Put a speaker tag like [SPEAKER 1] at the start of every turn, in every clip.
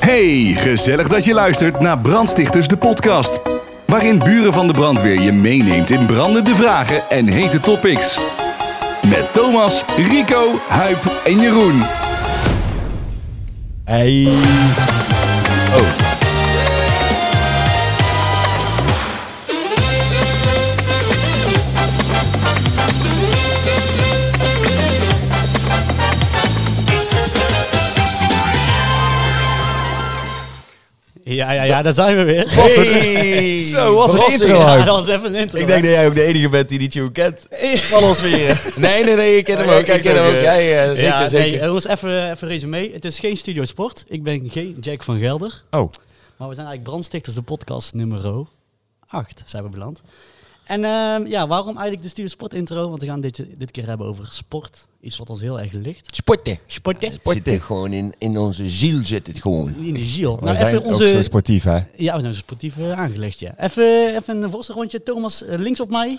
[SPEAKER 1] Hey, gezellig dat je luistert naar Brandstichters de podcast. Waarin buren van de brandweer je meeneemt in brandende vragen en hete topics. Met Thomas, Rico, Huip en Jeroen.
[SPEAKER 2] Hey. Oh.
[SPEAKER 3] Ja, ja, ja, daar zijn we weer.
[SPEAKER 2] Wat een, zo, wat een
[SPEAKER 3] Verrassing.
[SPEAKER 2] intro.
[SPEAKER 3] Ja,
[SPEAKER 2] Huip.
[SPEAKER 3] dat was even een intro.
[SPEAKER 2] Ik denk dat jij ook de enige bent die die tune kent. Van ons weer.
[SPEAKER 4] Nee, nee, nee, ik ken
[SPEAKER 2] Oh,
[SPEAKER 4] hem
[SPEAKER 2] jij
[SPEAKER 4] ook. Ik
[SPEAKER 2] kijkt
[SPEAKER 4] ken hem
[SPEAKER 2] ook,
[SPEAKER 4] ook. Ja,
[SPEAKER 2] ja.
[SPEAKER 4] ja, eh, zeker,
[SPEAKER 3] ja,
[SPEAKER 4] zeker.
[SPEAKER 3] Nee, eh, jongens, even, even resume. Het is geen Studio Sport. Ik ben geen Jack van Gelder.
[SPEAKER 2] Oh.
[SPEAKER 3] Maar we zijn eigenlijk Brandstichters, de podcast nummer 8 zijn we beland. En ehm, ja, waarom eigenlijk de Studio Sport intro? Want we gaan dit, dit keer hebben over sport. Iets wat ons heel erg ligt.
[SPEAKER 4] Sporten.
[SPEAKER 3] Sporten.
[SPEAKER 5] Zit het gewoon in, in onze ziel zit het gewoon.
[SPEAKER 3] In de ziel.
[SPEAKER 2] We
[SPEAKER 3] Nou,
[SPEAKER 2] zijn
[SPEAKER 3] even
[SPEAKER 2] ook zo
[SPEAKER 3] onze...
[SPEAKER 2] sportief, hè?
[SPEAKER 3] Ja, we zijn sportief eh, aangelegd, ja. Even, even een voorste rondje. Thomas eh, links op mij.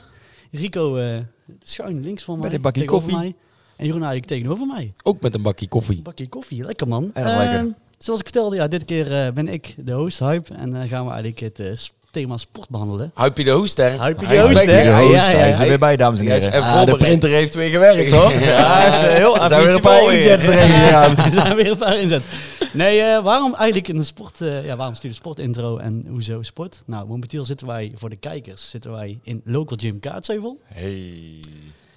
[SPEAKER 3] Rico eh, schuin links van mij.
[SPEAKER 2] een bakje
[SPEAKER 3] tegenover
[SPEAKER 2] koffie.
[SPEAKER 3] Mij. En Jeroen eigenlijk tegenover mij.
[SPEAKER 4] Ook met een bakje koffie.
[SPEAKER 3] Bakje koffie, lekker man.
[SPEAKER 2] Erg lekker.
[SPEAKER 3] Ehm, zoals ik vertelde, ja, dit keer eh, ben ik de host, Hype. En dan gaan we eigenlijk het eh, s- thema sport behandelen.
[SPEAKER 4] Huipje de host, hè?
[SPEAKER 3] Huipie
[SPEAKER 4] Hij
[SPEAKER 3] de
[SPEAKER 4] is
[SPEAKER 3] host,
[SPEAKER 4] back.
[SPEAKER 3] hè? Ja, ja, ja.
[SPEAKER 2] Hij is er weer bij, dames en
[SPEAKER 4] Hij is
[SPEAKER 2] heren.
[SPEAKER 4] er voorbereid.
[SPEAKER 2] Ah, de printer heeft weer gewerkt, hoor. Ja, hij heeft eh, heel
[SPEAKER 4] Zijn
[SPEAKER 2] Zijn
[SPEAKER 4] we
[SPEAKER 2] weer een paar inkjets erin gegaan. Nou,
[SPEAKER 3] Er zijn weer een paar inzet. Nee, eh, waarom eigenlijk een sport, eh, ja, waarom stuur sport intro en hoezo sport? Nou, momenteel zitten wij, voor de kijkers, zitten wij in Local Gym Kaatsheuvel.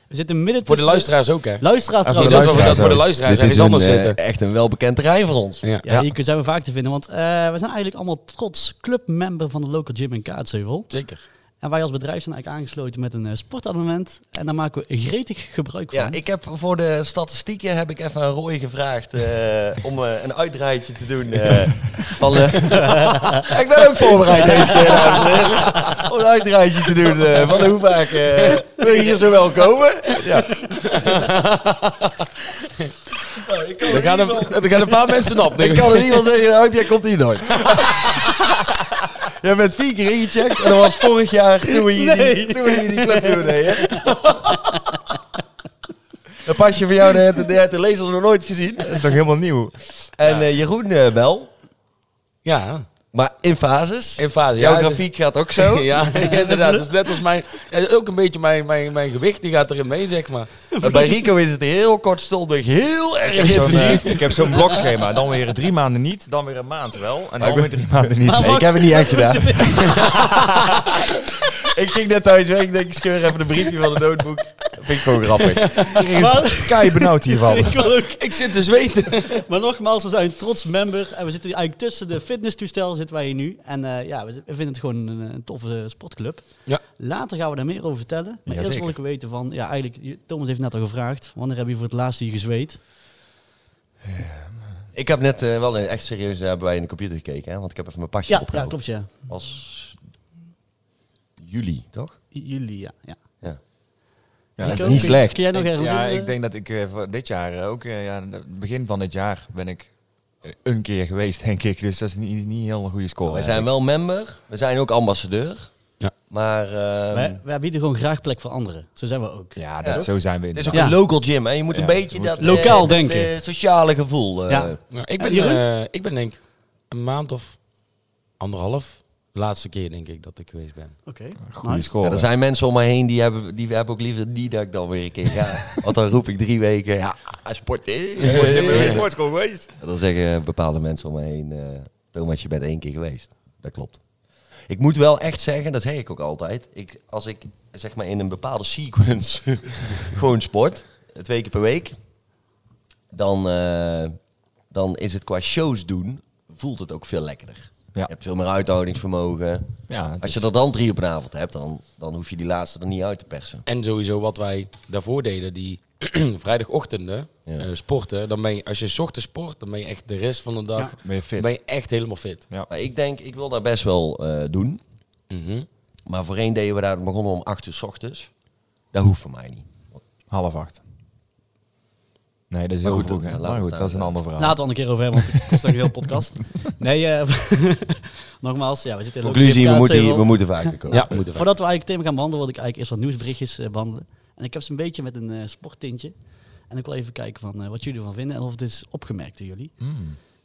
[SPEAKER 3] We zitten midden
[SPEAKER 4] Voor de
[SPEAKER 3] tussen-
[SPEAKER 4] luisteraars ook, hè?
[SPEAKER 3] Luisteraars
[SPEAKER 4] voor de
[SPEAKER 3] trouwens.
[SPEAKER 4] luisteraars. dat we dat voor de luisteraars
[SPEAKER 2] Dit is
[SPEAKER 4] ergens
[SPEAKER 2] een,
[SPEAKER 4] anders
[SPEAKER 2] eh,
[SPEAKER 4] zetten.
[SPEAKER 2] echt een welbekend terrein voor ons.
[SPEAKER 4] Ja.
[SPEAKER 3] Ja, hier zijn we vaak te vinden, want eh, we zijn eigenlijk allemaal trots clubmember van de Local Gym in Kaatsheuvel.
[SPEAKER 4] Zeker.
[SPEAKER 3] En wij als bedrijf zijn eigenlijk aangesloten met een eh, sportabonnement. En daar maken we gretig gebruik van.
[SPEAKER 2] Ja, ik heb voor de statistieken heb ik even aan Roy gevraagd eh, om eh, een uitdraaitje te doen. eh, van, eh, ik ben ook voorbereid deze keer, dames en heren, Om een uitdraaitje te doen eh, van hoe vaak eh, wil je hier zo wel komen. Ja. Nou, ik, kan
[SPEAKER 4] Er
[SPEAKER 2] er
[SPEAKER 4] gaan,
[SPEAKER 2] niet
[SPEAKER 4] een, er gaan een paar mensen op.
[SPEAKER 2] van- ik kan er niet van zeggen, Huip, jij komt hier nooit. Jij bent vier keer ingecheckt en dat was vorig jaar toen we hier, die, toen we hier die club doen deden. Een pasje van jou, de, de, de, de lezer nog nooit gezien. Dat is nog helemaal nieuw. En eh, Jeroen eh, wel,
[SPEAKER 4] Ja,
[SPEAKER 2] maar in fases.
[SPEAKER 4] in fase.
[SPEAKER 2] Jouw
[SPEAKER 4] ja,
[SPEAKER 2] grafiek gaat ook zo.
[SPEAKER 4] Ja, inderdaad. Dat is net als mijn... Ja, ook een beetje mijn, mijn, mijn gewicht, die gaat erin mee, zeg maar.
[SPEAKER 2] En Bij Rico is het heel kortstondig, heel erg
[SPEAKER 6] Ik heb zo'n,
[SPEAKER 2] intensief.
[SPEAKER 6] eh, ik heb zo'n blokschema. Dan weer drie maanden niet, dan weer een maand wel. En dan weer drie maanden niet.
[SPEAKER 3] Maar
[SPEAKER 2] Nee, ik
[SPEAKER 3] wacht.
[SPEAKER 2] heb het niet echt gedaan. ik ging net thuis weg, ik denk ik scheur even de briefje van de notebook. Dat vind ik gewoon grappig.
[SPEAKER 3] Maar-
[SPEAKER 6] Kei benauwd hiervan.
[SPEAKER 3] Ik wil ook.
[SPEAKER 4] Ik zit te zweten.
[SPEAKER 3] Maar nogmaals, we zijn een trots member. En we zitten eigenlijk tussen de fitnesstoestel zitten wij hier nu. En eh, ja, we z- we vinden het gewoon een, een toffe sportclub.
[SPEAKER 4] Ja.
[SPEAKER 3] Later gaan we daar meer over vertellen. Maar eerst
[SPEAKER 6] Jazeker.
[SPEAKER 3] wil ik weten van, ja eigenlijk, je- Thomas heeft net al gevraagd. Wanneer heb je voor het laatst hier gezweet?
[SPEAKER 2] Ik heb net eh, wel een echt serieus eh, hebben wij in de computer gekeken, hè? want ik heb even mijn pasje
[SPEAKER 3] Ja, ja
[SPEAKER 2] opgehouden.
[SPEAKER 3] klopt ja.
[SPEAKER 2] Als juli, toch?
[SPEAKER 3] Jullie, ja. ja.
[SPEAKER 2] Ja.
[SPEAKER 6] Ja,
[SPEAKER 2] dat is
[SPEAKER 3] Rico,
[SPEAKER 2] niet
[SPEAKER 3] kun-
[SPEAKER 2] slecht.
[SPEAKER 3] Kun jij nog
[SPEAKER 6] ik,
[SPEAKER 3] herinneren?
[SPEAKER 6] ja, ik denk dat ik eh, voor dit jaar eh, ook, eh, ja, begin van dit jaar ben ik eh, een keer geweest, denk ik. Dus dat is niet, niet heel een goede score.
[SPEAKER 2] Wij zijn wel member, we zijn ook ambassadeur.
[SPEAKER 4] Ja.
[SPEAKER 2] Maar ehm,
[SPEAKER 3] wij, wij bieden gewoon graag plek voor anderen. Zo zijn we ook.
[SPEAKER 6] Ja, dat, zo zijn we
[SPEAKER 2] het is ook
[SPEAKER 6] inderdaad.
[SPEAKER 3] Ja.
[SPEAKER 2] een local gym, hè? Je moet
[SPEAKER 6] Ja,
[SPEAKER 2] een beetje
[SPEAKER 6] je
[SPEAKER 2] dat eh,
[SPEAKER 3] Lokaal
[SPEAKER 2] dat,
[SPEAKER 3] denken.
[SPEAKER 2] eh, sociale gevoel. eh,
[SPEAKER 3] Ja.
[SPEAKER 4] Ja, ik,
[SPEAKER 3] En
[SPEAKER 4] ben,
[SPEAKER 3] Jeroen?
[SPEAKER 4] eh, ik ben denk een maand of anderhalf... Laatste keer denk ik dat ik geweest ben.
[SPEAKER 3] Oké.
[SPEAKER 6] Goede
[SPEAKER 3] nice.
[SPEAKER 6] score.
[SPEAKER 2] Ja, er zijn mensen om me heen die hebben, die hebben ook liever die dat ik dan weer een keer ga. Want dan roep ik drie weken, ja, sport. eh, sport, eh.
[SPEAKER 6] geweest.
[SPEAKER 2] Dan zeggen bepaalde mensen om me heen, eh, Thomas, je bent één keer geweest. Dat klopt. Ik moet wel echt zeggen, dat zeg ik ook altijd. Ik, als ik zeg maar in een bepaalde sequence gewoon sport, eh, twee keer per week, dan, eh, dan is het qua shows doen, voelt het ook veel lekkerder.
[SPEAKER 6] Ja.
[SPEAKER 2] Je hebt veel meer uithoudingsvermogen.
[SPEAKER 6] Ja, het
[SPEAKER 2] Als
[SPEAKER 6] is-
[SPEAKER 2] je er dan drie op een avond hebt, dan, dan hoef je die laatste er niet uit te persen.
[SPEAKER 4] En sowieso wat wij daarvoor deden, die vrijdagochtenden
[SPEAKER 2] Ja.
[SPEAKER 4] eh, sporten. Dan ben je, als je 's ochtends sport, dan ben je echt de rest van de dag
[SPEAKER 6] Ben je fit?
[SPEAKER 4] ben je echt helemaal fit.
[SPEAKER 6] Ja.
[SPEAKER 2] Maar ik denk, ik wil dat best wel eh, doen.
[SPEAKER 4] Mhm.
[SPEAKER 2] Maar voorheen deden we daar, begonnen we om acht uur s ochtends. Dat hoeft voor mij niet.
[SPEAKER 6] Half acht. Nee, dat is heel
[SPEAKER 2] goed,
[SPEAKER 6] vroeg.
[SPEAKER 2] dan-
[SPEAKER 6] hè.
[SPEAKER 2] dan eh,
[SPEAKER 6] Maar
[SPEAKER 2] laten we het
[SPEAKER 6] goed, dat is een
[SPEAKER 2] daar-
[SPEAKER 6] ander verhaal.
[SPEAKER 3] Laat het dan een keer over hebben, want het kost ook een heel podcast. Nee, eh, nogmaals, ja, we zitten in
[SPEAKER 2] Conclusie,
[SPEAKER 3] Lockdown
[SPEAKER 2] we moeten, hier-
[SPEAKER 3] Kaatsheuvel.
[SPEAKER 2] we moeten vaker komen.
[SPEAKER 4] Ja, moeten we.
[SPEAKER 3] Voordat we eigenlijk het thema gaan behandelen, wil ik eigenlijk eerst wat nieuwsberichtjes eh, behandelen. En ik heb ze een beetje met een
[SPEAKER 2] Hmm.
[SPEAKER 3] eh, sporttintje. En ik wil even kijken van, eh, wat jullie ervan vinden en of het is opgemerkt door jullie.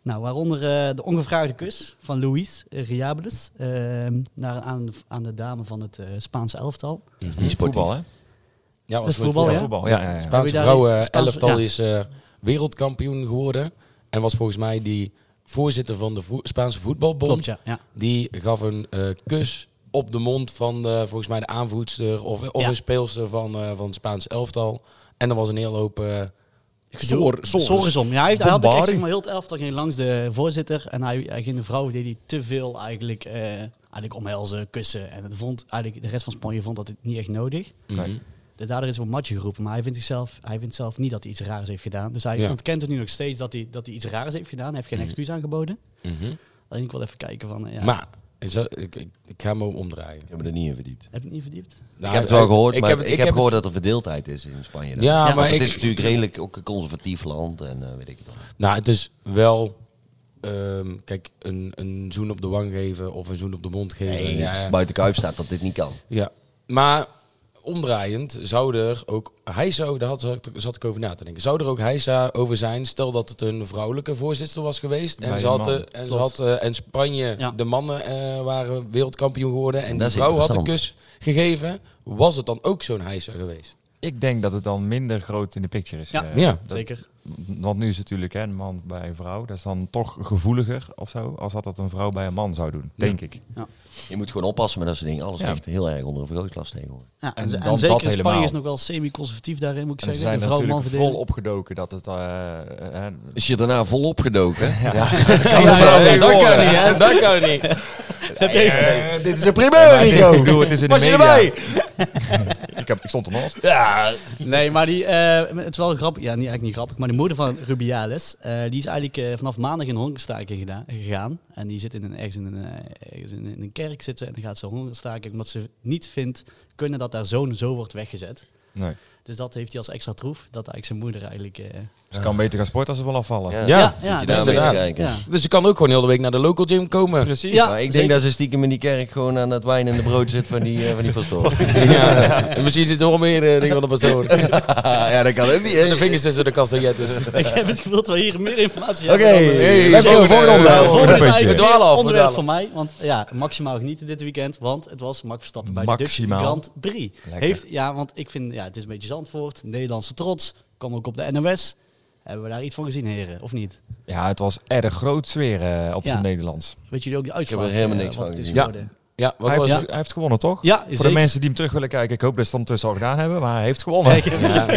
[SPEAKER 3] Nou, waaronder eh, de ongevraagde kus van Luis Riables ehm, naar, aan, aan de dame van het eh, Spaanse elftal.
[SPEAKER 2] Die
[SPEAKER 6] Voetbal, hè?
[SPEAKER 4] Ja,
[SPEAKER 3] Dat is voetbal, hè?
[SPEAKER 6] Voetbal, ja. ja, ja.
[SPEAKER 3] Heb je
[SPEAKER 4] Spaanse
[SPEAKER 3] daar-
[SPEAKER 4] vrouwen
[SPEAKER 3] Spaanse-
[SPEAKER 4] elftal
[SPEAKER 3] ja.
[SPEAKER 4] is eh, wereldkampioen geworden. En was volgens mij die voorzitter van de vo- Spaanse voetbalbond.
[SPEAKER 3] Klopt, ja. ja.
[SPEAKER 4] Die gaf een eh, kus op de mond van de, volgens mij de aanvoedster of, eh, of
[SPEAKER 3] Ja.
[SPEAKER 4] een speelster van, eh, van het Spaans elftal. En er was een hele hoop... eh
[SPEAKER 3] Gedoe.
[SPEAKER 4] sor- sores.
[SPEAKER 3] Sores om. Ja, hij, hij had ook echt
[SPEAKER 6] Bombari.
[SPEAKER 3] zeg maar, heel het elftal ging langs de voorzitter. En hij, hij ging de vrouw deed hij te veel eigenlijk, eh, eigenlijk omhelzen, kussen. En het vond, eigenlijk, de rest van Spanje vond dat het niet echt nodig.
[SPEAKER 4] mhm.
[SPEAKER 3] Dus daardoor is wel matje geroepen. Maar hij vindt, zichzelf, hij vindt zelf niet dat hij iets raars heeft gedaan. Dus hij
[SPEAKER 4] Ja.
[SPEAKER 3] ontkent het nu nog steeds dat hij, dat hij iets raars heeft gedaan. Hij heeft geen excuus aangeboden.
[SPEAKER 4] Mhm.
[SPEAKER 3] Alleen ik wil even kijken van... eh, ja.
[SPEAKER 4] Maar is dat- ik, ik, ik ga hem omdraaien. Nou,
[SPEAKER 2] hebben er niet in verdiept.
[SPEAKER 3] Heb je het niet verdiept?
[SPEAKER 2] ik heb het wel gehoord,
[SPEAKER 4] ik
[SPEAKER 2] maar
[SPEAKER 4] heb-
[SPEAKER 2] ik,
[SPEAKER 4] ik
[SPEAKER 2] heb
[SPEAKER 4] heb-
[SPEAKER 2] gehoord dat er verdeeldheid is in Spanje. dan.
[SPEAKER 4] Ja,
[SPEAKER 3] Ja.
[SPEAKER 4] maar
[SPEAKER 2] Want het
[SPEAKER 4] ik,
[SPEAKER 2] is natuurlijk redelijk ook een conservatief land en eh, weet ik het al.
[SPEAKER 4] Nou, het is wel. ehm, kijk, een, een zoen op de wang geven of een zoen op de mond geven.
[SPEAKER 2] Nee,
[SPEAKER 4] ja, ja.
[SPEAKER 2] buiten kuif staat dat dit niet kan.
[SPEAKER 4] Ja. Maar omdraaiend zou er ook hijsa, daar had, zat ik- zat ik over na te denken, zou er ook hijsa over zijn, stel dat het een vrouwelijke voorzitter was geweest en,
[SPEAKER 6] Bij
[SPEAKER 4] ze
[SPEAKER 6] de
[SPEAKER 4] had, de-
[SPEAKER 6] mannen.
[SPEAKER 4] en, ze
[SPEAKER 3] Klopt.
[SPEAKER 4] had, eh, en Spanje,
[SPEAKER 3] Ja.
[SPEAKER 4] de mannen eh, waren wereldkampioen geworden en
[SPEAKER 2] Dat
[SPEAKER 4] de
[SPEAKER 2] is
[SPEAKER 4] vrouw had een kus
[SPEAKER 2] interessant.
[SPEAKER 4] gegeven, was het dan ook zo'n hijsa geweest?
[SPEAKER 6] Ik denk dat het dan minder groot in de picture is.
[SPEAKER 3] Ja.
[SPEAKER 6] eh,
[SPEAKER 4] Ja.
[SPEAKER 6] dat-
[SPEAKER 3] Zeker.
[SPEAKER 6] Want nu is het natuurlijk hè, een man bij een vrouw. Dat is dan toch gevoeliger of zo. Als dat, dat een vrouw bij een man zou doen, denk ik.
[SPEAKER 2] Je moet gewoon oppassen met dat soort dingen. Alles
[SPEAKER 6] Ja.
[SPEAKER 2] ligt heel erg onder een vergrootglas tegenwoordig.
[SPEAKER 3] Ja,
[SPEAKER 6] En
[SPEAKER 3] en, en
[SPEAKER 6] dan dat
[SPEAKER 3] zeker Spanje
[SPEAKER 6] helemaal.
[SPEAKER 3] is nog wel semi-conservatief daarin, moet ik
[SPEAKER 6] En ze
[SPEAKER 3] zeggen.
[SPEAKER 6] zijn
[SPEAKER 3] De
[SPEAKER 6] er
[SPEAKER 3] vrouw-
[SPEAKER 6] natuurlijk
[SPEAKER 3] man verdeling.
[SPEAKER 6] vol opgedoken dat het... eh, eh, eh,
[SPEAKER 2] Is je daarna volop gedoken? Ja.
[SPEAKER 4] dat kan niet, hè? Dat kan niet.
[SPEAKER 2] dit is een primeur,
[SPEAKER 6] het is- ik bedoel, het is in de
[SPEAKER 4] Was je
[SPEAKER 6] media.
[SPEAKER 4] erbij?
[SPEAKER 6] ik, heb, ik stond er naast.
[SPEAKER 3] Nee, maar die, eh, het is wel grappig. Ja, niet, eigenlijk niet grappig. Maar de moeder van Rubiales, eh, die is eigenlijk eh, vanaf maandag in hongerstaking gedaan, gegaan. En die zit in een, ergens, in een, eh, ergens in, in een kerk zitten en dan gaat ze hongerstaking. Omdat ze niet vindt kunnen dat haar zoon zo wordt weggezet.
[SPEAKER 6] Nee.
[SPEAKER 3] Dus dat heeft hij als extra troef. Dat eigenlijk zijn moeder eigenlijk... eh,
[SPEAKER 6] Ze Dus kan beter gaan sporten als ze wel afvallen.
[SPEAKER 2] Ja,
[SPEAKER 4] Ja,
[SPEAKER 2] zit je
[SPEAKER 3] ja, dus
[SPEAKER 2] daar mee te
[SPEAKER 4] inderdaad.
[SPEAKER 2] kijken.
[SPEAKER 3] ja.
[SPEAKER 4] Dus ze kan ook gewoon heel de week naar de local gym komen.
[SPEAKER 6] Precies.
[SPEAKER 3] Ja.
[SPEAKER 2] Maar ik denk
[SPEAKER 3] zeker.
[SPEAKER 2] dat ze stiekem in die kerk gewoon aan het wijn en de brood zit van die, eh, van die pastoor.
[SPEAKER 4] Ja. En Misschien zit er wel meer eh, dingen van de pastoor. En
[SPEAKER 2] ja, dat kan ook niet.
[SPEAKER 4] de vingers tussen de dus. kastanjettes.
[SPEAKER 3] Ik heb het gevoel dat we hier meer informatie
[SPEAKER 2] Oké,
[SPEAKER 3] hebben. dan, eh,
[SPEAKER 4] Hey,
[SPEAKER 2] let's go.
[SPEAKER 4] volgende,
[SPEAKER 2] Volgende
[SPEAKER 4] eh,
[SPEAKER 3] Volgende
[SPEAKER 2] onderwerp.
[SPEAKER 6] volgende
[SPEAKER 3] is
[SPEAKER 6] puntje.
[SPEAKER 3] eigenlijk
[SPEAKER 4] We dwalen
[SPEAKER 3] weer
[SPEAKER 4] af, we
[SPEAKER 3] onderwerp van
[SPEAKER 4] dwalen.
[SPEAKER 3] mij. Want ja, maximaal genieten dit weekend. Want het was Max Verstappen bij
[SPEAKER 6] Maximaal.
[SPEAKER 3] de Dutch Grand Prix.
[SPEAKER 6] Lekker.
[SPEAKER 3] Heeft, ja, want ik vind, ja, het is een beetje Zandvoort. Nederlandse trots. Kwam ook op de NOS. Hebben we daar iets van gezien, heren? Of niet?
[SPEAKER 6] Ja, het was erg groot sfeer eh, op
[SPEAKER 3] Ja.
[SPEAKER 6] zijn Nederlands.
[SPEAKER 3] Weet jullie ook de uitslag?
[SPEAKER 2] er helemaal
[SPEAKER 3] eh,
[SPEAKER 2] niks
[SPEAKER 3] wat
[SPEAKER 2] van
[SPEAKER 3] het is
[SPEAKER 2] gezien.
[SPEAKER 3] geworden?
[SPEAKER 4] Ja, wat
[SPEAKER 6] Hij
[SPEAKER 4] was
[SPEAKER 6] heeft,
[SPEAKER 4] het?
[SPEAKER 6] hij heeft gewonnen, toch?
[SPEAKER 3] Ja,
[SPEAKER 6] Voor
[SPEAKER 3] zeker.
[SPEAKER 6] de mensen die hem terug willen kijken, ik hoop dat ze het tussen al gedaan hebben, maar hij heeft gewonnen.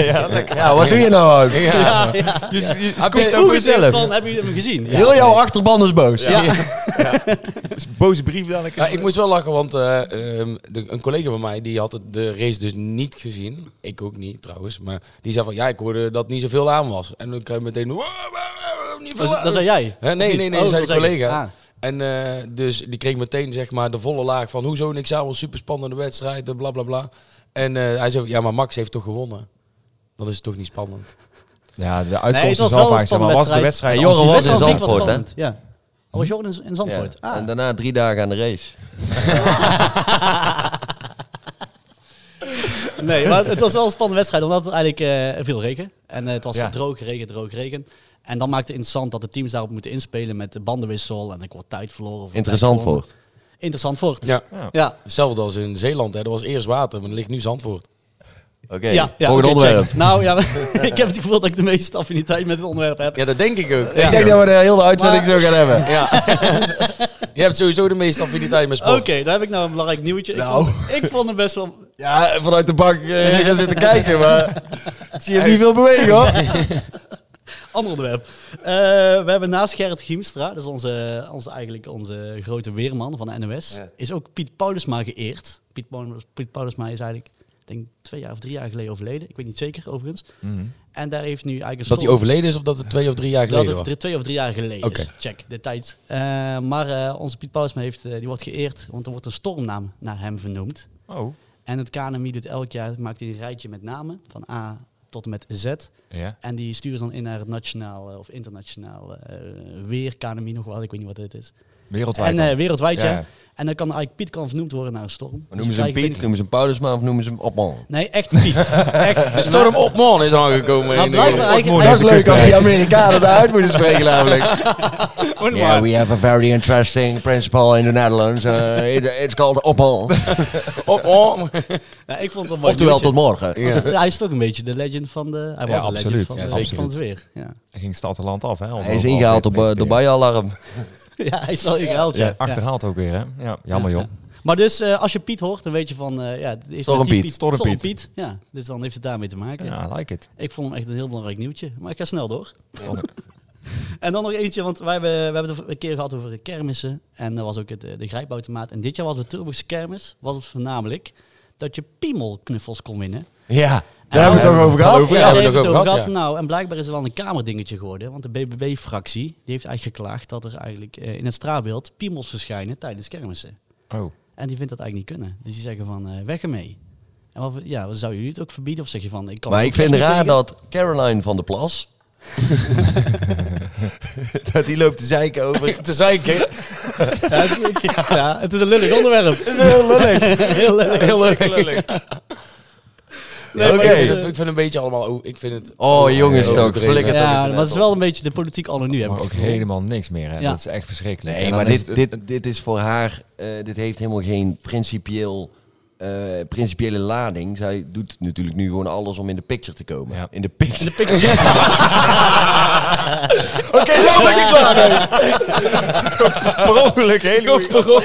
[SPEAKER 6] Ja, lekker.
[SPEAKER 2] Ja, wat doe je nou? ook?
[SPEAKER 3] Ja, ja.
[SPEAKER 6] Je, je, je
[SPEAKER 3] Ik
[SPEAKER 6] scoopt
[SPEAKER 3] vroeg
[SPEAKER 6] over
[SPEAKER 3] het eerst
[SPEAKER 6] jezelf.
[SPEAKER 3] van, hebben jullie hem gezien? Ja.
[SPEAKER 2] Heel jouw achterban is boos.
[SPEAKER 3] Ja.
[SPEAKER 6] Boze brief dadelijk.
[SPEAKER 4] Ja, ik moest wel lachen, want eh, ehm, de- een collega van mij die had het- de race dus niet gezien. Ik ook niet trouwens. Maar die zei van ja, ik hoorde dat niet zoveel aan was. En dan kreeg je meteen. "Wow, wow, wow, niet veel
[SPEAKER 3] Dat,
[SPEAKER 4] aan."
[SPEAKER 3] dat zei jij?
[SPEAKER 4] Hè,
[SPEAKER 3] Of
[SPEAKER 4] nee,
[SPEAKER 3] niet?
[SPEAKER 4] nee, nee,
[SPEAKER 3] Oh,
[SPEAKER 4] zei de
[SPEAKER 3] dat ik.
[SPEAKER 4] collega.
[SPEAKER 3] Ah.
[SPEAKER 4] En eh, dus die kreeg meteen zeg maar de volle laag van hoezo niks aan, want superspannende wedstrijd en bla bla bla. En eh, hij zei ja, maar Max heeft toch gewonnen. Dan is het toch niet spannend.
[SPEAKER 6] Ja, de
[SPEAKER 3] Nee, het
[SPEAKER 6] uitkomst
[SPEAKER 3] was
[SPEAKER 6] is
[SPEAKER 3] wel
[SPEAKER 6] wel
[SPEAKER 3] een
[SPEAKER 6] vaak, zeg maar
[SPEAKER 3] spannende
[SPEAKER 6] was de
[SPEAKER 3] wedstrijd.
[SPEAKER 6] wedstrijd...
[SPEAKER 2] Ja, Jorre
[SPEAKER 6] als-
[SPEAKER 2] was
[SPEAKER 3] Best wel
[SPEAKER 2] in
[SPEAKER 3] ziek, was
[SPEAKER 2] Zandvoort, hè?
[SPEAKER 3] spannend, Ja. Oh, was Jorgen in, in Zandvoort? Ah.
[SPEAKER 2] En daarna drie dagen aan de race.
[SPEAKER 3] Nee, maar het was wel een spannende wedstrijd, omdat het eigenlijk eh, veel regen. En eh, het was
[SPEAKER 6] Ja.
[SPEAKER 3] droog regen, droog regen. En dan maakte het interessant dat de teams daarop moeten inspelen met de bandenwissel en ik word tijd verloren. Of
[SPEAKER 2] Interessant
[SPEAKER 3] tijd gewonnen.
[SPEAKER 2] voor.
[SPEAKER 3] Interessant voort. Ja.
[SPEAKER 4] Ja.
[SPEAKER 3] Ja.
[SPEAKER 4] Hetzelfde als in Zeeland, hè. er was eerst water, maar er ligt nu Zandvoort.
[SPEAKER 2] Oké,
[SPEAKER 3] ja, ja,
[SPEAKER 2] volgende
[SPEAKER 3] oké,
[SPEAKER 2] onderwerp.
[SPEAKER 3] check. Nou ja, ik heb het gevoel dat ik de meeste affiniteit met het onderwerp heb.
[SPEAKER 4] Ja, dat denk ik ook.
[SPEAKER 2] Ik denk dat we de hele uitzending zo gaan hebben.
[SPEAKER 4] Ja. Je hebt sowieso de meeste affiniteit met
[SPEAKER 3] Oké,
[SPEAKER 4] sport.
[SPEAKER 3] daar heb ik nou een belangrijk nieuwtje.
[SPEAKER 2] Nou.
[SPEAKER 3] Ik, vond, ik vond hem best wel...
[SPEAKER 2] Ja, vanuit de bank eh, gaan zitten kijken, maar ik zie hem niet veel bewegen hoor.
[SPEAKER 3] Ander onderwerp. Eh, we hebben naast Gerrit Giemstra, dat is onze, onze, eigenlijk onze grote weerman van de NOS,
[SPEAKER 2] Ja.
[SPEAKER 3] is ook Piet Paulusma geëerd. Piet, Paulus, Piet Paulusma is eigenlijk, ik denk twee jaar of drie jaar geleden overleden. Ik weet niet zeker, overigens. En daar heeft nu eigenlijk... een
[SPEAKER 4] Mhm. Dat hij
[SPEAKER 3] stoel-
[SPEAKER 4] overleden is of dat het twee of drie jaar
[SPEAKER 3] dat
[SPEAKER 4] geleden
[SPEAKER 3] het
[SPEAKER 4] was.
[SPEAKER 3] drie- twee of drie jaar geleden is.
[SPEAKER 4] Oké.
[SPEAKER 3] Check, de tijd. Eh, maar eh, onze Piet Paulusma heeft, eh, die wordt geëerd, want er wordt een stormnaam naar hem vernoemd.
[SPEAKER 6] Oh,
[SPEAKER 3] En het KNMI doet elk jaar, maakt hij een rijtje met namen, van A tot en met Z.
[SPEAKER 6] ja.
[SPEAKER 3] En die sturen ze dan in naar het nationaal eh, of internationaal eh, weer KNMI nog wel, ik weet niet wat het is.
[SPEAKER 6] Wereldwijd
[SPEAKER 3] En
[SPEAKER 6] dan.
[SPEAKER 3] eh, wereldwijd, ja.
[SPEAKER 6] Ja.
[SPEAKER 3] En dan kan eigenlijk Piet kan vernoemd worden naar een storm. Dus
[SPEAKER 2] Noemen ze hem
[SPEAKER 3] krijg-
[SPEAKER 2] Piet, noemen ze hem Paulusma of noemen ze hem Opman?
[SPEAKER 3] Nee, echt Piet. echt.
[SPEAKER 4] De storm op man is aangekomen.
[SPEAKER 3] Maar
[SPEAKER 4] in eh, de-
[SPEAKER 3] blijkbaar eigenlijk...
[SPEAKER 2] Dat is leuk als die Amerikanen daaruit moeten spreken namelijk.
[SPEAKER 3] Moet maar.
[SPEAKER 5] Yeah, we have a very interesting principle in the Netherlands.
[SPEAKER 2] Eh,
[SPEAKER 5] Uh, it- it's called Opal.
[SPEAKER 4] Op man.
[SPEAKER 3] Ja, ik vond het wel mooi
[SPEAKER 2] Oftewel
[SPEAKER 3] nieuwtje.
[SPEAKER 2] tot morgen.
[SPEAKER 3] Want Hij is toch een beetje de legend van de... Hij was de legend
[SPEAKER 6] absoluut.
[SPEAKER 3] van,
[SPEAKER 6] Ja,
[SPEAKER 3] de-
[SPEAKER 4] zeker.
[SPEAKER 3] van het weer. Ja,
[SPEAKER 6] Hij ging stad en land af, hè?
[SPEAKER 2] Hij is ingehaald op eh, Dubai-alarm.
[SPEAKER 3] ja hij is wel een geldje.
[SPEAKER 6] Ja, achterhaald ook weer, hè? Ja, jammer joh.
[SPEAKER 3] Maar dus eh, als je Piet hoort, dan weet je van... eh ja, het is
[SPEAKER 2] Storm
[SPEAKER 3] met die
[SPEAKER 2] Piet,
[SPEAKER 6] Storm
[SPEAKER 3] Storm
[SPEAKER 6] Piet.
[SPEAKER 3] Piet. Ja, dus dan heeft het daarmee te maken.
[SPEAKER 6] Ja, I like it.
[SPEAKER 3] Ik vond hem echt een heel belangrijk nieuwtje. Maar ik ga snel door. en dan nog eentje, want wij hebben, we hebben het een keer gehad over de kermissen. En dat was ook het, eh, de grijpautomaat. En dit jaar was de Turbo's kermis, was het voornamelijk dat je piemelknuffels kon winnen.
[SPEAKER 2] Ja,
[SPEAKER 3] En
[SPEAKER 2] daar hebben we het toch over gehad?
[SPEAKER 3] Ja,
[SPEAKER 4] Ja, daar
[SPEAKER 3] daar hebben we
[SPEAKER 4] hebben
[SPEAKER 3] het
[SPEAKER 4] we
[SPEAKER 3] over
[SPEAKER 4] het
[SPEAKER 3] gehad.
[SPEAKER 4] over
[SPEAKER 3] Nou, en blijkbaar is er wel een kamerdingetje geworden. Want de BBB-fractie die heeft eigenlijk geklaagd dat er eigenlijk eh, in het straatbeeld piemels verschijnen tijdens kermissen.
[SPEAKER 6] Oh.
[SPEAKER 3] En die vindt dat eigenlijk niet kunnen. Dus die zeggen van, eh, weg ermee. En wat, ja, wat zou jullie het ook verbieden? Of zeg je van, ik kan
[SPEAKER 2] Maar
[SPEAKER 3] het
[SPEAKER 2] ik
[SPEAKER 3] ook
[SPEAKER 2] vind
[SPEAKER 3] echt niet
[SPEAKER 2] raar
[SPEAKER 3] tegen?
[SPEAKER 2] dat Caroline van der Plas... dat die loopt te zeiken over... Het
[SPEAKER 4] Te zeiken.
[SPEAKER 3] Ja, het, is- ja, het is een lullig onderwerp.
[SPEAKER 2] is heel lullig.
[SPEAKER 3] Heel lullig.
[SPEAKER 4] Heel leuk.
[SPEAKER 3] Nee,
[SPEAKER 2] Oké.
[SPEAKER 3] maar het is,
[SPEAKER 4] Ik vind
[SPEAKER 3] eh,
[SPEAKER 4] het- ik vind een beetje allemaal... o- Ik vind het...
[SPEAKER 2] Oh, jongens
[SPEAKER 4] heel
[SPEAKER 2] toch,
[SPEAKER 4] overdreven.
[SPEAKER 2] flikker. dat is
[SPEAKER 3] Ja,
[SPEAKER 2] het
[SPEAKER 3] maar het is
[SPEAKER 2] net
[SPEAKER 3] wel een beetje de politiek al en nu, heb ik
[SPEAKER 6] Maar
[SPEAKER 3] het
[SPEAKER 6] ook
[SPEAKER 3] gevoel.
[SPEAKER 6] helemaal niks meer, hè?
[SPEAKER 3] Ja.
[SPEAKER 6] Dat is echt verschrikkelijk. En
[SPEAKER 2] Nee,
[SPEAKER 6] dan
[SPEAKER 2] maar
[SPEAKER 6] is
[SPEAKER 2] dit,
[SPEAKER 6] het-
[SPEAKER 2] dit, dit is voor haar... eh, dit heeft helemaal geen principieel, eh, principiële lading. Zij doet natuurlijk nu gewoon alles om in de picture te komen.
[SPEAKER 6] Ja.
[SPEAKER 2] In de picture. Oké, nou ben ik klaar mee. per ongeluk, heel goed.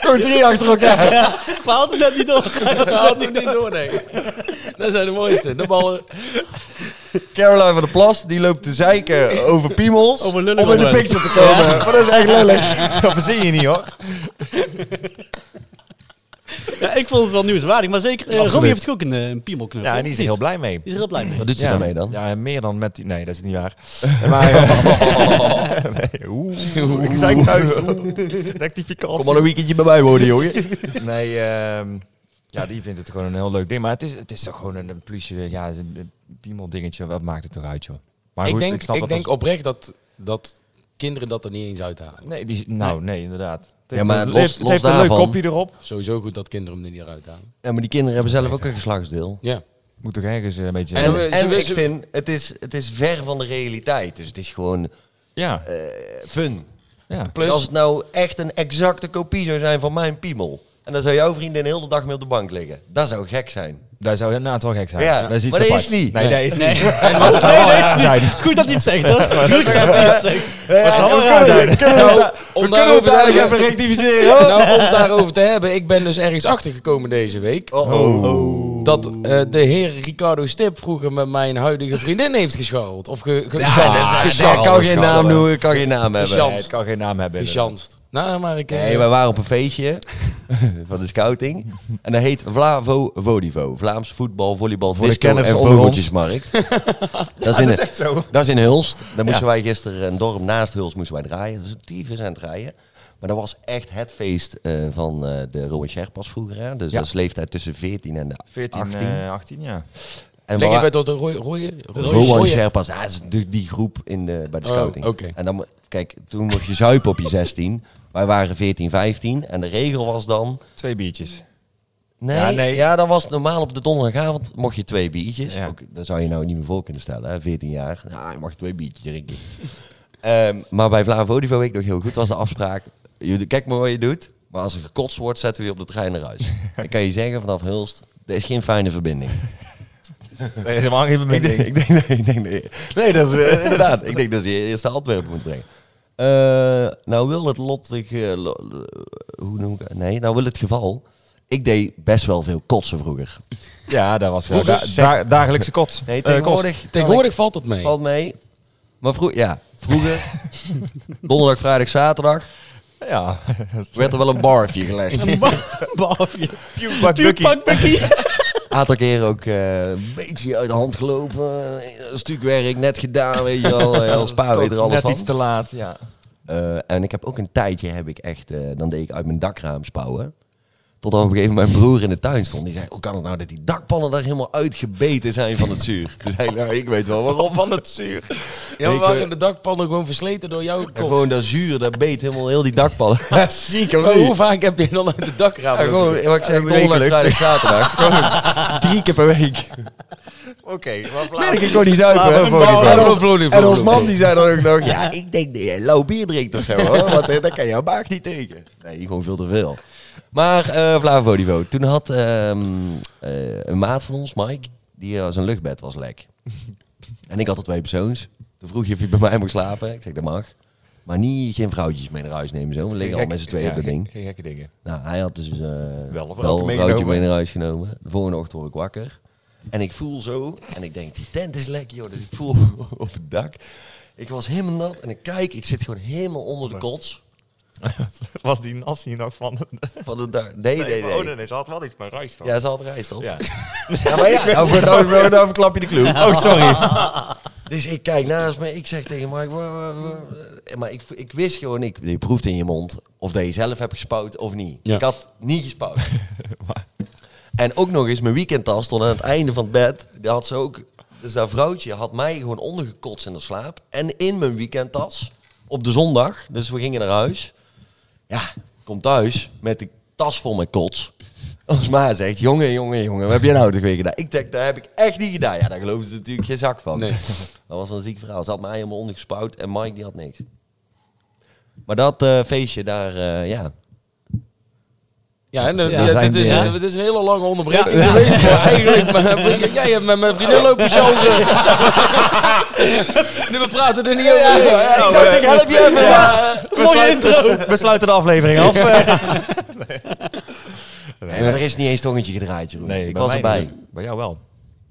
[SPEAKER 2] Gewoon drie achter elkaar.
[SPEAKER 3] We hadden het net niet door.
[SPEAKER 4] Dat had ik niet door, nee. Dat zijn de mooiste. De ballen.
[SPEAKER 2] Caroline van der Plas, die loopt te zeiken over piemels.
[SPEAKER 3] Over
[SPEAKER 2] om
[SPEAKER 3] lullig
[SPEAKER 2] in de
[SPEAKER 3] onderwerp.
[SPEAKER 2] picture te komen. Maar dat is echt lullig.
[SPEAKER 6] Dat verzin je niet, hoor.
[SPEAKER 3] Ja, ik vond het wel nieuwswaardig, maar zeker... eh, Romy heeft ook een, eh, een piemelknuffel.
[SPEAKER 6] Ja, en die is er
[SPEAKER 3] Niet?
[SPEAKER 6] heel blij mee.
[SPEAKER 3] Die is er heel blij mee.
[SPEAKER 2] Wat doet ze
[SPEAKER 6] ja.
[SPEAKER 2] daarmee dan?
[SPEAKER 6] Ja, meer dan met die... Nee, dat is niet waar. maar... eh, nee, oeh. Ik zei thuis. Oeh. Rectificatie.
[SPEAKER 2] Kom maar een weekendje bij mij wonen, jongen.
[SPEAKER 6] Nee, ehm, ja, die vindt het gewoon een heel leuk ding. Maar het is, het is toch gewoon een, een plusje, ja, een, een piemel dingetje. Wat maakt het toch uit, joh? Maar
[SPEAKER 4] ik
[SPEAKER 6] goed,
[SPEAKER 4] denk, ik
[SPEAKER 6] dat
[SPEAKER 4] denk
[SPEAKER 6] als-
[SPEAKER 4] oprecht dat, dat kinderen dat er niet eens uithalen.
[SPEAKER 6] Nee, die, nou, nee, inderdaad. Het
[SPEAKER 2] Ja,
[SPEAKER 6] heeft
[SPEAKER 2] maar
[SPEAKER 6] een- het
[SPEAKER 2] los-
[SPEAKER 6] heeft, het
[SPEAKER 2] los
[SPEAKER 6] heeft een leuk
[SPEAKER 2] daarvan-
[SPEAKER 6] kopje erop.
[SPEAKER 4] Sowieso goed dat kinderen hem er niet uithalen.
[SPEAKER 2] Ja, maar die kinderen hebben zelf ook een geslachtsdeel.
[SPEAKER 4] Ja.
[SPEAKER 6] Moet toch ergens eh, een beetje...
[SPEAKER 4] En-
[SPEAKER 2] En,
[SPEAKER 4] ze-
[SPEAKER 2] en
[SPEAKER 4] ze-
[SPEAKER 2] ik vind, het is, het is ver van de realiteit. Dus het is gewoon
[SPEAKER 6] ja,
[SPEAKER 2] eh, fun.
[SPEAKER 6] ja.
[SPEAKER 4] Plus,
[SPEAKER 2] Als het nou echt een exacte kopie zou zijn van mijn piemel. En dan zou jouw vriendin heel de dag mee op de bank liggen. Dat zou gek zijn.
[SPEAKER 6] daar zou inderdaad wel gek zijn.
[SPEAKER 2] Ja,
[SPEAKER 6] dat is iets
[SPEAKER 2] maar dat
[SPEAKER 6] apart.
[SPEAKER 2] is niet.
[SPEAKER 6] Nee, dat is niet.
[SPEAKER 3] En wat zou Goed dat hij het zegt, hoor. Goed dat hij het zegt.
[SPEAKER 2] Wat
[SPEAKER 6] zal wel raar
[SPEAKER 2] kunnen,
[SPEAKER 6] zijn.
[SPEAKER 2] we kunnen
[SPEAKER 4] Nou,
[SPEAKER 2] het da-
[SPEAKER 4] om
[SPEAKER 2] we kunnen
[SPEAKER 4] daarover
[SPEAKER 2] het
[SPEAKER 4] te
[SPEAKER 2] dadelijk
[SPEAKER 4] hebben-
[SPEAKER 2] even Oh. rectificeren. hoor.
[SPEAKER 4] nou, om het daarover te hebben, ik ben dus ergens achtergekomen deze week.
[SPEAKER 2] Oh, oh.
[SPEAKER 4] Dat eh, de heer Ricardo Stip vroeger met mijn huidige vriendin heeft gescharreld. Of ge, ge,
[SPEAKER 2] Ja, dat- dat- dat kan geen naam noemen, kan geen naam
[SPEAKER 4] Gechanst.
[SPEAKER 2] hebben.
[SPEAKER 6] Nee, het kan geen naam hebben.
[SPEAKER 4] Gechanst. Nou, maar ik... eh,
[SPEAKER 2] Nee, wij waren op een feestje van de scouting. En dat heet Vlavo Vodivo. Vlaams voetbal, volleybal,
[SPEAKER 6] de
[SPEAKER 2] disco en
[SPEAKER 6] kenners onder ons.
[SPEAKER 2] vogeltjesmarkt. dat, is in,
[SPEAKER 6] echt zo.
[SPEAKER 2] dat is in Hulst. Daar moesten wij gisteren, eh, een dorp naast Hulst, moesten wij draaien. Dat is een tyfus aan het draaien. Maar dat was echt het feest eh, van eh, de Rowan Sherpas vroeger. Hè? Dus
[SPEAKER 6] Ja.
[SPEAKER 2] dat is leeftijd tussen 14 en de
[SPEAKER 6] 14,
[SPEAKER 2] 18.
[SPEAKER 6] 18, eh, 18 ja.
[SPEAKER 2] en
[SPEAKER 4] Leg
[SPEAKER 2] wa-
[SPEAKER 4] even tot een rooie... rooie, rooie-
[SPEAKER 2] Rowan
[SPEAKER 4] rooie-
[SPEAKER 2] Sherpas, ah, dat is de- die groep in de, bij de
[SPEAKER 4] Oh,
[SPEAKER 2] scouting.
[SPEAKER 4] oké.
[SPEAKER 2] En dan, mo- kijk, toen mocht je zuipen op je 16. Wij waren 14, 15. En de regel was dan...
[SPEAKER 6] Twee biertjes.
[SPEAKER 2] Nee, ja,
[SPEAKER 6] Ja, nee.
[SPEAKER 2] dat was normaal op de donderdagavond mocht je twee biertjes.
[SPEAKER 6] Ja.
[SPEAKER 2] Ook, dat zou je nou niet meer voor kunnen stellen, hè? 14 jaar. Nou, je mag twee biertjes drinken. Ehm, maar bij Vlaam Odivo weet ik nog heel goed, was de afspraak. Je, kijk maar wat je doet, maar als er gekotst wordt, zetten we je op de trein naar huis. Dan kan je zeggen vanaf Hulst, er is geen fijne verbinding.
[SPEAKER 6] Dat is helemaal geen
[SPEAKER 2] ik, denk,
[SPEAKER 6] verbinding.
[SPEAKER 2] ik, denk, nee, ik denk, nee. Nee, dat is eh, inderdaad. Ik denk dat je eerst naar Antwerpen moet brengen. Eh, nou wil het lottig... eh, lo- lo- hoe noem ik het? Nee, nou wil het geval... Ik deed best wel veel kotsen vroeger.
[SPEAKER 6] Ja, dat was wel
[SPEAKER 2] Vroeger
[SPEAKER 6] da-
[SPEAKER 2] zeg-
[SPEAKER 6] da- dagelijkse kots.
[SPEAKER 2] Nee,
[SPEAKER 6] Eh, kost.
[SPEAKER 2] tegenwoordig,
[SPEAKER 4] Tegenwoordig valt het mee.
[SPEAKER 2] valt mee. Maar vroeger, ja, vroeger, donderdag, vrijdag, zaterdag,
[SPEAKER 6] Ja.
[SPEAKER 2] werd er wel een barfje gelegd. Een
[SPEAKER 3] Behalve je.
[SPEAKER 6] Puwpak
[SPEAKER 3] Tuurpak, Bucky.
[SPEAKER 2] aantal keren ook eh, een beetje uit de hand gelopen. Een stuk werk, net gedaan, weet je wel. Heel spa weet Ah, er alles
[SPEAKER 6] Net
[SPEAKER 2] van.
[SPEAKER 6] iets te laat, ja.
[SPEAKER 2] Eh, en ik heb ook een tijdje, heb ik echt, eh, dan deed ik uit mijn dakraam spouwen. Totdat op een gegeven moment mijn broer in de tuin stond. Die zei, hoe kan het nou dat die dakpannen daar helemaal uitgebeten zijn van het zuur? Toen zei ik, nou, ik weet wel waarom van het zuur.
[SPEAKER 4] Ja, maar
[SPEAKER 2] Ik, eh,
[SPEAKER 4] waren de dakpannen gewoon versleten door jouw
[SPEAKER 2] En
[SPEAKER 4] kot?
[SPEAKER 2] gewoon dat zuur, dat beet helemaal heel die dakpannen. Ziek of
[SPEAKER 4] Maar
[SPEAKER 2] niet?
[SPEAKER 4] hoe vaak heb je dan uit de dakraam?
[SPEAKER 2] Ja, gewoon, wat ik zeg, donderdag,
[SPEAKER 6] wekelijks.
[SPEAKER 2] vrijdag, zaterdag. Gewoon drie keer per week.
[SPEAKER 6] Oké, maar
[SPEAKER 2] Nee, ik kon niet zuipen.
[SPEAKER 6] Laat
[SPEAKER 2] hè.
[SPEAKER 6] me een blauwe-
[SPEAKER 2] En,
[SPEAKER 6] laat me een
[SPEAKER 2] ons,
[SPEAKER 6] blauwe-
[SPEAKER 2] en ons man die zei dan ook nog, ja, ik denk dat jij lauw bier drinkt of zo, hoor, want eh, daar kan jouw maag niet tegen. Nee, gewoon veel te veel. Maar eh Vlavo Divo, toen had ehm, eh, een maat van ons, Mike, die eh, zijn luchtbed was lek. En ik had er twee persoons. Toen vroeg je of je bij mij mocht slapen. Ik zeg, dat mag. Maar niet, geen vrouwtjes mee naar huis nemen zo. We liggen al met z'n tweeën op dat ding.
[SPEAKER 6] Geen gekke dingen.
[SPEAKER 2] Nou, hij had dus eh,
[SPEAKER 6] Wel of
[SPEAKER 2] wel
[SPEAKER 6] elke
[SPEAKER 2] een broodje
[SPEAKER 6] meegenomen.
[SPEAKER 2] mee naar huis genomen. De volgende ochtend word ik wakker. En ik voel zo. En ik denk, die tent is lekker, joh. Dus ik voel op het dak. Ik was helemaal nat. En ik kijk, ik zit gewoon helemaal onder de kots.
[SPEAKER 7] Was die nas hier nog van?
[SPEAKER 2] Van het dak. Nee, nee,
[SPEAKER 7] Oh nee,
[SPEAKER 2] nee.
[SPEAKER 7] nee, ze had wel iets met rijst dan.
[SPEAKER 2] Ja, ze had rijst op.
[SPEAKER 7] Ja.
[SPEAKER 2] Ja, maar ja, nou, voor, nou, nou, nou verklap je de clue.
[SPEAKER 7] Oh, sorry.
[SPEAKER 2] Dus ik kijk naast me, ik zeg tegen Mike, "Wa- wa- wa- wa-" maar ik, ik wist gewoon, ik, je proeft in je mond of dat je zelf hebt gespouwd of niet.
[SPEAKER 4] Ja.
[SPEAKER 2] Ik had niet gespouwd. en ook nog eens, mijn weekendtas stond aan het einde van het bed, daar had ze ook, dus dat vrouwtje had mij gewoon ondergekotst in de slaap en in mijn weekendtas op de zondag, dus we gingen naar huis. Ja, kom thuis met de tas vol met kots. Als ma zegt, jongen, jongen, jongen, wat heb je nou toch weer gedaan? Ik denk, daar heb ik echt niet gedaan. Ja, daar geloven ze natuurlijk geen zak van.
[SPEAKER 4] Nee.
[SPEAKER 2] Dat was wel een ziek verhaal. Ze had mij helemaal ondergespouwd en Mike die had niks. Maar dat eh, feestje daar, eh, ja.
[SPEAKER 4] Ja, en, eh,
[SPEAKER 3] Ja,
[SPEAKER 4] dit-
[SPEAKER 3] zijn
[SPEAKER 4] dit, is,
[SPEAKER 3] we,
[SPEAKER 4] een-
[SPEAKER 3] hè?
[SPEAKER 4] dit is een hele lange onderbreking geweest. Maar eigenlijk, maar, eh, jij hebt met mijn vriendin lopen chansen. nu, we praten er niet over.
[SPEAKER 2] ik dacht, ik help je even.
[SPEAKER 7] We sluiten, we sluiten de aflevering af.
[SPEAKER 2] Nee, maar er is niet eens tongetje gedraaid, Jeroen. ik was erbij.
[SPEAKER 7] Bij jou wel.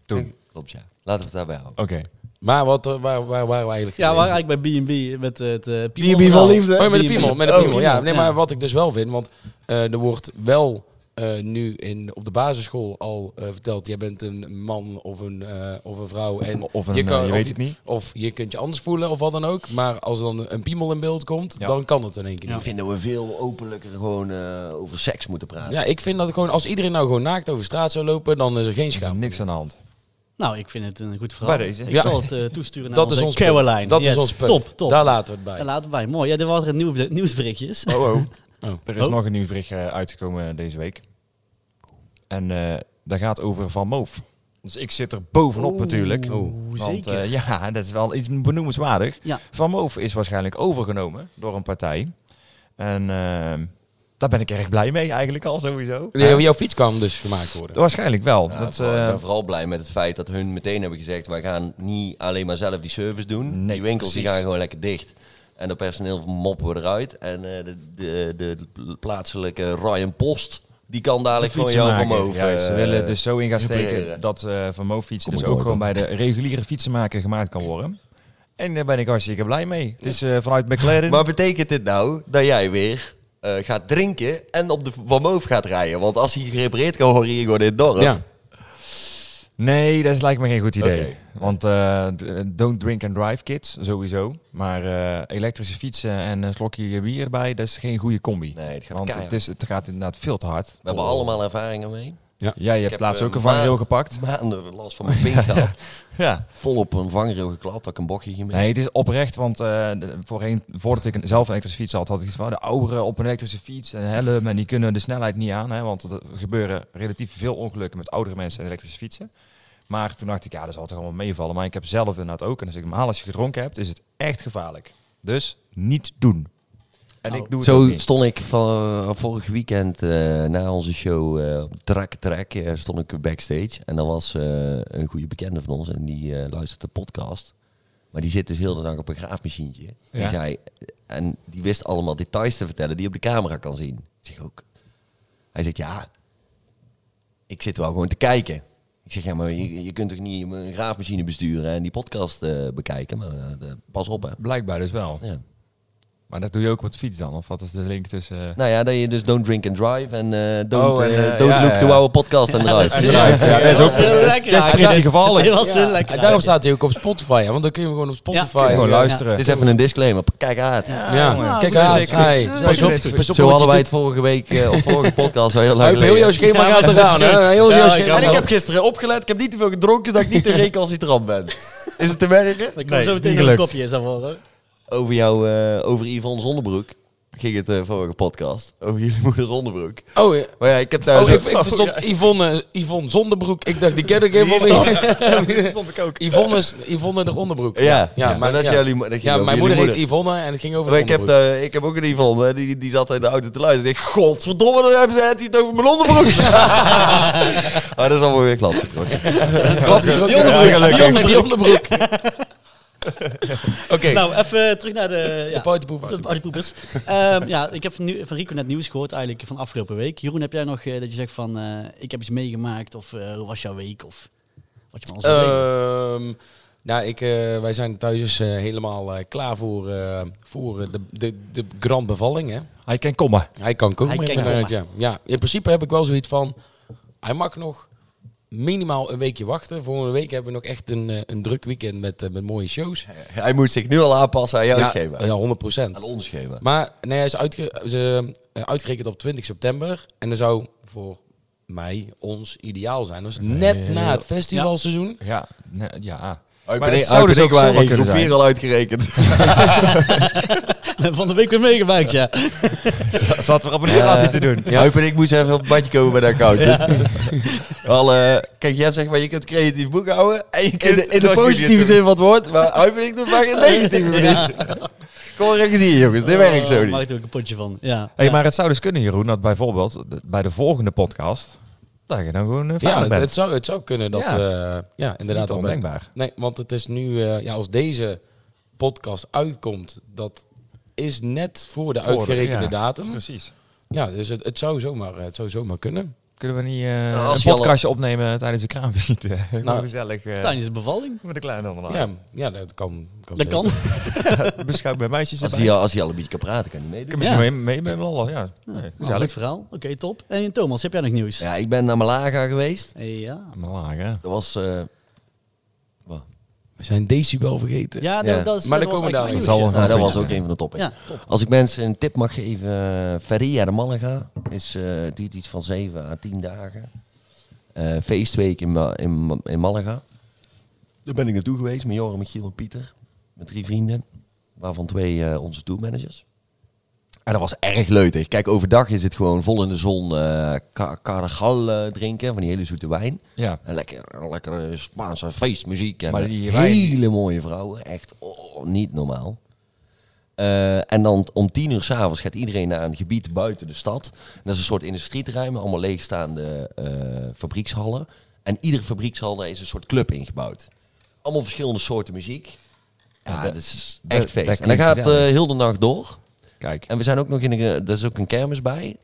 [SPEAKER 2] Toen. Klopt, ja. Laten we het daarbij houden.
[SPEAKER 6] Oké.
[SPEAKER 4] Maar wat, eh, waar, waar waren we eigenlijk?
[SPEAKER 3] Ja, we
[SPEAKER 4] gebleven?
[SPEAKER 3] waren eigenlijk bij B&B met het eh
[SPEAKER 2] B&B van
[SPEAKER 3] verhaal.
[SPEAKER 2] liefde.
[SPEAKER 4] Oh, ja, met de piemel. Met de
[SPEAKER 3] Oh,
[SPEAKER 4] piemel, ja. Nee,
[SPEAKER 3] ja.
[SPEAKER 4] maar wat ik dus wel vind, want eh, er wordt wel eh, nu in, op de basisschool al eh, verteld, jij bent een man of een, eh, of een vrouw. En
[SPEAKER 6] Of een,
[SPEAKER 4] je, kan,
[SPEAKER 6] eh, je
[SPEAKER 4] of
[SPEAKER 6] weet het niet.
[SPEAKER 4] Of je kunt je anders voelen of wat dan ook. Maar als er dan een piemel in beeld komt,
[SPEAKER 6] Ja.
[SPEAKER 4] dan kan het in één keer
[SPEAKER 2] Ik
[SPEAKER 4] niet.
[SPEAKER 2] vind dat we veel openlijker gewoon eh, over seks moeten praten.
[SPEAKER 4] Ja, ik vind dat gewoon, als iedereen nou gewoon naakt over straat zou lopen, dan is er geen schaamte.
[SPEAKER 6] Niks aan de hand.
[SPEAKER 3] Nou, ik vind het een goed verhaal.
[SPEAKER 6] Bij deze.
[SPEAKER 3] Ik
[SPEAKER 4] Ja.
[SPEAKER 3] zal het eh, toesturen naar
[SPEAKER 4] Dat is
[SPEAKER 3] onze
[SPEAKER 4] ons
[SPEAKER 3] Caroline.
[SPEAKER 4] punt. Dat
[SPEAKER 3] Yes.
[SPEAKER 4] is ons punt.
[SPEAKER 3] Top, top.
[SPEAKER 4] Daar laten we het bij.
[SPEAKER 3] Daar laten we bij. Mooi. Ja, dit waren nieuw, nieuwsberichtjes.
[SPEAKER 6] Oh, oh. Er is
[SPEAKER 3] Oh.
[SPEAKER 6] nog een nieuwsbericht eh, uitgekomen deze week. En eh dat gaat over Van Moof. Dus ik zit er bovenop natuurlijk. Want,
[SPEAKER 3] zeker.
[SPEAKER 6] eh, ja, dat is wel iets benoemenswaardig.
[SPEAKER 3] Ja.
[SPEAKER 6] Van Moof is waarschijnlijk overgenomen door een partij. En eh, daar ben ik erg blij mee eigenlijk al sowieso. Eh,
[SPEAKER 4] Ja, Jouw fiets kan dus gemaakt worden.
[SPEAKER 6] Waarschijnlijk wel.
[SPEAKER 2] Ja,
[SPEAKER 6] dat,
[SPEAKER 2] vooral-
[SPEAKER 6] eh,
[SPEAKER 2] ik ben vooral blij met het feit dat hun meteen hebben gezegd... wij gaan niet alleen maar zelf die service doen.
[SPEAKER 6] Nee,
[SPEAKER 2] die winkels die
[SPEAKER 6] precies.
[SPEAKER 2] gaan gewoon lekker dicht. En dat personeel moppen we eruit. En eh, de, de, de, plaatselijke Ryan Post... die kan dadelijk gewoon jouw
[SPEAKER 6] fietsenmaker.
[SPEAKER 2] vermogen...
[SPEAKER 6] Juist, ze
[SPEAKER 2] eh,
[SPEAKER 6] willen het dus zo in gaan
[SPEAKER 2] repareren.
[SPEAKER 6] steken dat eh vermogen fietsen
[SPEAKER 2] Kom
[SPEAKER 6] dus
[SPEAKER 2] ik nooit
[SPEAKER 6] ook gewoon bij de reguliere fietsenmaker gemaakt kan worden. En daar ben ik hartstikke blij mee. Het is eh, vanuit McLaren.
[SPEAKER 2] Maar betekent dit nou dat jij weer eh, gaat drinken... en op de Van Moof gaat rijden? Want als hij gerepareerd kan worden hier gewoon in het dorp...
[SPEAKER 4] Ja.
[SPEAKER 6] Nee, dat is lijkt me geen goed idee.
[SPEAKER 2] Oké.
[SPEAKER 6] Want eh, d- don't drink and drive kids, sowieso. Maar eh, elektrische fietsen en een slokje bier erbij, dat is geen goede combi.
[SPEAKER 2] Nee, het gaat
[SPEAKER 6] Want
[SPEAKER 2] keihard.
[SPEAKER 6] het, is, het gaat inderdaad veel te hard.
[SPEAKER 2] We hebben allemaal ervaringen mee.
[SPEAKER 6] Jij
[SPEAKER 2] Ik
[SPEAKER 6] hebt
[SPEAKER 2] heb,
[SPEAKER 6] laatst
[SPEAKER 2] eh,
[SPEAKER 6] ook een vangrail
[SPEAKER 2] maar-
[SPEAKER 6] gepakt.
[SPEAKER 2] Maanden last van mijn pink gehad.
[SPEAKER 6] Ja.
[SPEAKER 2] Vol op een vangrail geklapt, had ik een bokje gemist.
[SPEAKER 6] Nee, het is oprecht, want eh, de- voorheen, voordat ik een- zelf een elektrische fiets had, had ik iets van de ouderen op een elektrische fiets en helm en die kunnen de snelheid niet aan, hè, want er gebeuren relatief veel ongelukken met oudere mensen en elektrische fietsen. Maar toen dacht ik, ja, dat zal toch allemaal meevallen. Maar ik heb zelf inderdaad ook, en als ik normaal als je gedronken hebt, is het echt gevaarlijk. Dus niet doen. En ik doe het ook
[SPEAKER 2] Zo
[SPEAKER 6] niet.
[SPEAKER 2] stond ik van vorig weekend eh, na onze show eh, op Trak Trak eh, stond ik backstage en dat was eh, een goede bekende van ons en die eh, luistert de podcast. Maar die zit dus heel de dag op een graafmachientje. Die
[SPEAKER 6] Ja.
[SPEAKER 2] zei, en die wist allemaal details te vertellen die je op de camera kan zien. Ik zeg ook. Hij zegt ja, ik zit wel gewoon te kijken. Ik zeg ja, maar je, je kunt toch niet een graafmachine besturen en die podcast eh, bekijken. Maar eh, pas op hè.
[SPEAKER 6] Blijkbaar dus wel.
[SPEAKER 2] Ja.
[SPEAKER 6] Maar dat doe je ook met de fiets dan? Of wat is de link tussen... eh,
[SPEAKER 2] Nou ja, dat je dus don't drink and drive en eh, don't,
[SPEAKER 6] Oh, en,
[SPEAKER 2] eh,
[SPEAKER 6] eh,
[SPEAKER 2] don't
[SPEAKER 6] ja,
[SPEAKER 2] look
[SPEAKER 6] ja,
[SPEAKER 2] to
[SPEAKER 6] ja.
[SPEAKER 2] our podcast and drive.
[SPEAKER 6] en drive. Ja, dat is ook...
[SPEAKER 3] heel lekker.
[SPEAKER 6] dat is prettig
[SPEAKER 3] Dat was heel lekker.
[SPEAKER 4] En daarom staat hij ook op Spotify, hè, want dan kun je hem gewoon op Spotify...
[SPEAKER 3] kun je
[SPEAKER 6] Gewoon
[SPEAKER 4] eh,
[SPEAKER 6] luisteren.
[SPEAKER 2] Het is even een disclaimer. Kijk uit.
[SPEAKER 4] Ja,
[SPEAKER 6] Nou,
[SPEAKER 4] kijk
[SPEAKER 6] moet je
[SPEAKER 4] uit.
[SPEAKER 6] zeker
[SPEAKER 4] Hey,
[SPEAKER 6] doen.
[SPEAKER 4] Pas op,
[SPEAKER 6] Zeker doen.
[SPEAKER 4] pas op.
[SPEAKER 2] Zo hadden wij het vorige week, eh, of vorige podcast, al heel lang
[SPEAKER 4] Heel
[SPEAKER 2] geleden.
[SPEAKER 4] jouw schema
[SPEAKER 3] Ja,
[SPEAKER 4] gaat
[SPEAKER 3] dat is
[SPEAKER 4] eraan,
[SPEAKER 3] zo.
[SPEAKER 4] hè? Heel
[SPEAKER 3] Ja,
[SPEAKER 4] jouw
[SPEAKER 3] ik
[SPEAKER 4] schema.
[SPEAKER 3] ook.
[SPEAKER 2] En ik heb gisteren opgelet, ik heb niet te veel gedronken dat ik niet te recalcitrant ben. Is het te merken?
[SPEAKER 3] Ik kom
[SPEAKER 7] Nee, is niet
[SPEAKER 3] zo meteen een
[SPEAKER 7] gelukt.
[SPEAKER 3] kopje is daarvoor. hoor.
[SPEAKER 2] Over jou, eh, over Yvonne's onderbroek ging het eh, vorige podcast. Over jullie moeders onderbroek.
[SPEAKER 4] Oh, ja.
[SPEAKER 2] Maar ja, ik heb dus
[SPEAKER 4] Oh,
[SPEAKER 2] thuis...
[SPEAKER 4] ik, ik verstond Yvonne, Yvonne Zonderbroek. Ik dacht, die ken ik helemaal niet.
[SPEAKER 7] vond ik ook.
[SPEAKER 4] Yvonne is Yvonne de Onderbroek.
[SPEAKER 2] ja, maar, dat is
[SPEAKER 4] ja.
[SPEAKER 2] jullie... mo- Dat ging
[SPEAKER 4] Ja,
[SPEAKER 2] over
[SPEAKER 4] mijn
[SPEAKER 2] jullie
[SPEAKER 4] moeder heet Yvonne en het ging over
[SPEAKER 2] Maar
[SPEAKER 4] de
[SPEAKER 2] ik, heb,
[SPEAKER 4] onderbroek.
[SPEAKER 2] eh, ik heb ook een Yvonne, hè, die, die zat in de auto te luisteren. Ik dacht, godverdomme, dan hebben ze het hier over mijn onderbroek. maar dat is allemaal weer klap getrokken. eh,
[SPEAKER 4] Glad gedrukt. Die onderbroek. Die onder- die onderbroek. Oké,
[SPEAKER 3] Nou, even terug naar de...
[SPEAKER 4] de
[SPEAKER 3] Ja.
[SPEAKER 4] pauwtepoep.
[SPEAKER 3] De partypoepers. Ehm, ja, ik heb van, nu, van Rico net nieuws gehoord eigenlijk van afgelopen week. Jeroen, heb jij nog eh, dat je zegt van eh, ik heb iets meegemaakt of eh, hoe was jouw week of wat je van ons wil weten?
[SPEAKER 4] Ehm, nou, ik, eh, wij zijn thuis dus eh, helemaal eh, klaar voor, eh, voor eh, de, de, de grand bevalling. Hè?
[SPEAKER 6] Hij kan komen.
[SPEAKER 4] Hij kan komen.
[SPEAKER 3] Hij kan
[SPEAKER 4] inderdaad,
[SPEAKER 3] komen.
[SPEAKER 4] Ja. ja, in principe heb ik wel zoiets van... Hij mag nog minimaal een weekje wachten. Volgende week hebben we nog echt een, eh, een druk weekend met, eh, met mooie shows.
[SPEAKER 2] Hij moet zich nu al aanpassen aan jouw
[SPEAKER 4] ja,
[SPEAKER 2] schema.
[SPEAKER 4] ja, 100 procent.
[SPEAKER 2] Aan ons schema.
[SPEAKER 4] Maar nee, hij is uitge ze, eh, uitgerekend op 20 september. En dat zou voor mij, ons, ideaal zijn. Dus net na het festivalseizoen.
[SPEAKER 6] Ja. nee, ja.
[SPEAKER 2] Uit
[SPEAKER 6] Maar het
[SPEAKER 2] beneden,
[SPEAKER 6] zou
[SPEAKER 2] uit
[SPEAKER 6] dus ook
[SPEAKER 2] beneden waren
[SPEAKER 6] zomaar
[SPEAKER 2] groep
[SPEAKER 6] kunnen
[SPEAKER 2] vier
[SPEAKER 6] zijn.
[SPEAKER 2] al uitgerekend.
[SPEAKER 3] Van de week weer meegemaakt, ja.
[SPEAKER 6] Zat we op een relatie te doen.
[SPEAKER 2] Huip en ik moesten even op het badje komen bij de accountant. Wel, eh, kijk, jij zegt maar, je kunt creatief boekhouden. En je kunt in,
[SPEAKER 7] het
[SPEAKER 2] de
[SPEAKER 7] was jullie
[SPEAKER 2] positieve
[SPEAKER 7] het
[SPEAKER 2] zin van het woord. Maar Huip en ik doen het vaak in de negatieve manier. Kom er eens hier, jongens. Dit werkt zo
[SPEAKER 3] Maak er
[SPEAKER 2] niet.
[SPEAKER 3] Oh, ook een potje van. Ja.
[SPEAKER 6] Hey,
[SPEAKER 3] Ja.
[SPEAKER 6] maar het zou dus kunnen, Jeroen, dat bijvoorbeeld de- bij de volgende podcast, dat je dan gewoon eh,
[SPEAKER 4] Ja,
[SPEAKER 6] vader
[SPEAKER 4] het,
[SPEAKER 6] bent.
[SPEAKER 4] het zou, het zou kunnen dat...
[SPEAKER 6] Ja.
[SPEAKER 4] Ja, ja inderdaad.
[SPEAKER 6] Niet
[SPEAKER 4] dat we-
[SPEAKER 6] ondenkbaar.
[SPEAKER 4] Nee, want het is nu, eh, ja, als deze podcast uitkomt, dat is net voor de
[SPEAKER 6] Voor de-
[SPEAKER 4] uitgerekende
[SPEAKER 6] ja.
[SPEAKER 4] datum.
[SPEAKER 6] Precies.
[SPEAKER 4] Ja, dus het, het, zou zomaar, eh, het zou zomaar kunnen.
[SPEAKER 6] Kunnen we niet eh
[SPEAKER 2] als
[SPEAKER 6] een
[SPEAKER 2] je al-
[SPEAKER 6] podcastje opnemen tijdens de kraamvisite?
[SPEAKER 4] Nou,
[SPEAKER 7] gezellig eh,
[SPEAKER 3] Tijdens de bevalling.
[SPEAKER 7] met de kleine
[SPEAKER 6] Ah.
[SPEAKER 7] allemaal.
[SPEAKER 4] ja, ja, dat kan. kan
[SPEAKER 3] Dat kan.
[SPEAKER 4] zeker.
[SPEAKER 7] Beschuit bij meisjes
[SPEAKER 2] Als
[SPEAKER 7] erbij.
[SPEAKER 2] hij, al- als hij al een beetje kan praten, kan hij
[SPEAKER 6] Ik heb
[SPEAKER 2] meedoen.
[SPEAKER 3] Ja.
[SPEAKER 6] misschien mee, mee met lol, ja. Nee,
[SPEAKER 3] Nou, goed verhaal. Oké, top. En Thomas, heb jij nog nieuws?
[SPEAKER 2] Ja, ik ben naar Malaga geweest.
[SPEAKER 3] Eh, ja.
[SPEAKER 6] Maar laag, hè?
[SPEAKER 2] Dat was... eh,
[SPEAKER 4] We zijn decibel vergeten.
[SPEAKER 3] Ja,
[SPEAKER 2] Ja.
[SPEAKER 3] dat, dat is
[SPEAKER 4] Maar
[SPEAKER 3] dat
[SPEAKER 4] daar
[SPEAKER 3] was
[SPEAKER 4] komen we
[SPEAKER 3] eigenlijk
[SPEAKER 4] dadelijk.
[SPEAKER 3] mijn
[SPEAKER 2] nou, dat
[SPEAKER 6] goed.
[SPEAKER 2] was ook een van de toppen.
[SPEAKER 3] nieuws,
[SPEAKER 2] Als ik mensen een tip mag geven, eh, Feria de Malaga is, eh, het duurt iets van 7 à 10 dagen. Eh, feestweek in, Ma- in, Ma- in Malaga. Daar ben ik naartoe geweest met Joren, Michiel en Pieter. Met drie vrienden, waarvan twee eh, onze tourmanagers. En dat was erg leuk. Kijk, overdag is het gewoon vol in de zon eh ka- carnaval eh, drinken, van die hele zoete wijn.
[SPEAKER 6] Ja.
[SPEAKER 2] En lekker, lekkere Spaanse feestmuziek. En
[SPEAKER 6] Maar die wijn-
[SPEAKER 2] hele mooie vrouwen. Echt oh, niet normaal. Eh, en dan om tien uur s'avonds gaat iedereen naar een gebied buiten de stad. En dat is een soort industrieterrein met allemaal leegstaande eh, fabriekshallen. En iedere fabriekshal daar is een soort club ingebouwd. Allemaal verschillende soorten muziek. Ja, dat, is
[SPEAKER 6] dat-
[SPEAKER 2] echt
[SPEAKER 6] dat
[SPEAKER 2] feest. en dat
[SPEAKER 6] klinkt
[SPEAKER 2] gaat eh,
[SPEAKER 6] gezellig.
[SPEAKER 2] heel de nacht door.
[SPEAKER 6] Kijk.
[SPEAKER 2] En we zijn ook nog in een, eh, er is ook een kermis bij.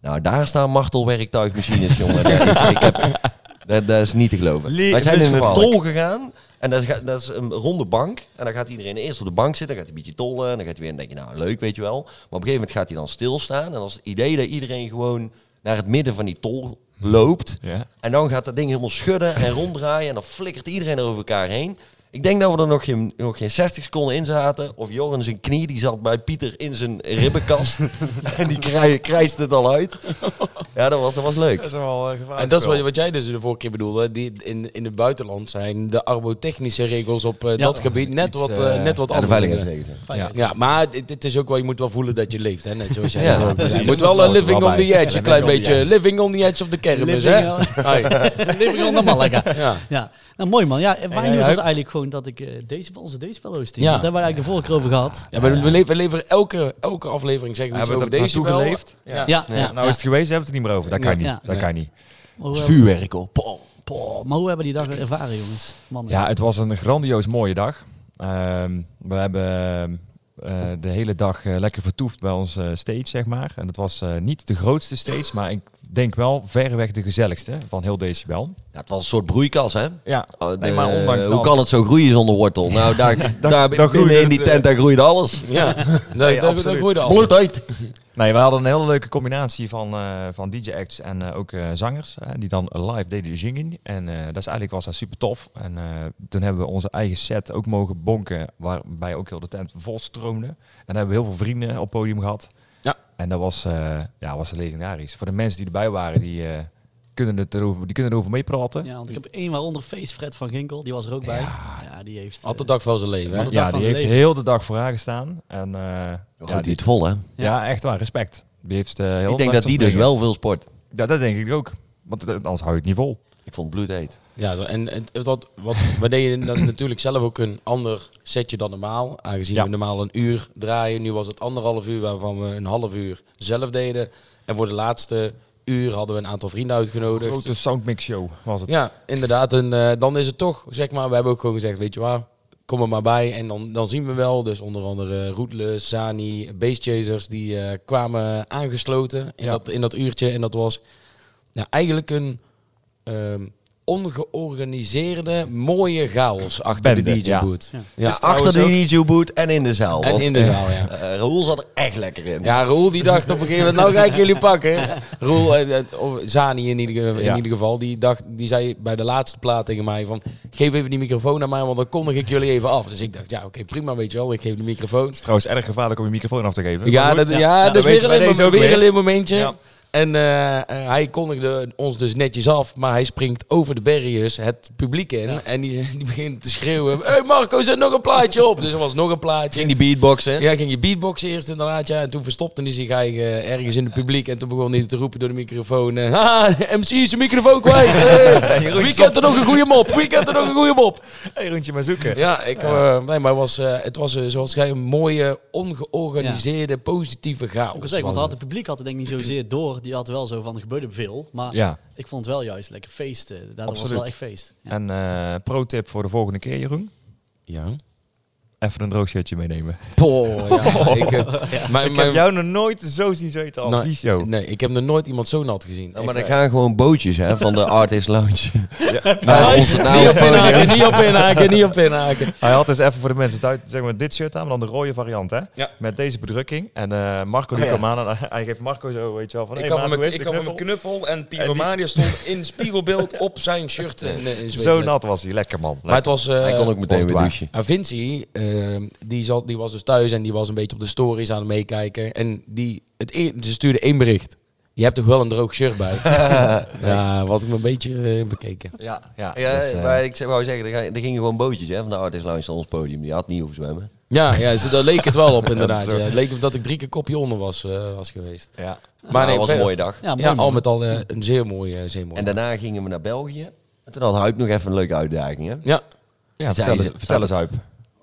[SPEAKER 2] Nou, daar staan martelwerktuigmachines, jongen. Dat is, ik heb, dat, dat is niet te geloven.
[SPEAKER 7] Lee-
[SPEAKER 2] Wij zijn in een
[SPEAKER 7] levensgevaarlijk.
[SPEAKER 2] tol gegaan. En dat is, ga- dat is een ronde bank. En dan gaat iedereen eerst op de bank zitten. Dan gaat hij een beetje tollen. En dan gaat hij weer en dan denk je, nou leuk, weet je wel. Maar op een gegeven moment gaat hij dan stilstaan. En als het idee dat iedereen gewoon naar het midden van die tol loopt.
[SPEAKER 6] Ja.
[SPEAKER 2] En dan gaat dat ding helemaal schudden en ronddraaien. En dan flikkert iedereen er over elkaar heen. Ik denk dat we er nog geen, nog geen 60 seconden in zaten. Of Joren zijn knie, die zat bij Pieter in zijn ribbenkast. en die krij, krijst het al uit. Ja, dat was, dat eh, was leuk.
[SPEAKER 7] Dat is wel gevaarlijk.
[SPEAKER 4] En dat is wat, wat jij dus de vorige keer bedoelde. Die in, in het buitenland zijn de arbotechnische regels op eh,
[SPEAKER 3] Ja.
[SPEAKER 4] dat gebied net
[SPEAKER 6] Iets,
[SPEAKER 4] wat,
[SPEAKER 6] eh,
[SPEAKER 4] eh, net wat
[SPEAKER 2] Ja, de
[SPEAKER 4] anders.
[SPEAKER 2] veiligheidsregels.
[SPEAKER 3] Fijn,
[SPEAKER 6] Ja.
[SPEAKER 3] hè.
[SPEAKER 4] Ja, maar het, het is ook wel, je moet wel voelen dat je leeft, hè? Net zoals jij.
[SPEAKER 2] Ja,
[SPEAKER 4] dat ook.
[SPEAKER 2] precies.
[SPEAKER 4] je moet wel een living on the edge, een klein
[SPEAKER 7] living on the
[SPEAKER 4] beetje. Living on the edge of the kermis, hè?
[SPEAKER 3] Living
[SPEAKER 4] Hey.
[SPEAKER 3] Levering aan de Malaga.
[SPEAKER 4] Ja.
[SPEAKER 3] Ja, nou mooi man. Ja, mijn
[SPEAKER 7] jij,
[SPEAKER 3] nieuws was
[SPEAKER 7] Huib?
[SPEAKER 3] eigenlijk gewoon dat ik eh, deze, onze decibelloos team,
[SPEAKER 4] Ja.
[SPEAKER 3] daar hebben we eigenlijk de vorige keer over gehad.
[SPEAKER 4] Ja, maar we, le- we leveren elke, elke aflevering zeggen we iets
[SPEAKER 6] Hebben we
[SPEAKER 4] over
[SPEAKER 6] het
[SPEAKER 4] deze
[SPEAKER 6] er naartoe
[SPEAKER 4] wel.
[SPEAKER 6] geleefd?
[SPEAKER 7] Ja.
[SPEAKER 3] Ja,
[SPEAKER 6] Ja,
[SPEAKER 3] ja,
[SPEAKER 6] nou is het geweest, hebben we het er niet meer over. Dat kan
[SPEAKER 4] Nee.
[SPEAKER 6] niet.
[SPEAKER 3] Ja.
[SPEAKER 6] Dat kan niet.
[SPEAKER 3] Maar
[SPEAKER 2] Het
[SPEAKER 3] hoe,
[SPEAKER 2] is
[SPEAKER 3] hebben-
[SPEAKER 2] vuurwerk, hoor. Pom.
[SPEAKER 3] Poh, maar hoe hebben we die dag ervaren, jongens? Mannen.
[SPEAKER 6] Ja, het was een grandioos mooie dag. Ehm, we hebben ehm, eh, de hele dag eh, lekker vertoefd bij onze stage, zeg maar. En het was eh, niet de grootste stage, maar ik denk wel verreweg de gezelligste van heel decibel.
[SPEAKER 2] Ja, het was een soort broeikas, hè?
[SPEAKER 6] Ja,
[SPEAKER 2] Oh, de-
[SPEAKER 6] nee, maar ondanks
[SPEAKER 2] hoe
[SPEAKER 6] dat-
[SPEAKER 2] kan het zo groeien zonder wortel? Nou, daar, daar, binnen
[SPEAKER 6] groeide
[SPEAKER 2] in die
[SPEAKER 6] het,
[SPEAKER 2] tent daar groeide alles.
[SPEAKER 4] Ja, dat, dat, dat
[SPEAKER 6] absoluut.
[SPEAKER 4] groeide al.
[SPEAKER 2] Bloed uit.
[SPEAKER 6] Nee, we hadden een hele leuke combinatie van, eh, van DJ-acts en eh, ook eh, zangers. eh, die dan live deden zingen. En eh, dat is eigenlijk was dat super tof. En eh, toen hebben we onze eigen set ook mogen bonken. Waarbij ook heel de tent vol stroomde. En daar hebben we heel veel vrienden op het podium gehad.
[SPEAKER 4] Ja.
[SPEAKER 6] En dat was, eh, ja, was legendarisch. Voor de mensen die erbij waren, die, eh, kunnen, het erover, die kunnen erover meepraten.
[SPEAKER 3] Ja, want ik heb één waaronder feest, Fred van Ginkel, die was er ook bij. Ja, die heeft... eh,
[SPEAKER 4] Had de dag van zijn leven. Hè?
[SPEAKER 3] Had de dag
[SPEAKER 6] Ja,
[SPEAKER 3] van
[SPEAKER 6] die
[SPEAKER 3] zijn
[SPEAKER 6] heeft
[SPEAKER 3] leven.
[SPEAKER 6] heel de dag voor haar gestaan. En, eh, ja,
[SPEAKER 2] Goed, die
[SPEAKER 6] die-
[SPEAKER 2] het vol, hè?
[SPEAKER 6] ja, echt waar, respect. Die heeft, eh, heel
[SPEAKER 2] Ik denk
[SPEAKER 6] lang
[SPEAKER 2] dat die dus
[SPEAKER 6] opbrengen.
[SPEAKER 2] wel veel sport.
[SPEAKER 6] Ja, dat denk ik ook. Want eh, anders hou je het niet vol.
[SPEAKER 2] Ik vond het bloedheet.
[SPEAKER 4] Ja, zo- en het- het- wat, wat, we deden dan natuurlijk zelf ook een ander setje dan normaal. Aangezien
[SPEAKER 6] Ja.
[SPEAKER 4] we normaal een uur draaien. Nu was het anderhalf uur waarvan we een half uur zelf deden. En voor de laatste uur hadden we een aantal vrienden uitgenodigd.
[SPEAKER 6] grote soundmix show was het.
[SPEAKER 4] Ja, inderdaad. En eh, dan is het toch, zeg maar, we hebben ook gewoon gezegd, weet je waar, kom er maar bij. En dan, dan zien we wel, dus onder andere Roetless, Sani, Base Chasers, die eh, kwamen aangesloten in,
[SPEAKER 6] Ja.
[SPEAKER 4] dat, in dat uurtje. En dat was nou, eigenlijk een ehm, ongeorganiseerde, mooie chaos achter
[SPEAKER 6] Bende,
[SPEAKER 4] de
[SPEAKER 6] ja. Dus
[SPEAKER 4] DJ-boot.
[SPEAKER 3] Ja.
[SPEAKER 2] Dus Achter
[SPEAKER 4] trouwens
[SPEAKER 2] de DJ-boot en in de zaal.
[SPEAKER 4] ook. En
[SPEAKER 2] want,
[SPEAKER 4] in de zaal, ja.
[SPEAKER 2] eh, Roel zat er echt lekker in.
[SPEAKER 4] Ja, Roel die dacht op een gegeven moment, nou ga ik jullie pakken. Roel, eh, eh, of Zani in ieder, ge- in
[SPEAKER 6] Ja.
[SPEAKER 4] ieder geval, die, dacht, die zei bij de laatste plaat tegen mij van... Geef even die microfoon aan mij, want dan kondig ik jullie even af. Dus ik dacht, ja oké, prima, weet je wel, ik geef de microfoon.
[SPEAKER 6] Trouwens, erg gevaarlijk om je microfoon af te geven.
[SPEAKER 4] Ja, dat, ja, dat is
[SPEAKER 6] weet je
[SPEAKER 4] weer
[SPEAKER 6] bij
[SPEAKER 4] een,
[SPEAKER 6] deze
[SPEAKER 4] mom-
[SPEAKER 6] ook
[SPEAKER 4] weer
[SPEAKER 6] weer.
[SPEAKER 4] een lid momentje.
[SPEAKER 6] Ja.
[SPEAKER 4] En eh, eh, hij kondigde ons dus netjes af, maar hij springt over de barriers het publiek in. En die, die begint te schreeuwen, hey Marco, zet nog een plaatje op. Dus er was nog een plaatje.
[SPEAKER 2] Ging die beatboxen.
[SPEAKER 4] Ja, ging je beatboxen eerst inderdaad, ja. En toen verstopte hij zich eigen ergens in het publiek. En toen begon hij te roepen door de microfoon. eh, Ha, MC is zijn microfoon kwijt. Eh, wie kent er nog een goede mop? Wie kent er nog een goede mop?
[SPEAKER 6] Hey, rondje maar zoeken.
[SPEAKER 4] Ja, ik, eh, nee, maar was, eh, het was eh, zoals jij een mooie, ongeorganiseerde, positieve chaos.
[SPEAKER 3] Ik wil zeggen, want
[SPEAKER 4] was
[SPEAKER 3] had het publiek had het denk ik niet zozeer door. Die had wel zo van, er gebeurde veel. Maar
[SPEAKER 6] Ja.
[SPEAKER 3] ik vond het wel juist lekker feesten. Daardoor was het
[SPEAKER 6] Absoluut.
[SPEAKER 3] wel echt feest. Ja.
[SPEAKER 6] En eh, pro-tip voor de volgende keer, Jeroen.
[SPEAKER 4] Ja.
[SPEAKER 6] Even een droog shirtje meenemen.
[SPEAKER 4] Poh, ja. Ik, eh, mijn- mijn-
[SPEAKER 6] Ik heb jou nog nooit zo zien zweten als
[SPEAKER 4] nou,
[SPEAKER 6] die show.
[SPEAKER 4] Nee, ik heb nog nooit iemand zo nat gezien.
[SPEAKER 2] Nou, maar
[SPEAKER 4] Echt,
[SPEAKER 2] er gaan gewoon bootjes hè, van de Artist Lounge.
[SPEAKER 4] eh,
[SPEAKER 2] Naar ons, naar ons
[SPEAKER 4] Niet op inhaken,
[SPEAKER 2] podium.
[SPEAKER 4] niet op inhaken, niet op inhaken.
[SPEAKER 6] Hij had dus even voor de mensen duid, zeg maar dit shirt aan, maar dan de rode variant, hè?
[SPEAKER 4] Ja.
[SPEAKER 6] Met deze bedrukking. En eh, Marco die
[SPEAKER 2] Oh, ja.
[SPEAKER 6] kwam aan en hij geeft Marco zo, weet je wel, van...
[SPEAKER 4] Ik
[SPEAKER 6] hey,
[SPEAKER 4] had
[SPEAKER 6] maat,
[SPEAKER 4] van
[SPEAKER 6] hoe
[SPEAKER 4] mijn,
[SPEAKER 6] is
[SPEAKER 4] ik had
[SPEAKER 6] de
[SPEAKER 4] van mijn
[SPEAKER 6] knuffel?
[SPEAKER 4] knuffel en Pyromania stond in spiegelbeeld op zijn shirt. En, eh, in
[SPEAKER 6] Zo
[SPEAKER 4] zweetnet.
[SPEAKER 6] nat was hij, lekker man.
[SPEAKER 4] Maar het was... eh,
[SPEAKER 2] Hij kon ook meteen weer
[SPEAKER 6] waar.
[SPEAKER 2] douchen.
[SPEAKER 4] Ah, Vinci, eh, die, zat, die was dus thuis en die was een beetje op de stories aan het meekijken. En die, het, e- ze stuurde één bericht. Je hebt toch wel een droog shirt bij? Ja, wat ik me een beetje eh, bekeken.
[SPEAKER 2] Ja,
[SPEAKER 6] Ja,
[SPEAKER 2] ja
[SPEAKER 6] dus, eh,
[SPEAKER 2] maar ik zou- wou zeggen, er ga- er gingen gewoon bootjes hè, van de Artist Lounge naar ons podium. Die had niet hoeven zwemmen.
[SPEAKER 4] Ja, ja ze- daar leek het wel op inderdaad. ja. Het leek op dat ik drie keer kopje onder was, eh, was geweest.
[SPEAKER 6] ja.
[SPEAKER 4] Maar nee,
[SPEAKER 2] Maar dat Nou, was een
[SPEAKER 4] verder-
[SPEAKER 2] mooie dag.
[SPEAKER 3] Ja, mooi.
[SPEAKER 4] Ja, al met al eh, een zeer mooie... eh, zeer mooie
[SPEAKER 2] En daarna gingen we naar België. En toen had Huip nog even een leuke uitdaging. Hè?
[SPEAKER 4] ja,
[SPEAKER 6] ja
[SPEAKER 2] Zij
[SPEAKER 6] vertel, eens,
[SPEAKER 2] ze-
[SPEAKER 6] vertel eens, Huip.